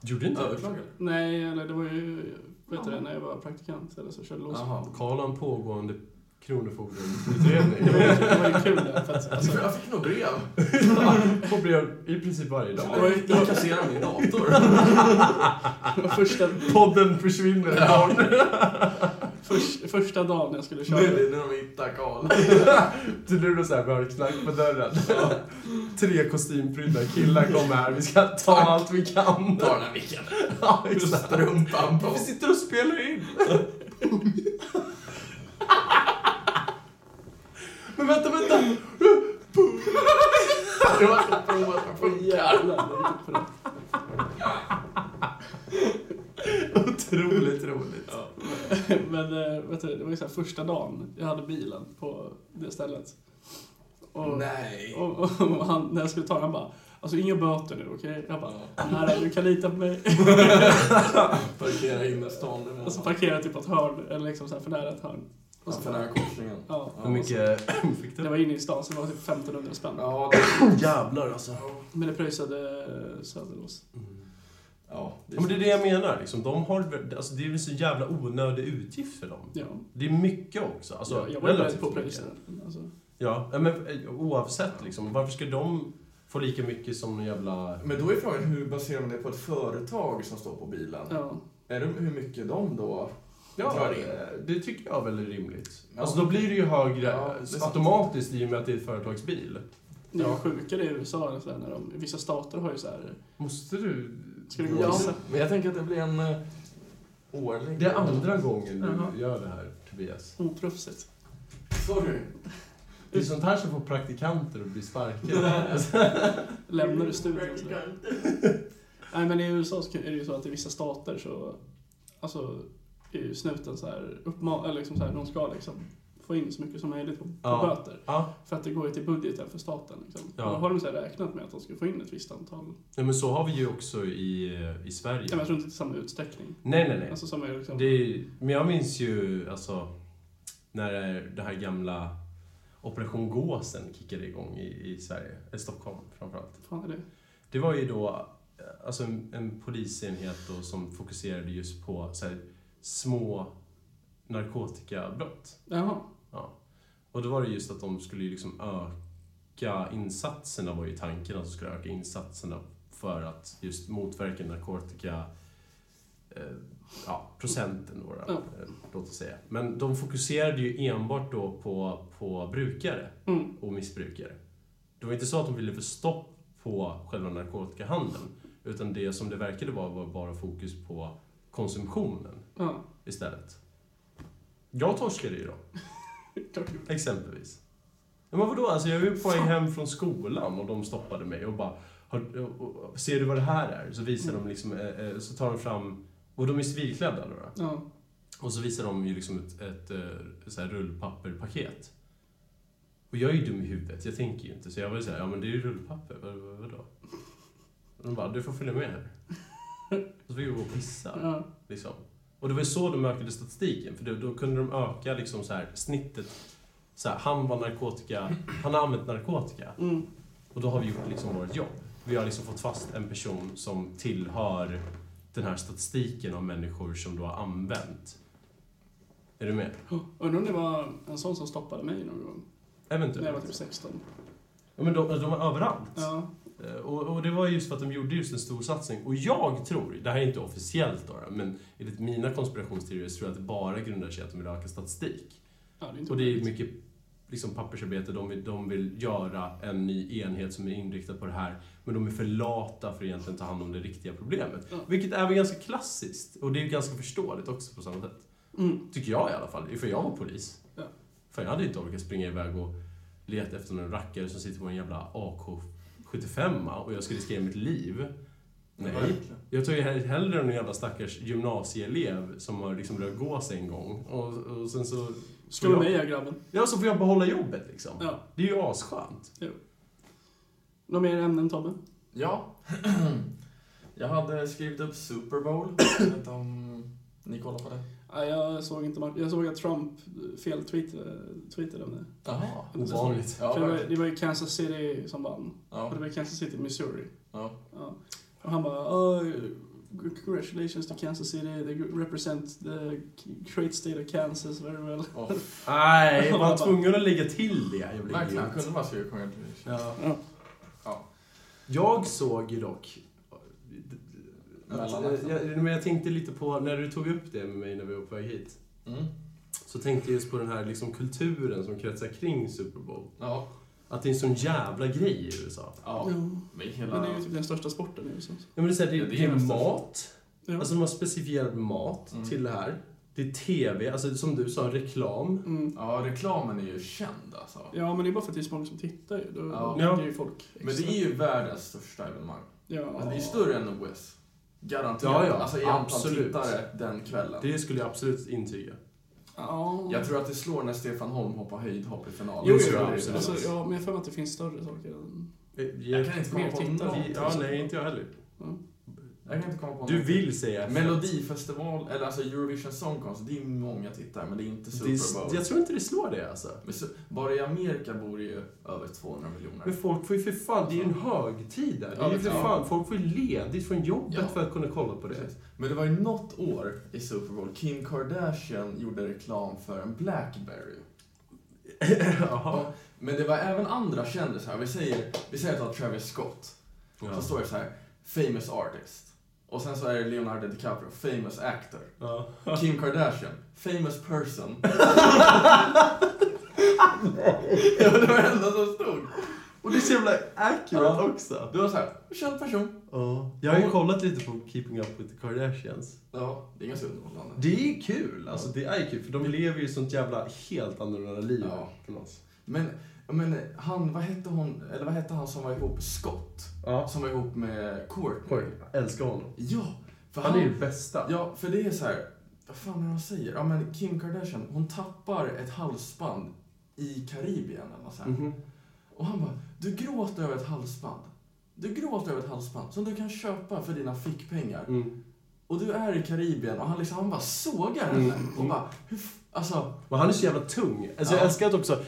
Gjorde inte det?
Överklagade
Nej, eller det var ju... Vet du det, när jag var praktikant eller så körde loss.
Jaha.
Karl har en pågående kronofogdeutredning.
Det var, ju- det var ju kul där, för att, alltså,
Jag fick nog brev.
Får brev i princip varje dag.
Det var ju-
Jag kasserade min dator.
det var första,
Podden försvinner imorgon.
först, första dagen jag skulle
Nu
köra.
är det när de hittar Karl.
Till nu då såhär, vi har ett knack på dörren. Tre kostymprydda killar kommer här, vi ska ta allt vi kan.
Ta den här micken.
Ja, exakt.
Strumpan på.
Varför sitter du och spelar in? Men vänta, vänta!
Jag har inte provat att funka.
Jävlar, jag gick upp på det.
Otroligt roligt.
Men eh, vet du, det var ju så här första dagen jag hade bilen på det stället. Och,
Nej.
och, och, han, när jag skulle ta den, han bara Alltså inga böter nu, okej? Jag bara Nej, du kan lita på mig.
Parkera innerstan imorgon.
Och så parkerade jag typ på ett hörn, eller liksom så här för nära ett hörn.
Ja,
Och så,
för den här korsningen.
ja,
Hur mycket fick
det
du?
var inne i stan så det var typ 1500 spänn.
Ja, det...
Jävlar alltså.
Men det pröjsade eh, Söderås.
Ja, det
Ja, men det är det jag menar. Liksom. De har, alltså, det är en så jävla onödig utgift för dem.
Ja.
Det är mycket också. Alltså,
jag, jag var ju beredd
relativt
på att
mycket.
pröjsa den. Alltså,
Ja, ja, men eh, oavsett liksom. Varför ska de få lika mycket som en jävla...
Men då är frågan, hur baserar man det på ett företag som står på bilen?
ja.
Är det hur mycket de då
Ja,
drar in?
eh, det tycker jag väl är rimligt.
Ja.
Alltså då blir det ju högre
Ja, det är sant.
automatiskt i och med att det är ett företagsbil.
Det är ju
Ja.
sjukare i USA än så här, när de, vissa stater har ju så här.
Måste du...
Ska du gå och
Ja,
gissa?
men jag tänker att det blir en eh, årlig...
Det är andra gången du
Jaha.
gör det här, Tobias.
Oproffsigt.
Sorry.
Det är sånt här som får praktikanter att bli sparkade.
Lämnar du studion så där. Nej men i USA så är det ju så att i vissa stater så alltså, är ju snuten så här, uppma- eller liksom så här, de ska liksom få in så mycket som möjligt på, på
Ja.
böter.
ja,
För att det går ju till budgeten för staten. Liksom.
Ja.
Och då har de så här räknat med att de ska få in ett visst antal.
nej, men så har vi ju också i, eh, i Sverige.
Ja, men jag tror inte till samma utsträckning.
Nej, nej, nej.
Alltså, som är liksom,
Det är, men jag minns ju alltså, när det här gamla Operation Gåsen kickade igång i, i Sverige, i Stockholm framförallt.
fan är det?
Det var ju då eh, alltså en, en polisenhet då som fokuserade just på så här, små narkotikabrott.
Jaha.
Ja. Och då var det just att de skulle ju liksom öka insatserna, var ju tanken att de skulle öka insatserna för att just motverka narkotika eh, ja, procenten då, då
Ja.
eh, låt oss säga. Men de fokuserade ju enbart då på, på brukare
Mm.
och missbrukare. Det var inte så att de ville få stopp på själva narkotikahandeln, utan det som det verkade vara var bara fokus på konsumtionen
Ja,
istället. Jag torskade ju då.
klart gjort.
Exempelvis. Ja, men vadå? Alltså, jag var ju på väg hem från skolan och de stoppade mig och bara har, och, och, Ser du vad det här är? Så visar de liksom, eh, eh, så tar de fram och de är civilklädda då. då.
Ja.
Och så visar de ju liksom ett, ett, eh, så här rullpapperpaket. Och jag är ju dum i huvudet, jag tänker ju inte. Så jag var ju såhär, ja men det är ju rullpapper, vad, vad, vadå? Och de bara, du får följa med här. Och så fick vi gå och pissa.
Ja.
Liksom. Och det var ju så de ökade statistiken, för då, då kunde de öka liksom så här, snittet. Så här, han var narkotika, han har använt narkotika.
Mm.
Och då har vi gjort liksom vårt jobb. Vi har liksom fått fast en person som tillhör den här statistiken av människor som då har använt. Är du med?
Undrar om det var en sån som stoppade mig någon gång. När jag var
Eventuellt.
typ 16.
Ja, men de, de var överallt.
Ja.
Eh, Och, och det var just för att de gjorde just en stor satsning. Och jag tror, det här är inte officiellt då, då, men enligt mina konspirationsteorier så tror jag att det bara grundar sig i att de vill öka statistik.
ja det är inte
Och det är
omöjligt.
mycket liksom, pappersarbete, de vill, de vill göra en ny enhet som är inriktad på det här, men de är för lata för att egentligen ta hand om det riktiga problemet.
Ja.
Vilket är väl ganska klassiskt, och det är ju ganska förståeligt också på samma sätt.
Mm.
Tycker jag i alla fall, för jag var polis.
Ja.
För jag hade inte orkat springa iväg och leta efter någon rackare som sitter på en jävla AK75 och jag ska riskera mitt liv. Nej.
Verkligen.
Jag tar ju hell- hellre en jävla stackars gymnasieelev som har liksom rört gås en gång och, och sen så...
Ska med mig ja, grabben.
Ja, så får jag behålla jobbet liksom.
Ja.
Det är ju asskönt.
Några mer ämnen Tobbe?
Ja. Jag hade skrivit upp Super Bowl. Jag vet inte om ni kollar på det?
Ja, jag såg inte matchen. Jag såg att Trump fel-tweetade tweetade om det.
Jaha.
Ovanligt.
Ja,
För det, var,
verkligen.
det var ju Kansas City som vann. Och
Ja.
det var Kansas City, Missouri.
Ja.
Ja. Och han bara, oh, congratulations to Kansas City, they represent the great state of Kansas very well.
Och
Nej, man var tvungen att lägga till det. Jag, blir
verkligen, han
idiot.
kunde bara skriva congratulations.
ja.
Ja.
jag såg ju dock...
Mellan
Jag, jag, men jag tänkte lite på, när du tog upp det med mig när vi var på väg hit,
Mm.
så tänkte jag just på den här liksom kulturen som kretsar kring Super Bowl.
Ja.
Att det är en sån jävla grej i USA.
Ja. Men hela...
Men det är ju typ den största sporten nu. Så.
Ja, men det är, så här, det,
Ja, det
det
är
är
nästan-
mat,
Ja.
alltså man specifierar mat
Mm.
till det här. Det är TV, alltså som du sa, reklam.
Mm.
Ja, reklamen är ju känd alltså.
ja, men det är bara för att det är så många som tittar ju. Då
Ja.
då ligger ju folk extra.
Men det är ju världens största evenemang.
Ja.
Alltså, det är större än OS. Garanterat.
Ja, ja.
Alltså i antal
Absolut.
tittare den kvällen.
Det skulle jag absolut intyga.
Ja.
Jag tror att det slår när Stefan Holm hoppar höjdhopp i finalen.
Jo,
Det
jo,
tror jag
absolut.
absolut.
Alltså, ja, men jag har för mig att det finns större saker än...
Eh, Jag,
Jag kan inte komma
Mer
på
tittare.
något. Alltså,
Vi, ja, nej, inte jag heller.
Jag kan inte komma på
Du
något.
vill säga...
Melodifestival, eller alltså Eurovision Song Contest, det är många tittare, men det är inte
Det
Super
är,
Bowl.
jag tror inte det slår det alltså.
Men så, bara i Amerika bor det ju över 200 miljoner.
Men folk får ju för fan, det är ju en högtid där. Det är ju för
Ja.
fan, folk får ju ledigt från jobbet
Ja.
för att kunna kolla på det.
Precis. Men det var ju något år i Super Bowl Kim Kardashian gjorde reklam för en Blackberry.
Jaha.
Ja, Men det var även andra kändisar. Vi säger, vi säger att det var Travis Scott. Så
Ja.
står det så här, famous artist. Och sen så är det Leonardo DiCaprio, famous actor.
Ja.
Kim Kardashian, famous person. ja, det var det enda som stod.
Och det är så jävla accurate
Ja.
också.
Det var så här, känd person.
Ja. Jag har ju kollat lite på Keeping Up With The Kardashians.
Ja, det är ganska underhållande.
Det är kul, alltså det är kul. För de lever ju ett sånt jävla helt annorlunda liv
Ja.
från oss.
Men, men han, vad hette hon, eller vad hette han som var ihop, Scott?
Ja.
Som var ihop med Courtney.
Oj, jag älskar honom.
Ja, för
Han är ju det bästa.
Ja, för det är så här. Vad fan är det han säger? Ja, men Kim Kardashian, hon tappar ett halsband i Karibien eller något så här.
Mhm.
Och han bara, du gråter över ett halsband. Du gråter över ett halsband som du kan köpa för dina fickpengar.
Mm.
Och du är i Karibien och han liksom, han bara sågar henne.
Mm.
Och bara, hur f- Alltså,
Men han är så jävla tung. Alltså jag
Ja.
älskar att också...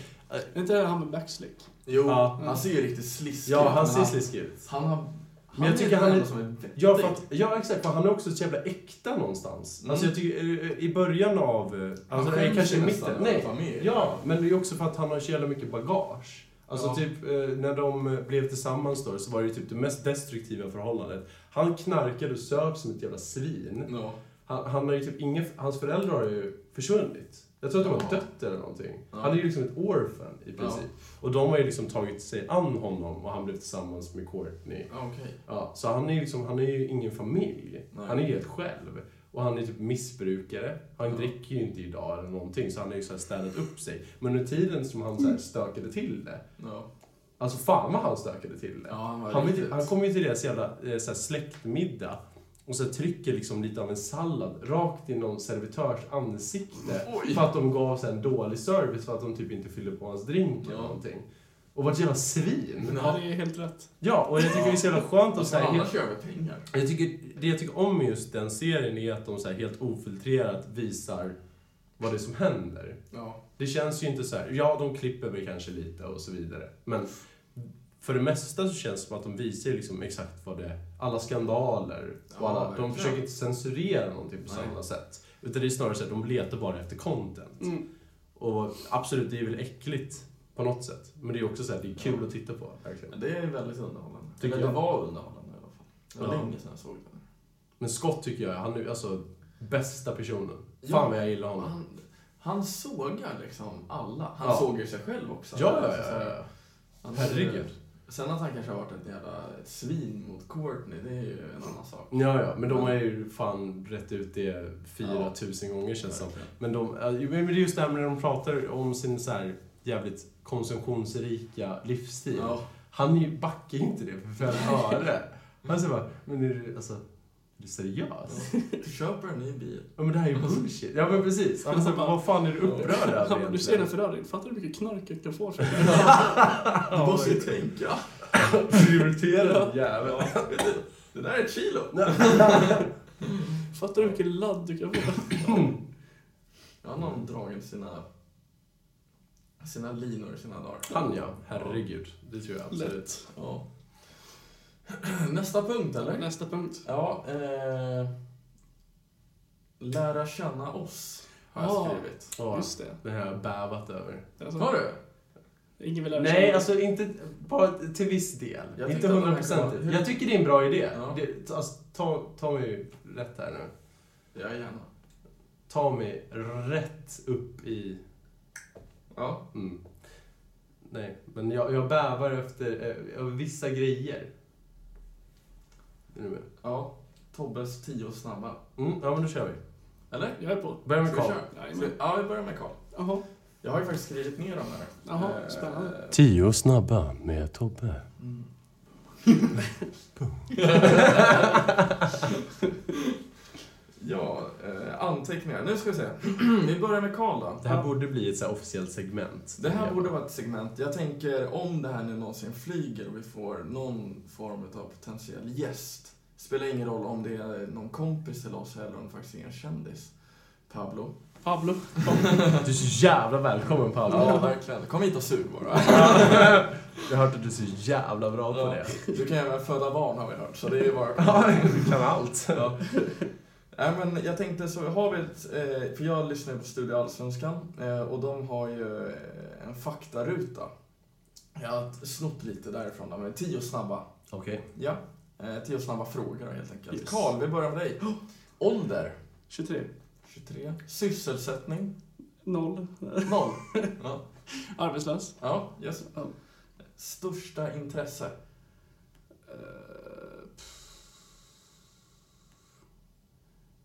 Är inte det han med backslick?
jo,
Ja.
han ser ju riktigt sliskig
Ja,
ut,
han
men
ser sliskig ut.
Han har... Han
Men jag tycker
den
han är-
enda som är vettig.
Ja, för att, ja, exakt. För han är också så jävla äkta någonstans.
Mm.
Alltså jag tycker, eh, i början av... eh,
Han
Alltså,
skäms
nej, kanske i
ju
mitten.
nästan
Nej.
att vara med i det.
Ja, men det är också för att han har så jävla mycket bagage. Alltså
Ja.
typ, eh, när de eh, blev tillsammans då, så var det ju typ det mest destruktiva förhållandet. Han knarkade och söp som ett jävla svin.
Ja.
Han, han har ju typ inga, hans föräldrar har ju försvunnit. Jag tror att de har
Ja.
dött eller någonting.
Ja.
Han är ju liksom ett orphan i
Ja.
princip. Och de har ju liksom tagit sig an honom och han blev tillsammans med Courtney.
Ja, Okej.
Ja, så han är, ju liksom, han är ju ingen familj.
Nej.
Han är helt själv. Och han är typ missbrukare. Han
Ja.
dricker ju inte idag eller någonting, så han har ju så här städat upp sig. Men under tiden som han så här stökade till det,
Ja.
alltså fan vad han stökade till det.
Ja, han var
han, vet,
riktigt-
han kommer ju till deras jävla eh, så här släktmiddag och så här trycker liksom lite av en sallad rakt i någon servitörs ansikte
Oj.
för att de gav så här en dålig service för att de typ inte fyllde på hans drink eller
Ja.
någonting. och varit jävla svin.
Ja, det är helt rätt.
Ja, och jag tycker det är så jävla skönt att
Alltså,
säga
annars gör vi pengar.
jag tycker, det jag tycker om med just den serien är att de så här helt ofiltrerat visar vad det är som händer.
Ja.
Det känns ju inte så här, ja de klipper väl kanske lite och så vidare. Men för det mesta så känns det som att de visar liksom exakt vad det alla skandaler och
Ja,
alla, de
verkligen.
försöker inte censurera någonting på
Nej.
samma sätt. Utan det är snarare så här, de letar bara efter content.
Mm.
Och absolut, det är väl äckligt på något sätt. Men det är också så här, det är kul
Ja.
att titta på. Verkligen.
Men det är väldigt underhållande.
Tycker
Eller det
jag.
var underhållande i alla fall. Det var
Ja.
länge sedan jag såg den.
Men Scott tycker jag, han är alltså bästa personen.
Ja.
Fan vad jag gillar honom.
Han, han sågar liksom alla. Han
Ja.
sågar sig själv också.
Typ.
Ja, ja,
Alltså, så
ja,
här,
ja.
han-
Herregud.
Sen att han kanske har varit ett jävla ett svin mot Courtney, det är ju en annan sak.
Ja, ja, men de har ju fan rätt ut det 4000 gånger känns det som.
Verkligen.
Men, de, ja, jo, men det är just det här med när de pratar om sin så här jävligt konsumtionsrika livsstil.
Ja.
Han är ju- backar ju inte det för fem öre. Han säger bara, men är du, alltså, är du seriös?
Du köper en ny bil.
Ja men det här är ju bullshit. Ja men precis. Han säger bara, vad fan är du upprörd över
Mm. Ja, men du ser
egentligen?
den Ferrarin. Fattar du hur mycket knark jag kan få för det?
Du måste ju tänka.
Prioriterad jävel.
Det där är ett kilo.
Fattar du hur mycket ladd du kan få?
Jag har någon dragit sina, sina linor i sina dagar.
Han ja, herregud. Det tror jag absolut.
Lätt.
Ja. Nästa punkt eller?
Nästa punkt.
Ja. Eh, lära känna oss har jag
Ja.
skrivit.
Ja,
Just det.
det här har jag bävat över.
Alltså,
Har du?
Ingen vill lära
Nej,
känna-
alltså inte på, till viss del.
Jag
inte
tyckte att den här
hundraprocentigt.
var-
Jag tycker det är en bra idé.
Ja.
Det, alltså, ta, ta mig rätt här nu.
Ja, gärna.
Ta mig rätt upp i...
Ja.
Mm. Nej, men jag, jag bävar efter eh, över vissa grejer. Är du med?
ja. Tobbes tio snabba.
Mm, ja, men då kör vi.
Eller?
Jag är på.
Börja med
Ska vi
Karl.
köra? Ska
Jajamän.
vi- Ja, vi börjar med Karl.
Jaha.
Jag har ju faktiskt skrivit ner dem här.
Jaha,
Eh,
spännande.
Tio snabba med Tobbe.
Mm. ja, eh, anteckningar. Nu ska vi se. vi börjar med Karl då.
Det här borde bli ett så här officiellt segment.
Det här borde vara ett segment. Jag tänker om det här nu någonsin flyger och vi får någon form av potentiell gäst. Spelar ingen roll om det är någon kompis till oss eller om det faktiskt är en kändis. Pablo.
Pablo.
Du är så jävla välkommen Paolo.
Ja, verkligen. Kom hit och sug bara.
Jag har hört att du är så jävla bra på
Ja.
det.
Du kan även föda barn har vi hört, så det är ju bara...
Ja, du kan allt.
Ja. Nej, men jag tänkte så, har vi ett, eh, för jag lyssnar på Studio Allsvenskan eh, och de har ju eh, en faktaruta. Jag har snott lite därifrån, de är tio snabba.
Okej.
Ja, eh, tio snabba frågor då, helt enkelt.
Yes.
Karl, vi börjar med dig. Ålder?
23.
23. Sysselsättning?
0.
Noll. ja.
Arbetslös.
ja, yes.
Ja.
Största intresse?
Eh,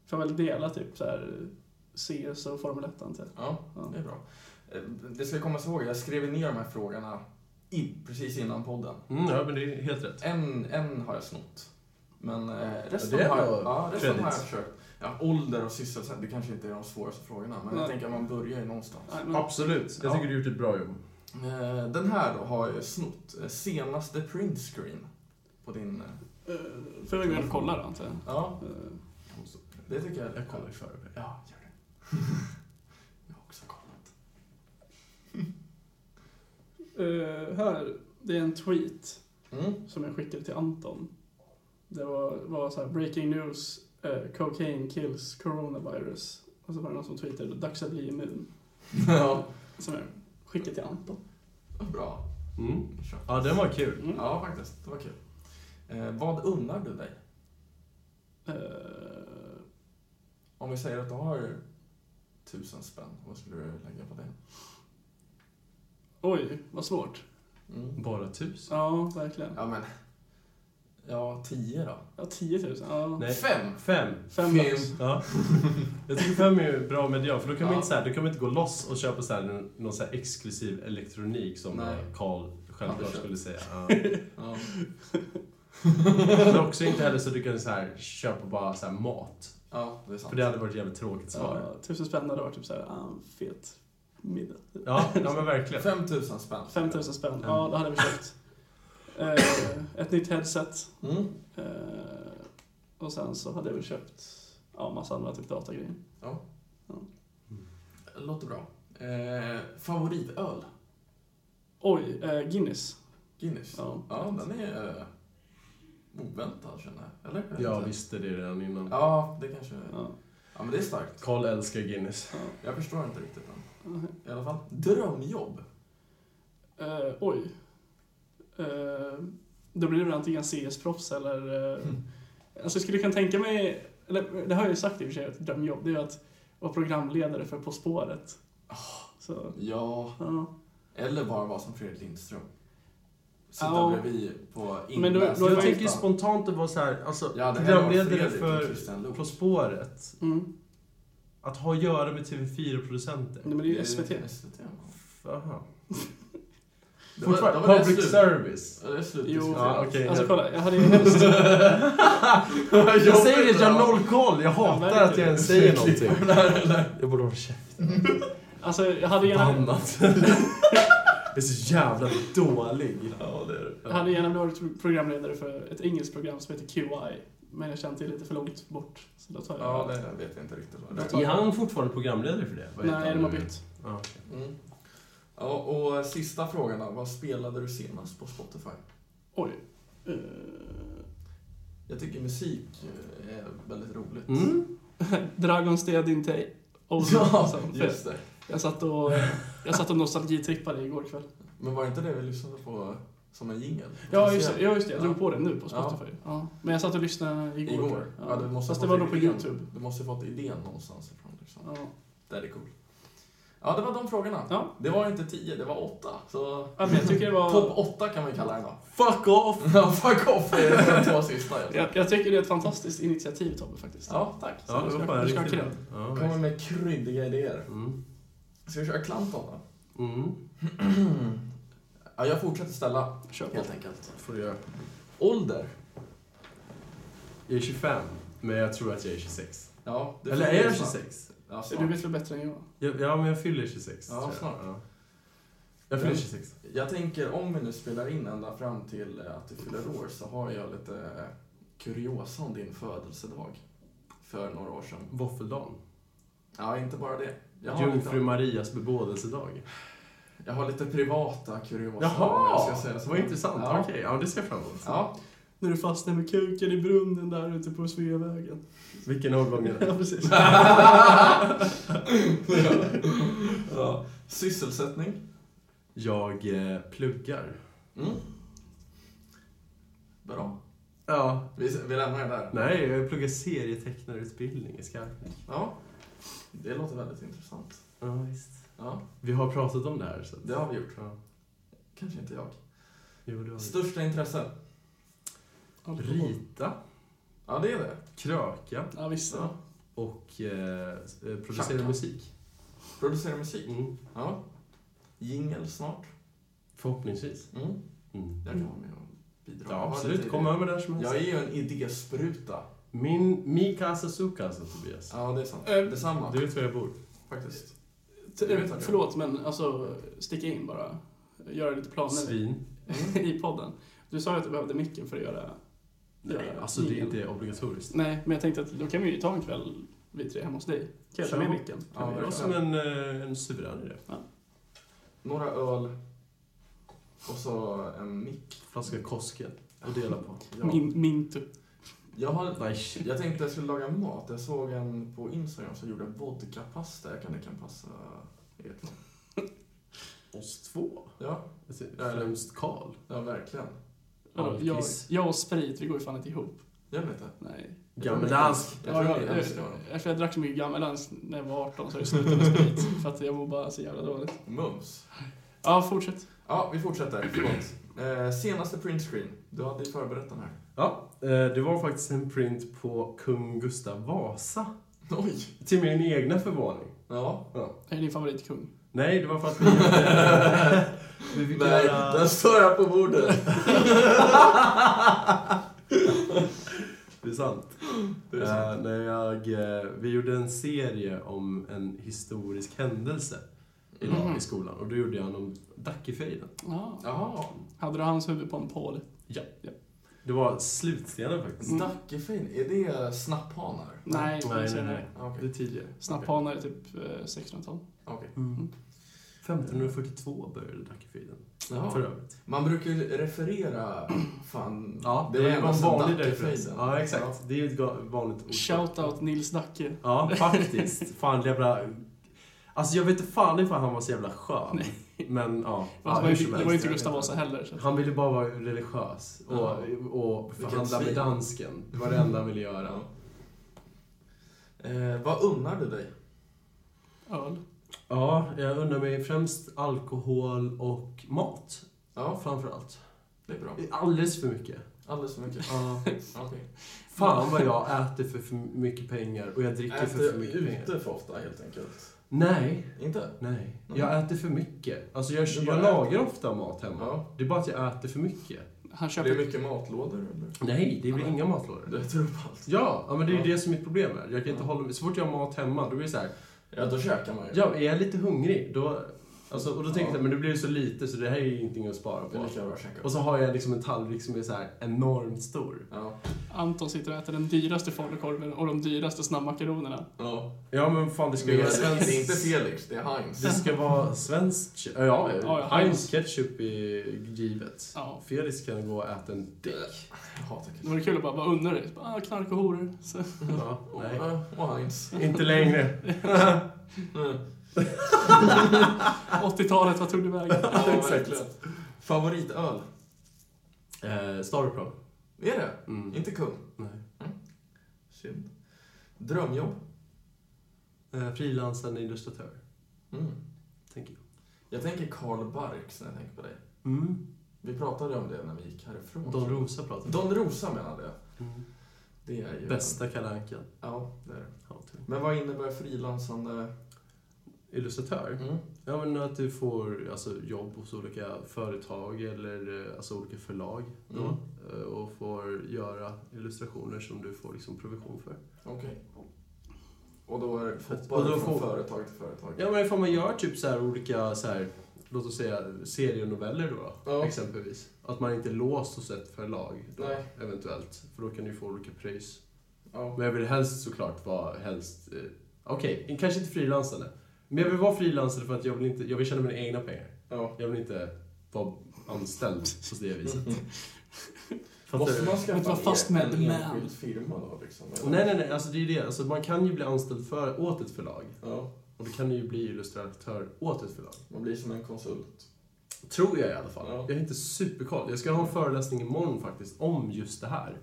Får väl dela typ så här CS och Formel 1 antar jag.
Ja,
Ja.
det är bra. Eh, Det ska komma ihåg, jag skrev ner de här frågorna i, precis innan podden.
Mm, ja, men det är helt rätt.
En, en har jag snott. Men eh, resten,
det är
har, jag,
ändå
ja, resten har jag
credits.
försökt. Ja, ålder och sysselsättning, det kanske inte är de svåraste frågorna, men jag
Nej.
tänker att man börjar ju någonstans.
Nej, men,
Absolut.
Ja.
Jag tycker du har gjort ett bra jobb.
Eh, Den här då har jag snott. Eh, Senaste printscreen på din... eh,
eh, får jag gå in och kolla då antar jag.
Ja,
Eh,
det tycker jag.
Jag kollar i förväg.
Ja, gör det. jag har också kollat.
eh, här, det är en tweet
Mm.
som jag skickade till Anton. Det var, var så här, breaking news, eh, cocaine kills coronavirus. Och så var det någon som twittrade, dags att bli immun.
ja,
Som jag skickade till Anton.
bra.
Mm.
Kör.
Ja, den var kul.
Mm.
Ja, faktiskt. Det var kul. Eh, vad unnar du dig?
Eh,
Om vi säger att du har tusen spänn, vad skulle du lägga på det?
oj, vad svårt.
Mm.
Bara tusen?
Ja, verkligen.
Ja, men... Ja, tio då?
Ja, 10 000. Ja.
Nej.
Fem!
Fem.
Fem
Fem.
lax.
Ja. Jag tycker fem är ju bra median, för då kan, man
Ja.
inte, så här, då kan man inte gå loss och köpa så här, någon så här exklusiv elektronik som
Nej.
eh, Carl
Hade
självklart
köpt.
skulle säga. Ja.
Ja.
Men också inte heller så att du kan så här, köpa bara så här, mat.
ja, det är sant.
För det hade varit ett jävligt tråkigt svar.
Ja, tusen spänn hade varit typ såhär, ah, fet middag.
Ja, ja men verkligen.
5000 spänn.
5000 spänn, ja det hade vi köpt. Eh, ett nytt headset.
Mm.
Eh, och sen så hade vi köpt ja, massa andra typ datagrejer.
Låter bra. Eh, favoritöl?
Oj, eh, Guinness.
Guinness?
Ja.
Ja, den är eh, oväntad känner jag. Eller? Jag vet
Jag
inte.
visste det redan innan.
Ja, det kanske...
Ja.
Ja, men det är starkt.
Karl älskar Guinness.
Jag förstår inte riktigt den.
Mhm.
I alla fall. Drömjobb?
Eh, oj. Eh, då blir det väl antingen CS-proffs eller... Eh, Alltså jag skulle kunna tänka mig, eller det har jag ju sagt i och för sig, ett drömjobb, det är ju att vara programledare för På spåret. Så,
Ja.
ja.
Eller bara vara som Fredrik Lindström. Sitta
Ja.
bredvid på
Men då- då är
inläsningslistan.
Jag tänker Alltså, ju spontant att vara så här, alltså
Ja, det här var
programledare
Fredrik och
för
Christian Luuk.
På spåret.
Mm.
Att ha att göra med TV4-producenter.
Nej, men det är ju SVT.
SVT.
Aha.
Det var-
Fortfarande
det var det
public
slut.
service.
Ja, Det är slut.
Jo.
Ja,
Ja, okej.
Alltså kolla, jag hade ju helst...
Jag säger det, jag har noll koll. Jag hatar
verkligen.
att jag ens säger någonting. Jag borde hålla käften.
Alltså jag hade gärna,
Annat. Det är så jävla dålig. Ja, det är
jag hade gärna velat vara programledare för ett engelskt program som heter QI. Men jag kände det lite för långt bort. Så då tar jag
Ja, det vet jag inte riktigt vad det är.
Är han fortfarande programledare för det? Vad heter
Nej,
han
de har
nu?
bytt.
Ja.
Mm. Ja, och sista frågan då. Vad spelade du senast på Spotify?
Oj. Eh,
Jag tycker musik eh, är väldigt roligt.
Mm.
Dragon's Dead in Tay. Och-
Ja,
alltså, för-
just det.
Jag satt och, jag satt och nostalgitrippade igår kväll.
Men var det inte det vi lyssnade på som en jingel?
Ja just, det, ja, just det. Jag drog
Ja.
på den nu på Spotify. Ja. Men jag satt och lyssnade igår.
Igår?
Ja.
Ja, du måste
Fast
ha
det var nog
fått
på
idén.
YouTube.
Du måste ju fått idén någonstans ifrån. Liksom.
Ja.
Det är cool. Ja, det var de frågorna.
Ja.
Det var inte tio, det var åtta. Så...
Ja, men jag tycker det var...
Topp åtta kan man ju kalla det då.
Fuck off!
Ja, Fuck off är de två sista. jag tror.
Jag, jag tycker det är ett fantastiskt initiativ Tobbe faktiskt.
Ja, tack.
Ja,
du
det
ska-
var fan
du ska ha
riktigt
cred.
bra. Ja,
Kommer
verkligen.
med kryddiga idéer.
Mm.
Ska vi köra Klanton då?
Mm.
Ja, jag fortsätter ställa,
Kör på.
helt enkelt.
får du göra.
Ålder?
Jag är 25, men jag tror att jag är 26.
Ja, det
Eller
får
är
vi
jag
snart.
26?
Ja,
Du
snart.
vet väl bättre än jag?
Ja, ja, men jag fyller 26.
Ja,
tror jag.
snart.
Ja. Jag fyller
Ja.
26.
Jag tänker, om vi nu spelar in ända fram till eh, att du fyller år så har jag lite eh, kuriosa om din födelsedag. För några år sedan.
Våffeldagen.
Ja, inte bara det. Jag har,
Jungfru
lite,
Marias bebådelsedag.
jag har lite privata kuriosa. om jag
Jaha!
ska säga så.
Det var intressant.
Ja.
Okej, ja, det ser jag fram emot.
Ja,
När du fastnar med kuken i brunnen där ute på Sveavägen.
Vilken årgång menar
Ja, precis.
ja. Sysselsättning.
Jag eh, pluggar.
Mm. Bra.
Ja.
Vi, vi lämnar det där.
Nej, jag pluggar serietecknarutbildning i Skarpnäck.
Ja. Det låter väldigt intressant.
Ja, visst.
Ja,
Vi har pratat om det här. Så att...
det har vi gjort.
Ja.
Kanske inte jag.
Jo, det har vi.
Största intresse?
Alkohol.
Rita,
Ja, det är det.
kröka
Ja, visst.
Ja.
och eh, s- eh, producera
Tjacka.
musik.
Producera musik.
Mm.
Ja. Jingel snart.
Förhoppningsvis.
Mm.
Mm.
Jag kan vara med och bidra. Jag
Ja,
har
absolut.
lite
Kom
idéer.
över där som helst.
Jag är ju en idéspruta.
Min, mi casa su casa, Tobias.
Ja, det är sant.
Eh,
Detsamma,
Du vet var jag bor.
faktiskt.
T-
Det vet jag.
Förlåt, men alltså sticka in bara. Göra lite planer
Svin.
i podden. Du sa ju att du behövde micken för att göra...
Nej,
göra
alltså det är
jingeln.
inte obligatoriskt.
Nej, men jag tänkte att då kan vi ju ta en kväll, vi tre, hemma hos dig. Kan jag ta med
Kör.
micken?
Ja,
Det var som en, eh, en suverän idé.
Några öl och så en mick.
Flaska Kosken att dela på.
Ja.
Min, min tur.
Jag, har,
Nej,
jag tänkte jag skulle laga mat. Jag såg en på Instagram som gjorde vodkapasta. Jag kan, det kan passa er två.
oss två.
Ja,
Jag ser Främst Karl.
ja verkligen.
Vadå, jag,
Alkis.
jag och sprit, vi går ju fan inte ihop.
Gör ni inte?
Nej.
Gammeldansk.
Jag tror
jag,
ni
jag,
älskar honom.
efter jag drack så mycket gammeldans när jag var 18 så har jag slutat med sprit. För att jag mår bara så jävla dåligt.
Mums.
Ja, fortsätt.
Ja, vi fortsätter. Förlåt. Eh, senaste printscreen. Du hade ju förberett den här.
Ja, eh, det var faktiskt en print på kung Gustav Vasa.
Oj!
Till min egna förvåning.
Ja.
Är din favoritkung?
Nej, det var för att vi hade... vi fick
Nej,
göra...
den står här på bordet.
Det är sant.
Det är sant.
Eh, när jag, eh, vi gjorde en serie om en historisk händelse idag
Mhm.
i skolan och då gjorde jag någon Dackefejden.
Ja.
Jaha,
Hade du hans huvud på en pål?
Det var slutstenen faktiskt.
Mm.
Dackefin, är det snapphanar?
Nej,
Nej,
nej,
nej,
nej.
nej.
Ah,
Det
Okej.
är tidigare.
Snapphanar är typ eh, 1600-tal.
okej.
Mm. 1542 började Dackefejden.
Jaha.
För övrigt.
Man brukar ju referera, fan,
det, var
ända
en
sedan
vanlig
Dackefejden.
referens. Ja, exakt. Det är ju ett ga- vanligt ord.
Shoutout Nils Dacke.
Ja, faktiskt. Fan, jävla... Alltså jag vet inte fan ifall han var så jävla skön. Men ja. ja,
Fast det var
hur
ju-
som
det
helst.
var ju inte Gustav Vasa heller. Så. att-
Typ. Han ville bara vara religiös och,
Ja.
och
Vilken
förhandla med
svin.
dansken. Det var det enda han ville göra.
Eh, vad unnar du dig?
Öl.
Ja, jag undrar mig främst alkohol och mat.
Ja,
Framförallt.
det är bra.
Alldeles för mycket.
Alldeles för mycket.
Ja.
Okej.
Fan vad jag äter för, för mycket pengar och jag dricker för, för
Äter
mycket pengar.
ute för ofta helt enkelt.
Nej,
Inte?
nej.
Mm.
Jag äter för mycket. Alltså jag,
Du
jag
bara
lagar
äter.
ofta mat hemma.
Ja.
Det är bara att jag äter för mycket.
Han
Det är
köper...
mycket matlådor eller?
Nej, det blir
Ja.
inga matlådor.
Du äter upp allt?
Ja, ja, men det är ju
Ja.
det som är mitt problem är. Jag kan inte
Ja.
hålla mig. Så fort jag har mat hemma, då blir det så här.
Ja, då käkar man ju.
Ja, är jag lite hungrig, då... Alltså, och då tänker
Ja.
jag, men det blir ju så lite så det här är ju ingenting att spara
Det är
på.
lika bra att käka upp.
Och så har jag liksom en tallrik som är så här enormt stor.
Ja.
Anton sitter och äter den dyraste falukorven och de dyraste snabbmakaronerna.
ja.
Ja, men fan det
Det,
ska ju
är,
vara
det är inte
svenskt...
Felix, det är Heinz.
Det ska vara svenskt... ke- Ja,
Ja, ja,
ja, Heinz
Heinz.
ketchup är givet.
Ja.
Felix kan gå och äta en dick.
Jag hatar
Det var kul att bara, bara undra dig. Bara, Ah, knark och horor. Så.
Ja, nej.
ketchup. Och Heinz.
Inte längre.
Mm.
80-talet, vad tog du vägen?
Ja,
Exakt.
verkligen. Favoritöl?
Eh, Starpro.
Är det?
Mm.
Inte kung?
Nej.
Synd. Drömjobb?
Eh, Frilansande illustratör,
Mm.
tänker jag.
Jag tänker Karl Barks när jag tänker på dig.
Mm.
Vi pratade om det när vi gick härifrån.
Don Rosa pratar
Don Rosa menade jag.
Mm.
Det är ju...
Bästa Kalle Anka.
Ja, det är det.
Ja, typ.
Men vad innebär frilansande...
Illustratör?
Mm.
Ja, men att du får alltså, jobb hos olika företag eller eh, alltså, olika förlag då,
Mm.
eh, och får göra illustrationer som du får liksom, provision för.
Okej. Och då är det
Och då
hoppar från
får-
företag till företag.
Ja, men ifall man gör typ så här olika, så här, låt oss säga serienoveller då,
Ja.
exempelvis. Att man inte är låst hos ett förlag då,
Nej.
eventuellt, för då kan du få olika pris.
Ja.
Men jag vill helst såklart vara helst, eh, okej, kanske inte frilansande. Men jag vill vara frilansande för att jag vill, inte, jag vill tjäna mina egna pengar.
ja. Mm.
Jag vill inte vara anställd på det viset. Fattar
Måste
du?
man
Men
skaffa
vad fast
en-
med
en
man?
enskild firma då? Liksom, eller?
Nej, nej, nej. Alltså, det är ju det. Alltså, man kan ju bli anställd för, åt ett förlag.
Ja,
Och då kan du ju bli illustratör åt ett förlag.
man blir som en konsult.
Tror jag i alla fall.
Ja.
Jag har inte superkoll. Jag ska ha en föreläsning imorgon faktiskt om just det här.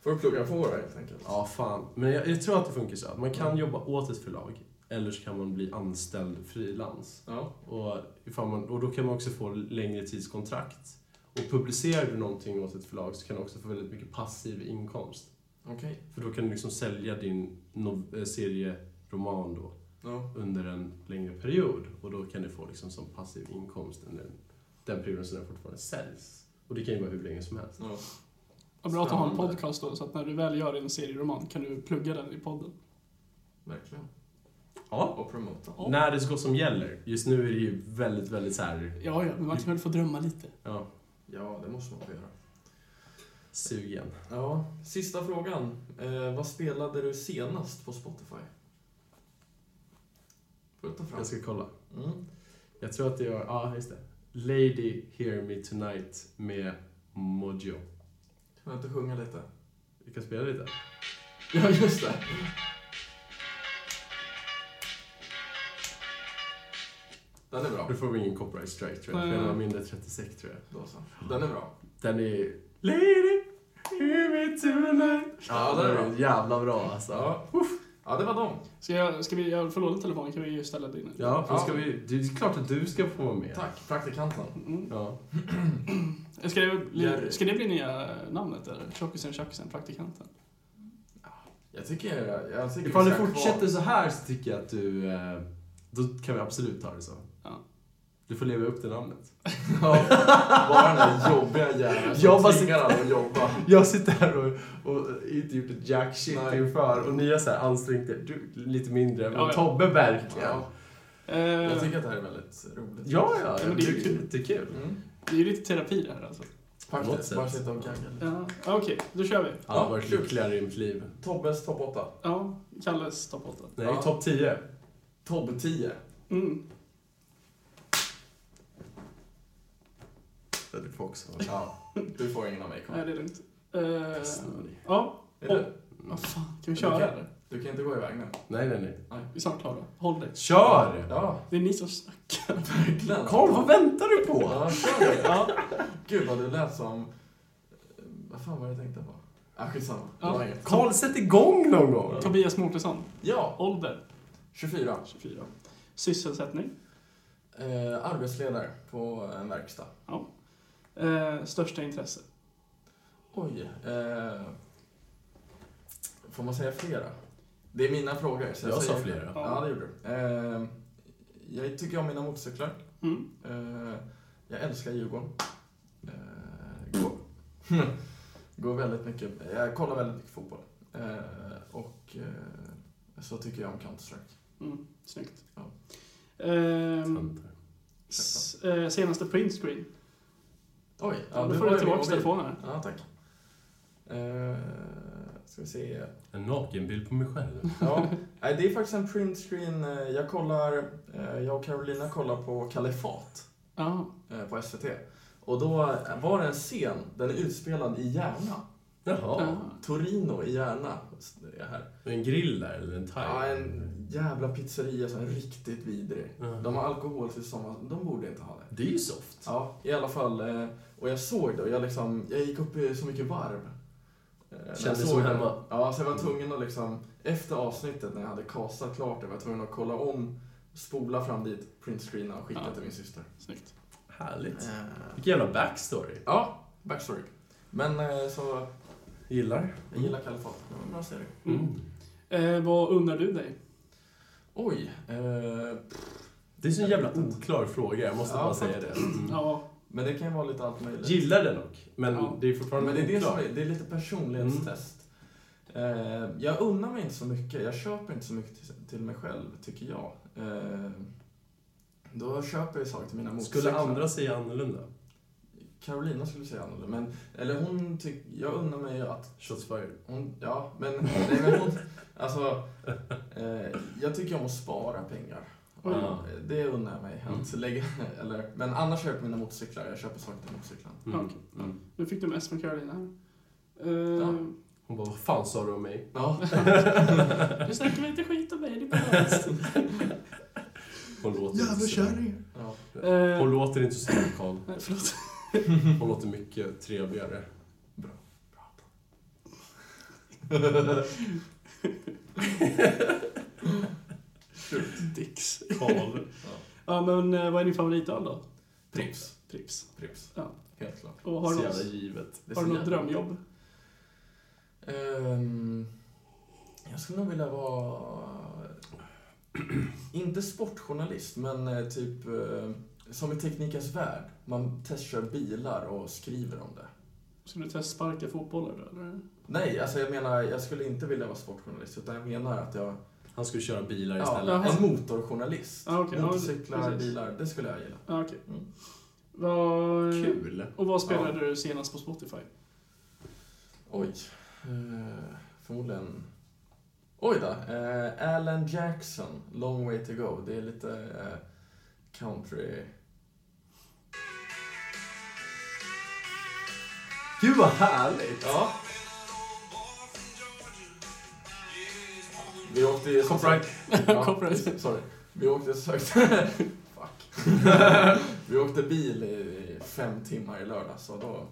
Får du plugga på det helt enkelt?
Ja, fan. Men jag, jag tror att det funkar så. att Man kan
Mm.
jobba åt ett förlag. Eller så kan man bli anställd frilans.
Ja.
Och, ifall man- och då kan man också få längre tidskontrakt. Och publicerar du någonting åt ett förlag så kan du också få väldigt mycket passiv inkomst.
Okej.
För då kan du liksom sälja din nov- eh, serieroman då
Ja.
under en längre period och då kan du få liksom som passiv inkomst under den perioden som den fortfarande säljs. Och det kan ju vara hur länge som helst.
Ja.
Vad bra att du har en
Spännande.
podcast då, så att när du väl gör en serieroman kan du plugga den i podden.
Verkligen.
Ja.
Och promota.
Ja.
När det ska som gäller. Just nu är det ju väldigt, väldigt så här,
Ja, ja, men man kan väl få drömma lite.
ja,
Ja, det måste man få göra.
sugen.
Ja, sista frågan. Eh, vad spelade du senast på Spotify? Får du ta fram?
Jag ska kolla.
Mm.
Jag tror att det var, ja just det. Lady Hear Me Tonight med Mojo.
Kan jag inte sjunga lite?
Vi kan spela lite.
Ja, just det. Den är bra.
Då får vi ingen copyright strike tror jag, för
Eh.
den var mindre än 36 tror jag.
Då så. Den är bra.
Den är... Lady, hear me tonight.
Ja, den är bra.
jävla bra alltså. Ja,
Ja, ja det var dem.
Ska, jag, ska vi, jag får låna telefonen, kan vi ju ställa din?
då ska vi... Det är klart att du ska få vara med.
Tack, praktikanten.
Mm.
Ja.
Ska, det bli,
Jerry.
ska det bli nya namnet eller? Tjockisen, tjackisen, praktikanten?
Jag tycker, jag tycker
Ifall
vi
du
ska ha
fortsätter
kvar-
så här så tycker jag att du... eh, Då kan vi absolut ta det så.
Ja.
Du får leva upp till namnet.
Ja, bara den där jobbiga jäveln
Jag bara
som tvingar alla att jobba.
Jag sitter här och, och inte gjort ett jack shit
Nej.
inför och ni har så här ansträngt er. Du, lite mindre, men
Ja, ja.
Tobbe verkligen.
Ja.
Eh,
Jag tycker att det här är väldigt roligt.
Ja, ja,
men
jag
det är
tycker det är
kul.
jättekul.
Mm.
Det är ju lite terapi det här alltså.
Något
Faktiskt,
sätt.
bara sitta och gagga lite.
Ja, Okej, då kör vi.
Alla
Ja,
har varit
kul.
lyckligare i mitt liv.
Tobbes topp 8.
Ja, Kalles topp 8.
Nej,
Ja.
topp 10.
Tobbe 10.
Mm.
Det får också
Ja, du får ingen av mig
Nej,
kvar.
det är lugnt. Eh,
Snurrig.
ja,
Är du?
vad fan. Kan vi
Du kan-
köra eller?
Du kan inte gå iväg nu.
Nej, nej, nej.
Vi är snart klara. Håll dig.
Kör!
Ja,
Det är ni som snackar.
verkligen.
Karl, vad väntar du på?
Ja, kör du.
Ja,
Gud vad du lät som... eh, Vad fan var det jag tänkte på? Ah, skitsamma. Det
Ja.
var inget.
Karl, sätt igång någon gång!
Tobias Mårtensson.
Ja,
Ålder
24.
24. Sysselsättning.
Eh, arbetsledare på en verkstad.
Eh, största intresse.
Oj. Eh, får man säga flera? Det är mina frågor. Så jag
Jag sa
säger-
flera.
Ja, det gjorde du. Eh, jag tycker om mina motorcyklar.
Mm.
Eh, jag älskar Djurgården. Eh, går, går väldigt mycket, jag kollar väldigt mycket fotboll. Eh, och eh, så tycker jag om Counter-Strike.
Mm. Snyggt.
Ja.
Ehm, s- eh, senaste printscreen.
Oj,
Ja, då
nu
får du
var det min
tillbaka
mobil.
telefonen. här.
Ja, tack. Eh, ska vi se.
En nakenbild på mig själv.
Ja, nej, det är faktiskt en printscreen. Eh, Jag kollar, eh, jag och Carolina kollar på Kalifat
Ja.
eh, på SVT. Och då var det en scen, den är utspelad i Järna.
Jaha.
Ja.
Torino i Järna är här.
En grill där, eller en thai?
Ja, en jävla pizzeria som är riktigt vidrig.
Ja.
De har alkohol till sommar, de borde inte ha det.
Det är ju soft.
Ja, i alla fall. eh, Och jag såg det och jag, liksom, jag gick upp i så mycket varv. Eh, när jag
Kändes
såg
som
det.
hemma.
Ja, så jag var tvungen att liksom, efter avsnittet när jag hade kasat klart det, var jag tvungen att kolla om, spola fram dit, printscreena och skicka
Ja.
till min syster.
Snyggt.
Härligt.
Eh,
Vilken jävla backstory.
Ja, backstory. Men eh, så,
Gillar.
jag gillar Kalifat. Det var en bra serie.
Mm. Eh, vad undrar du dig?
Oj. Eh,
Det är så en jävla oklar fråga, jag måste
Ja,
bara säga det. Mm.
Ja.
men det kan ju vara lite allt möjligt.
Gillar det dock, men
Ja.
det är fortfarande
Men det är det som
oklart. Mm.
är, det är lite personlighetstest. Eh, jag unnar mig inte så mycket, jag köper inte så mycket till, till mig själv, tycker jag. Eh, då köper jag saker till mina
Skulle
motorcyklar.
andra säga annorlunda?
Carolina skulle säga annorlunda, men... Eller hon tyck, Jag unnar mig att...
Shots fired.
Hon, ja, men... Nej, men hon, alltså, eh, jag tycker om att spara pengar.
Oj.
Ja.
Det unnar jag mig. Att
Mm.
lägga, eller, men annars köper jag mina motorcyklar, jag köper saker till motorcyklarna.
Mm.
Okej.
Mm.
Nu fick du mest från Carolina. här. Eh,
Hon bara, vad fan sa du om mig?
Ja,
Du snackar lite skit om mig, det är bra.
Hon låter
Jävla
inte sådär.
kärring.
ja.
Eh,
Hon låter inte så där, Karl.
nej, förlåt.
Hon låter mycket trevligare.
Bra.
Dicks.
Karl.
Ja, men eh, vad är din favoritöl då?
Pripps.
Pripps.
Prips.
Ja.
Helt klart.
Och har
Så
du
jävla
något,
givet.
Det är
har du
så
något
jävla-
drömjobb?
Ehm, jag skulle nog vilja vara... Inte sportjournalist, men eh, typ eh, som i Teknikens Värld. Man testkör bilar och skriver om det.
Ska du testa sparka fotbollar då, eller?
Nej, alltså jag menar, jag skulle inte vilja vara sportjournalist, utan jag menar att jag...
Han skulle köra bilar
Ja,
istället.
jaha.
en motorjournalist.
Ja, Ah, okej. Ja,
Motorcyklar,
precis.
bilar, det skulle jag gilla.
Ja, okej.
Mm.
Vad...
Kul!
Och vad spelade du senast på Spotify?
Oj. Eh, förmodligen... Oj då. Eh, Alan Jackson, Long Way To Go. Det är lite eh, country...
Gud vad härligt!
Ja. Vi åkte ju...
Copyright.
Ja,
Copyright.
Sorry. Vi åkte sökt... Fuck. Vi åkte bil i fem timmar i lördags och då...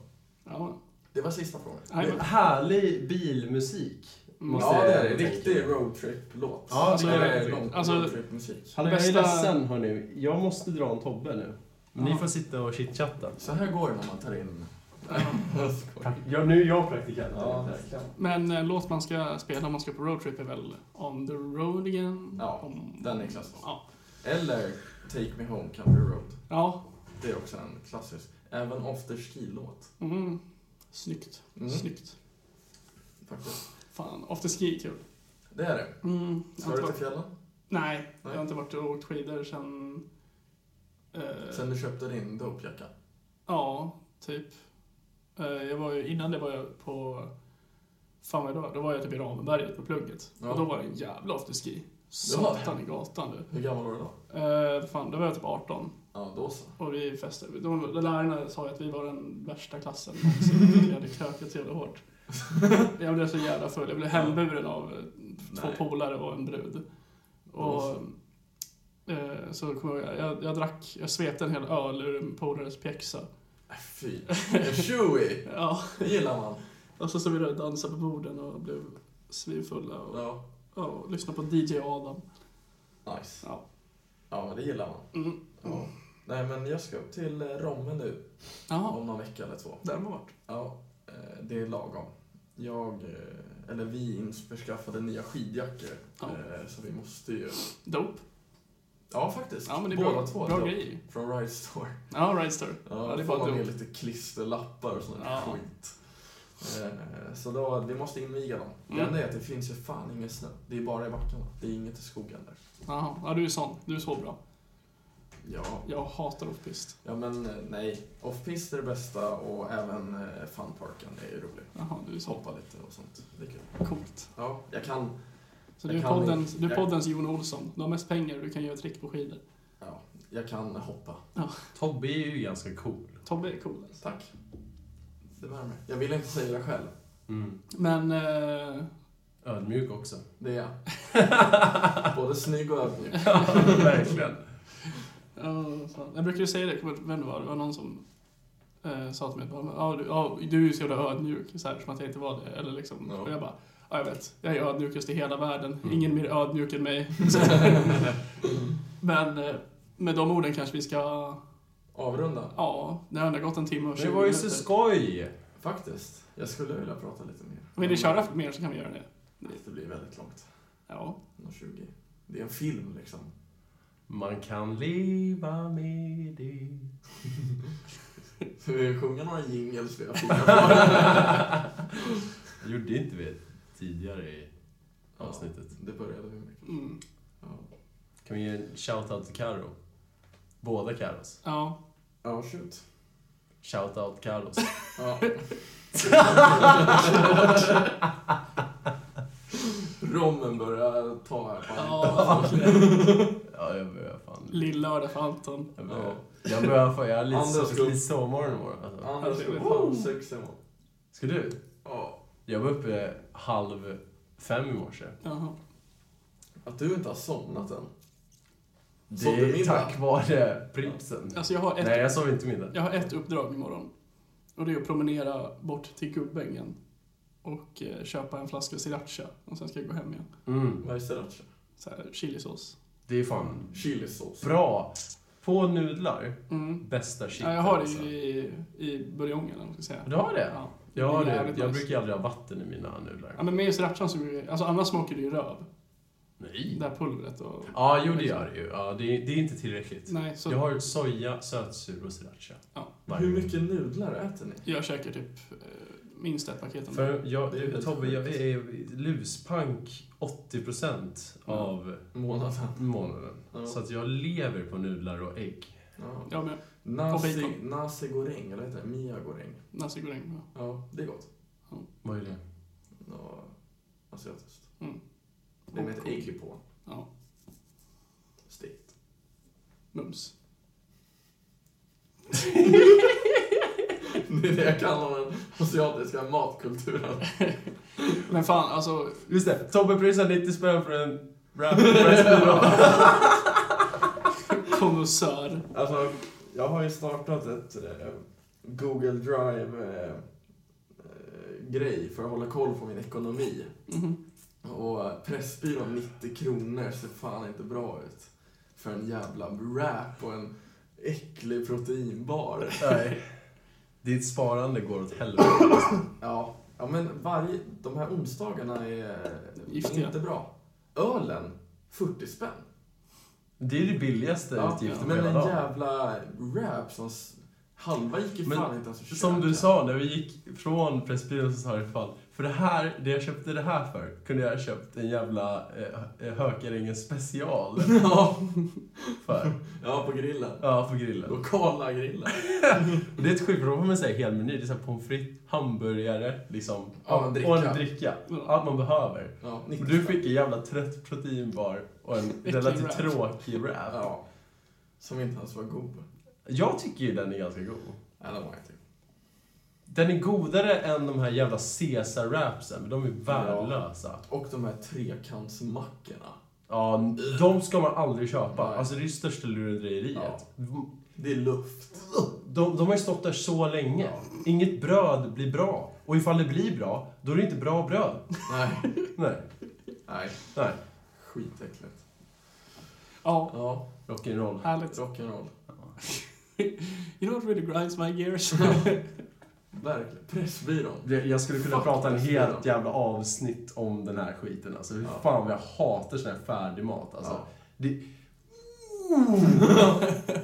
Ja,
Det var sista frågan.
nej, men-
Härlig bilmusik. Måste
ja, det
jag
är en
tänka.
riktig roadtrip-låt.
Ja,
det är det.
lång
Alltså-
roadtrip-musik.
Hallå, jag är
Bästa-
ledsen hörni. Jag måste dra en Tobbe nu. Ni
Ja.
får sitta och chitchatta.
Så här går det när man tar in... Jag skojar.
Ja, nu är jag praktikant.
Ja,
Men eh, låt man ska spela om man ska på roadtrip är väl On the Road Again?
Ja,
Om-
den är klassisk.
Ja.
Eller Take Me Home Country Road.
ja.
Det är också en klassisk. Även After Ski-låt.
Mm. Snyggt.
Mm.
Snyggt.
Faktiskt.
Fan, afterski är kul.
Det är det.
Mm.
Ska du till fjällen?
Nej, jag
Nej.
har inte varit och åkt skidor sen... eh,
Sen du köpte din dopejacka?
Ja, typ. Eh, jag var ju, innan det var jag på... Fan vad det var, då var jag typ i Ramberget på plugget.
Ja.
Och då var det en jävla afterski.
Det var det.
Satan i gatan du.
Hur gammal var du då?
Eh, fan, då var jag typ 18.
Ja, då så.
Och vi festade. De, de lärarna sa ju att vi var den värsta klassen någonsin. Vi hade krökat så jävla hårt. Jag blev så jävla full. Jag blev hemburen av eh, två
Nej.
polare och en brud. Och eh, så kommer jag, ihåg, jag, jag drack, jag svepte en hel öl ur en polares pjäxa.
Äh, Fy. Chewy!
Ja,
Det gillar man.
och så stod vi där och dansade på borden och blev svinfulla och,
Ja.
ja, och lyssnade på DJ Adam.
Nice.
Ja.
Ja, men det gillar man.
Mm.
Ja. Nej, men jag ska upp till eh, Romme nu.
Ja,
Om någon vecka eller två.
där har man varit.
Ja, eh, det är lagom. Jag, eh, eller vi införskaffade nya skidjackor.
Ja.
eh, Så vi måste ju...
Dope.
Ja, faktiskt.
Ja, men det är
Båda
bra,
två.
bra
då.
grejer.
Från Ride Store.
Ja, Ride Store.
Ja,
Ja, det
det
är bara
får man
dumt.
med lite klisterlappar och sån
Ja.
ja. skit. Eh, Så då, vi måste inviga dem. Det
Mm.
enda är att det finns ju fan ingen snö. Det är bara i backarna. Det är inget i skogen där.
Jaha, ja, du är sån. Du är så bra.
Ja,
Jag hatar off-pist.
ja men eh, nej. Off-pist är det bästa och även eh, funparken är ju rolig.
Jaha, du är så
Hoppa lite och sånt. Det är kul.
coolt.
Ja, jag kan...
Så
Jag
du är,
kan
podden,
inte.
du är
Jag-
poddens Jon Olsson. Du har mest pengar och du kan göra trick på skidor.
Ja, jag kan hoppa.
Tobbe är ju ganska cool.
Tobbe är cool alltså.
Tack. Det värmer. Jag vill inte säga det själv.
Mm.
Men, eh,
Ödmjuk också.
Det är jag. Både snygg och ödmjuk.
Ja, verkligen.
ja, fan. jag brukar ju säga det, jag kommer inte ihåg vem det var, det var någon som eh, sa till mig att ah, du, ah, du är ju så jävla ödmjuk, så här, som att jag inte var det. Eller liksom.
Ja.
Och jag bara, ja jag vet, jag är ödmjukast i hela världen.
Mm.
Ingen mer ödmjuk än mig. Men eh, med de orden kanske vi ska,
Avrunda.
ja, det har ändå gått en timme och 20
Det var ju så skoj!
Faktiskt. Jag skulle vilja prata lite mer.
Vill ni köra mer så kan vi göra det.
Nej, Det blir väldigt långt.
Ja.
120. Det är en film liksom.
Man kan leva med det.
Ska vi sjunga några jingles vi har fingrar på?
gjorde inte vi tidigare i
Ja.
avsnittet.
Det började vi med.
Mm.
Ja,
Kan vi ge en shout-out till Karo? Båda Karos.
Ja.
Ja, shoot.
Shout-out Karos.
Ja. Rommen börjar ta här på
ja.
Ja, jag börjar fan...
Lill-lördag för Anton.
Jag börjar, jag börjar fan... Jag har lite,
Anders
so-
Gubb.
lite sovmorgon imorgon. Alltså.
Anders är fan sex imorgon.
Ska du?
Ja.
Jag var uppe halv fem i morse.
Jaha.
Att du inte har somnat än.
Det
Sov du
är
middag?
tack vare Pripsen.
Alltså jag har ett
Nej, jag sov inte middag.
Jag har ett uppdrag imorgon. Och det är att promenera bort till Gubbängen och eh, köpa en flaska sriracha. Och sen ska jag gå hem igen.
Mm.
Vad är sriracha?
Så här, chilisås.
Det är fan
Chilisås.
bra. På nudlar,
Mm.
bästa shit.
Ja, jag har det
alltså.
ju i, i buljongen, eller vad man ska säga.
Du har det?
Ja.
Jag har
Det är
det.
jävligt
Jag
nice.
brukar aldrig ha vatten i mina
ja,
nudlar.
men med srirachan så... Alltså annars smakar det ju röv.
Nej.
Det här pulvret och...
Ja, jo det gör det ju. Ja, det, är, det är inte tillräckligt.
Nej, så
Jag
jag,
har soja, sötsur och sriracha.
Ja.
Varje
Hur
gång.
mycket nudlar äter ni?
käkar typ eh, minst ett paket om dagen.
För jag,
Det är helt
Tobbe, jag
sjukt.
är luspank 80%
Mm.
av
Månaden.
månaden.
Ja.
Så att jag lever på nudlar och ägg.
Ja.
Ja, men Och
Nasi,
bacon.
nasi goreng, eller vad heter det? Mia goreng.
nasi goreng. ja.
Ja, det är gott.
Vad är det?
Ja, asiatiskt.
Mm.
Det är med ett ägg på.
Ja.
Stekt.
Mums.
Det är det jag kan om den asiatiska matkulturen.
Men fan, alltså...
Just det, Tobbe pröjsar 90 spänn för en wrap restaurang.
Konnässör.
Alltså, jag har ju startat ett eh, Google Drive-grej för att hålla koll på min ekonomi.
Mm-hmm.
Mhm.
Och Pressbyrån 90 kronor ser fan inte bra ut. För en jävla wrap och en äcklig proteinbar.
Nej. Ditt sparande går åt helvete.
Ja, ja men varje, de här onsdagarna är
Giftiga.
inte bra. Ölen, 40 spänn.
Det är det billigaste
Ja,
utgiften på
men
hela
en
dagen.
jävla wrap som s- Halva gick ju
Men
fan inte ens att köpa.
Som du sa, när vi gick från Pressbyrån så sa du fan, för det här, det jag köpte det här för, kunde jag ha köpt en jävla eh, Hökarängen special
Ja,
för.
ja på grillen.
Ja, för grillen.
Lokala grillen.
Och det är ett sjukt, för då får man säga hel meny. Det är så här pommes frites, hamburgare, liksom.
Ja, en dricka.
Och en dricka. Allt man behöver.
Ja,
Och du fick en jävla trött proteinbar och en
Äcklig
relativt
wrap.
tråkig wrap.
Ja. Som inte ens var god.
Jag tycker ju den är ganska god.
Ja, den var inte god.
Den är godare än de här jävla Caesar-wrapsen, men de är värdelösa.
Och de här trekantsmackorna.
Ja, de ska man aldrig köpa.
Nej.
Alltså det är det största
Ja.
lurendrejeriet.
Det är luft.
De, de har ju stått där så länge. Inget bröd blir bra. Och ifall det blir bra, då är det inte bra bröd.
Nej,
Nej,
nej.
nej.
Skitäckligt.
Ja,
Ja,
Rock'n'roll.
härligt.
rock'n'roll.
You know what really grinds my gears?
Verkligen. Pressbyrån.
Det- Jag skulle kunna
Fuck,
prata en
det är
helt
fint.
jävla avsnitt om den här skiten. Alltså, hur
Ja.
fan vad jag hatar sån här färdig mat. Alltså.
Ja.
Det...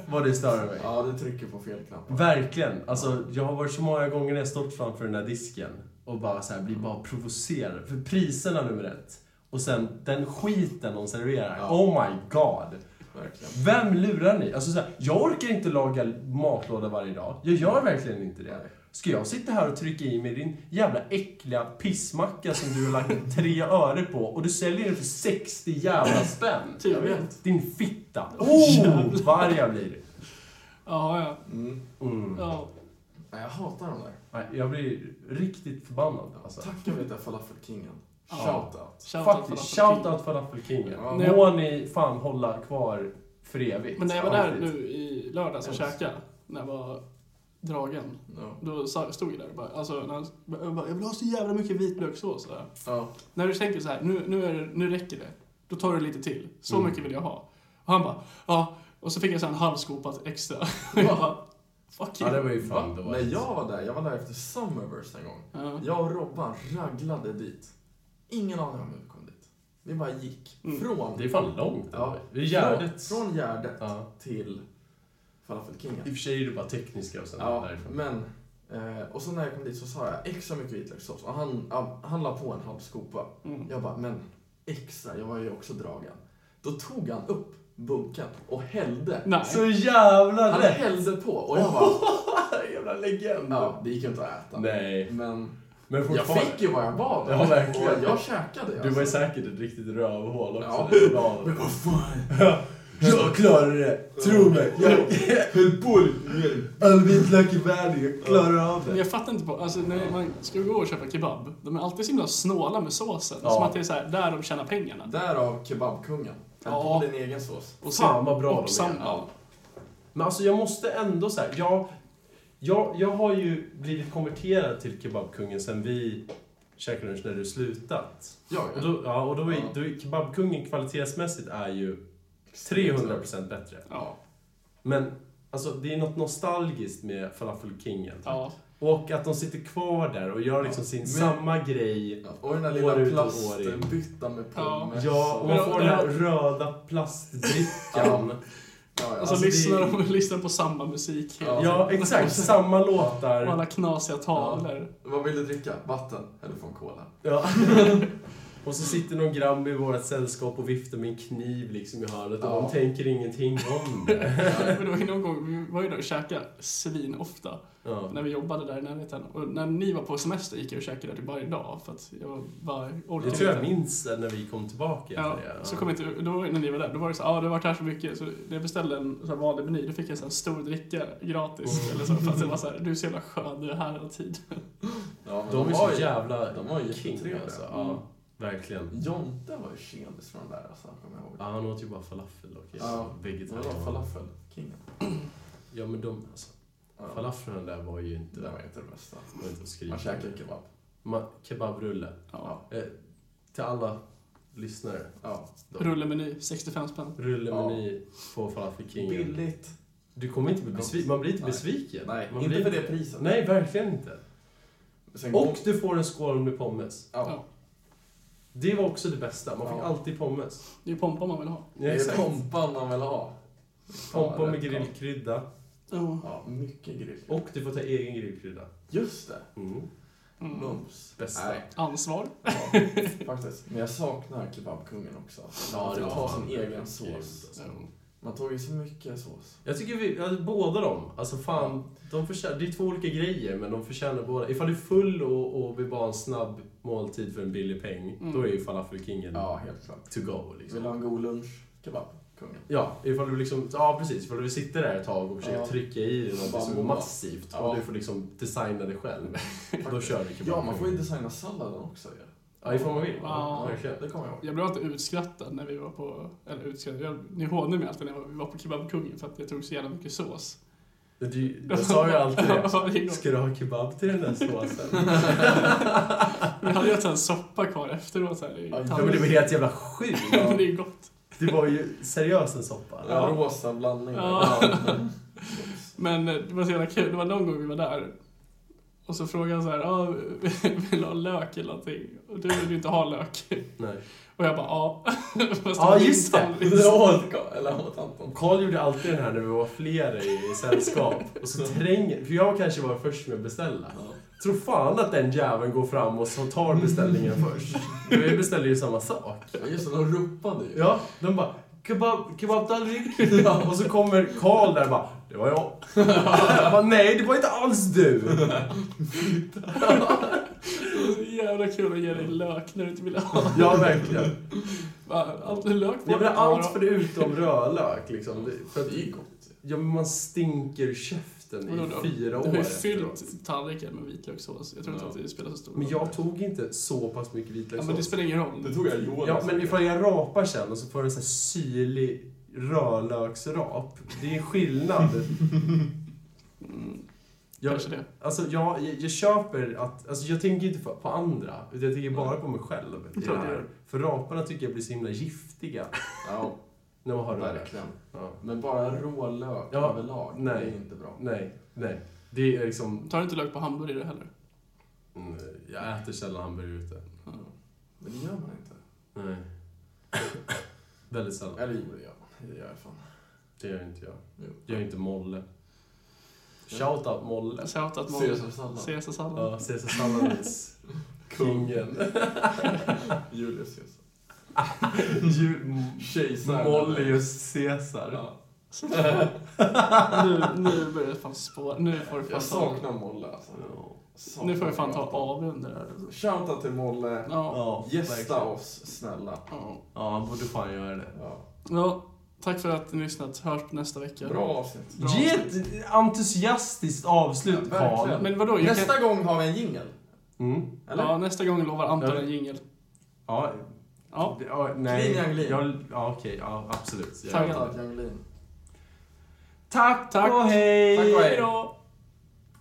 vad det stör mig.
Ja, du trycker på fel knappar.
Verkligen. Alltså, jag har varit så många gånger när jag stått framför den här disken och bara så här, blir bara provocerad. För priserna nummer ett. Och sen den skiten de serverar.
Ja.
Oh my god.
Verkligen.
Vem lurar ni? Alltså, så här, jag orkar inte laga matlåda varje dag. Jag gör verkligen inte det. Ska jag sitta här och trycka i mig din jävla äckliga pissmacka som du har lagt tre öre på och du säljer den för 60 jävla spänn?
Jag vet.
Din fitta. Oh,
jävlar.
vad arg jag blir.
Ja, ja.
Mm.
Mm.
ja.
Nej, jag hatar de där.
Nej, Jag blir riktigt förbannad alltså.
Tackar vi till Falafelkingen.
Ja.
Shoutout.
Shoutout
Faktiskt,
för alla partier.
shoutout Falafelkingen.
Ja.
Må ni fan hålla kvar för evigt.
Men när jag var där
Alltid.
nu i lördags och
Yes.
käkade, när jag var dragen,
Ja.
då sa- stod jag där och bara, alltså, när han, jag bara, jag vill ha så jävla mycket vitlökssås. Så här.
Ja.
När du tänker så här, nu, nu, är, det- nu räcker det, då tar du lite till. Så
Mm.
mycket vill jag ha. Och han bara, ja. Och så fick jag så här en halv skopa extra. Och jag bara, fuck
Ja,
you.
det var ju fan
Va?
dåligt.
När jag var där, jag var där efter Summerburst en gång.
Ja.
Jag och Robban raglade dit. Ingen aning om hur vi kom dit. Vi bara gick.
Mm.
Från...
Det är fan långt.
Ja.
Det är Gärdet.
Från, från Gärdet
Ja.
till
I och
Falafelkingen.
för sig är det bara tekniska och sen
Ja,
därifrån.
men... Eh, och så när jag kom dit så sa jag extra mycket vitlökssås. Och han, ja, han la på en halv skopa.
Mm.
Jag bara, men extra, jag var ju också dragen. Då tog han upp bunken och hällde.
Nej.
Så jävla
Han
rätt!
hällde på och jag bara,
jävla legend!
ja, det gick ju inte att äta.
Nej.
Men
Men
jag
fortfarande.
fick ju vad jag bad om.
Ja, verkligen.
Och jag käkade ju.
Du var ju
alltså.
säkert ett riktigt rövhål också.
Ja.
Ja.
Men vad fan.
Jag klarar det! Tro mig! Jag höll på
mer.
All vitlök i världen, jag klarar av
Men
det.
jag fattar inte på, alltså när man ska gå och köpa kebab, de är alltid så himla snåla med såsen.
Ja.
Som att det är så här, där de tjänar pengarna.
Därav kebabkungen. Häll
Ja.
på din egen sås.
Och
Fan, vad bra de är.
och sambal.
Ja.
Men alltså jag måste ändå så här, jag, jag, jag har ju blivit konverterad till kebabkungen sen vi käkade lunch när du slutat.
Ja,
Och
ja.
då, ja, och då är,
Ja.
då är kebabkungen kvalitetsmässigt är ju 300% bättre.
Ja.
Men alltså, det är något nostalgiskt med falafelkingen.
Ja. Alltså,
Och att de sitter kvar där och gör liksom sin
Men-
samma grej.
Ja, Och den där
År
lilla
ut och år in.
plastbyttan med
Ja.
pommes.
Ja, och
Men-
man får den här röda plastbrickan.
ja, ja.
Alltså,
Alltså, det-
lyssnar, de, lyssnar på samma musik hela
Ja.
Ja, exakt. Samma
Och
låtar.
alla knasiga tavlor.
Vad vill du dricka? Vatten? Eller från cola?
Ja. Och så sitter någon grabb i vårt sällskap och viftar med en kniv liksom i hörnet och
Ja.
de tänker ingenting om det.
Men det var ju någon gång, vi var ju där och käkade svinofta.
Ja.
När vi jobbade där i närheten. Och när ni var på semester gick jag och käkade där typ varje dag. För att jag bara orkade
Det tror jag minns när vi kom tillbaka
Ja,
efter det.
så kom jag till, då var det när ni var där, då var det så ja ah, det har varit här så mycket, så när jag beställde en så här vanlig meny, då fick jag så här stor dricka gratis. Eller så, för att det var så här, du är så jävla skön, du är här hela tiden.
Ja, men
De är
var
så
ju-
jävla
de var ju
king
jättetrevliga. Mm.
alltså. Ja, verkligen.
Jonte var ju tjenis från där alltså, kommer jag ihåg.
Ja, han åt ju bara falafel och
Ja,
vegetarian.
Det var falafelkingen.
Ja, men de alltså.
Ja.
Falafeln där var ju inte...
Det där var inte det bästa.
var inte att skriva.
Man käkar kebab.
Ma- kebabrulle.
Ja.
Eh, till alla lyssnare.
Ja.
då.
Rullemeny, 65 spänn.
Rullemeny på falafelkingen.
Billigt.
Du kommer inte bli besviken. Man blir inte
Nej.
besviken.
Nej,
Man
inte
blir...
för det priset.
Nej, verkligen inte.
Sen
Och du får en skål med pommes.
Ja.
Det var också det bästa. Man fick
Ja.
alltid pommes.
Det är ju pompa man vill ha.
Ja,
Det är
exakt.
pompan man vill ha.
Pompa med
Ja, det-
grillkrydda.
Ja.
Ja, mycket grill. grillkrydda.
Och du får ta egen grillkrydda.
Just det.
Mm.
Mm.
Mums.
Bästa.
Nej,
Ansvar.
ja, faktiskt. Men jag saknar kebabkungen också.
Ja, det
Man
var
tar sin
fan
egen
grymt,
sås.
alltså.
Man tog ju så mycket sås.
Jag tycker vi, ja, båda dem, alltså fan, de förtjänar, det är två olika grejer men de förtjänar båda. Ifall du är full och, och vill bara ha en snabb måltid för en billig peng,
Mm.
då är ju falafelkingen
Ja, helt klart.
to go
Vill du
liksom.
ha en god lunch? Kebabkungen.
Ja, ifall du liksom, ja precis, ifall du vill sitta där ett tag och försöka
Ja.
trycka i dig något
Bara
som är
må.
massivt och
Ja.
du får liksom designa det själv, då kör du
Ja, man får ju
inte...
designa salladen också ju.
Ja, ifall man vill.
Ja.
verkligen.
det kommer jag ihåg.
Jag blev alltid utskrattad när vi var på, eller utskrattad, jag, ni hånade mig alltid när jag var- vi var på Kebabkungen för att jag tog så jävla mycket sås.
Du, jag sa ju alltid
Ja, det är
det.
gott.
Ska du ha kebab till den där såsen?
Vi hade ju en sån här soppa kvar efteråt så här i
Ja, men
Ja, men det var helt jävla sjukt.
Men det är gott.
Det var ju seriöst en soppa.
Ja. Rosa blandning.
Ja.
Ja.
Men eh, det var så jävla kul, det var någon gång vi var där och så frågade han så här, ah, vill du ha lök eller någonting? Och du vill ju inte ha lök.
Nej.
Och jag bara, ja. Fast
Ja,
var min
just det.
tallrik.
Åt- Eller åt Anton.
Karl gjorde alltid den här när vi var flera i sällskap. Och så tränger... För jag kanske var först med att beställa. Tror fan att den jäveln går fram och så tar beställningen först. Vi beställer ju samma sak.
Ja, Just det, de ropade ju.
Ja, de bara kebab, kebabtallrik. Och så kommer Karl där och bara det var jag. jag bara, Nej, det var inte alls du.
Det var så jävla kul att ge dig lök när du inte ville ha.
Ja, verkligen.
Va, Allt är lök på.
Jag menar
Ja,
allt
då.
förutom rödlök liksom. Det- För att,
Det är ju gott. ju.
ja, men man stinker ur käften
Vadå
i
då?
fyra år
Du har ju
efteråt.
fyllt tallriken med vitlökssås. Jag tror inte
Ja.
att det spelar så stor
Men jag tog inte så pass
Ja,
mycket
men det
vitlökssås.
spelar ingen roll.
Det tog jag Johan.
Ja, men ifall jag rapar sen och så får jag en sån här syrlig rödlöksrap. Det är skillnad.
Mm,
Jag,
Kanske det.
alltså, jag, jag, jag köper att... Alltså, jag tänker inte på, på andra, utan jag tänker bara på mig själv. I
Jag tror
det
det
här.
gör.
För raparna tycker jag blir så himla giftiga
Ja,
när man har rödlök.
verkligen.
Ja.
Men bara rå lök
Ja,
överlag,
nej.
det är inte bra.
Nej, nej. Det är liksom...
Tar du inte lök på hamburgare heller?
Mm, Jag äter sällan hamburgare ute.
Men det gör man inte.
Nej. Väldigt sällan.
Eller jo, det gör man. Det gör jag fan.
Det gör inte jag.
Jo.
Jag är inte Molle. Shoutout Molle.
Shoutout Molle.
Caesarsallad.
Caesarsallad.
Ja, Cesar Sallanis. Kungen.
Julius Caesar.
Ju-
Kejsaren.
Mollius Caesar.
Ja.
Nu, nu börjar det fan spåra. Nu får du
Jag
fan ta...
saknar Molle alltså. Saknar
Nu får du fan ta
Anton.
av under det här.
Shoutout till Molle.
Ja.
Gästa
verkligen.
oss, snälla.
Ja.
Ja, han borde fan göra det.
Ja.
ja. Tack för att ni lyssnat. Hörs nästa vecka.
Bra avsnitt.
Bra
Ge ett entusiastiskt avslut,
Ja, verkligen.
Karl.
Men vadå? Jag
Nästa gång har vi en jingel.
Mm.
Kan... Ja, nästa gång lovar Anton en jingel.
Ja.
Ja.
det- ja, nej.
Clean Young
Jag, ja, okej. Ja, absolut. Jag-
Tack.
Tack, Angelin.
Tack,
Tack.
och hej!
Tack och hej.
då!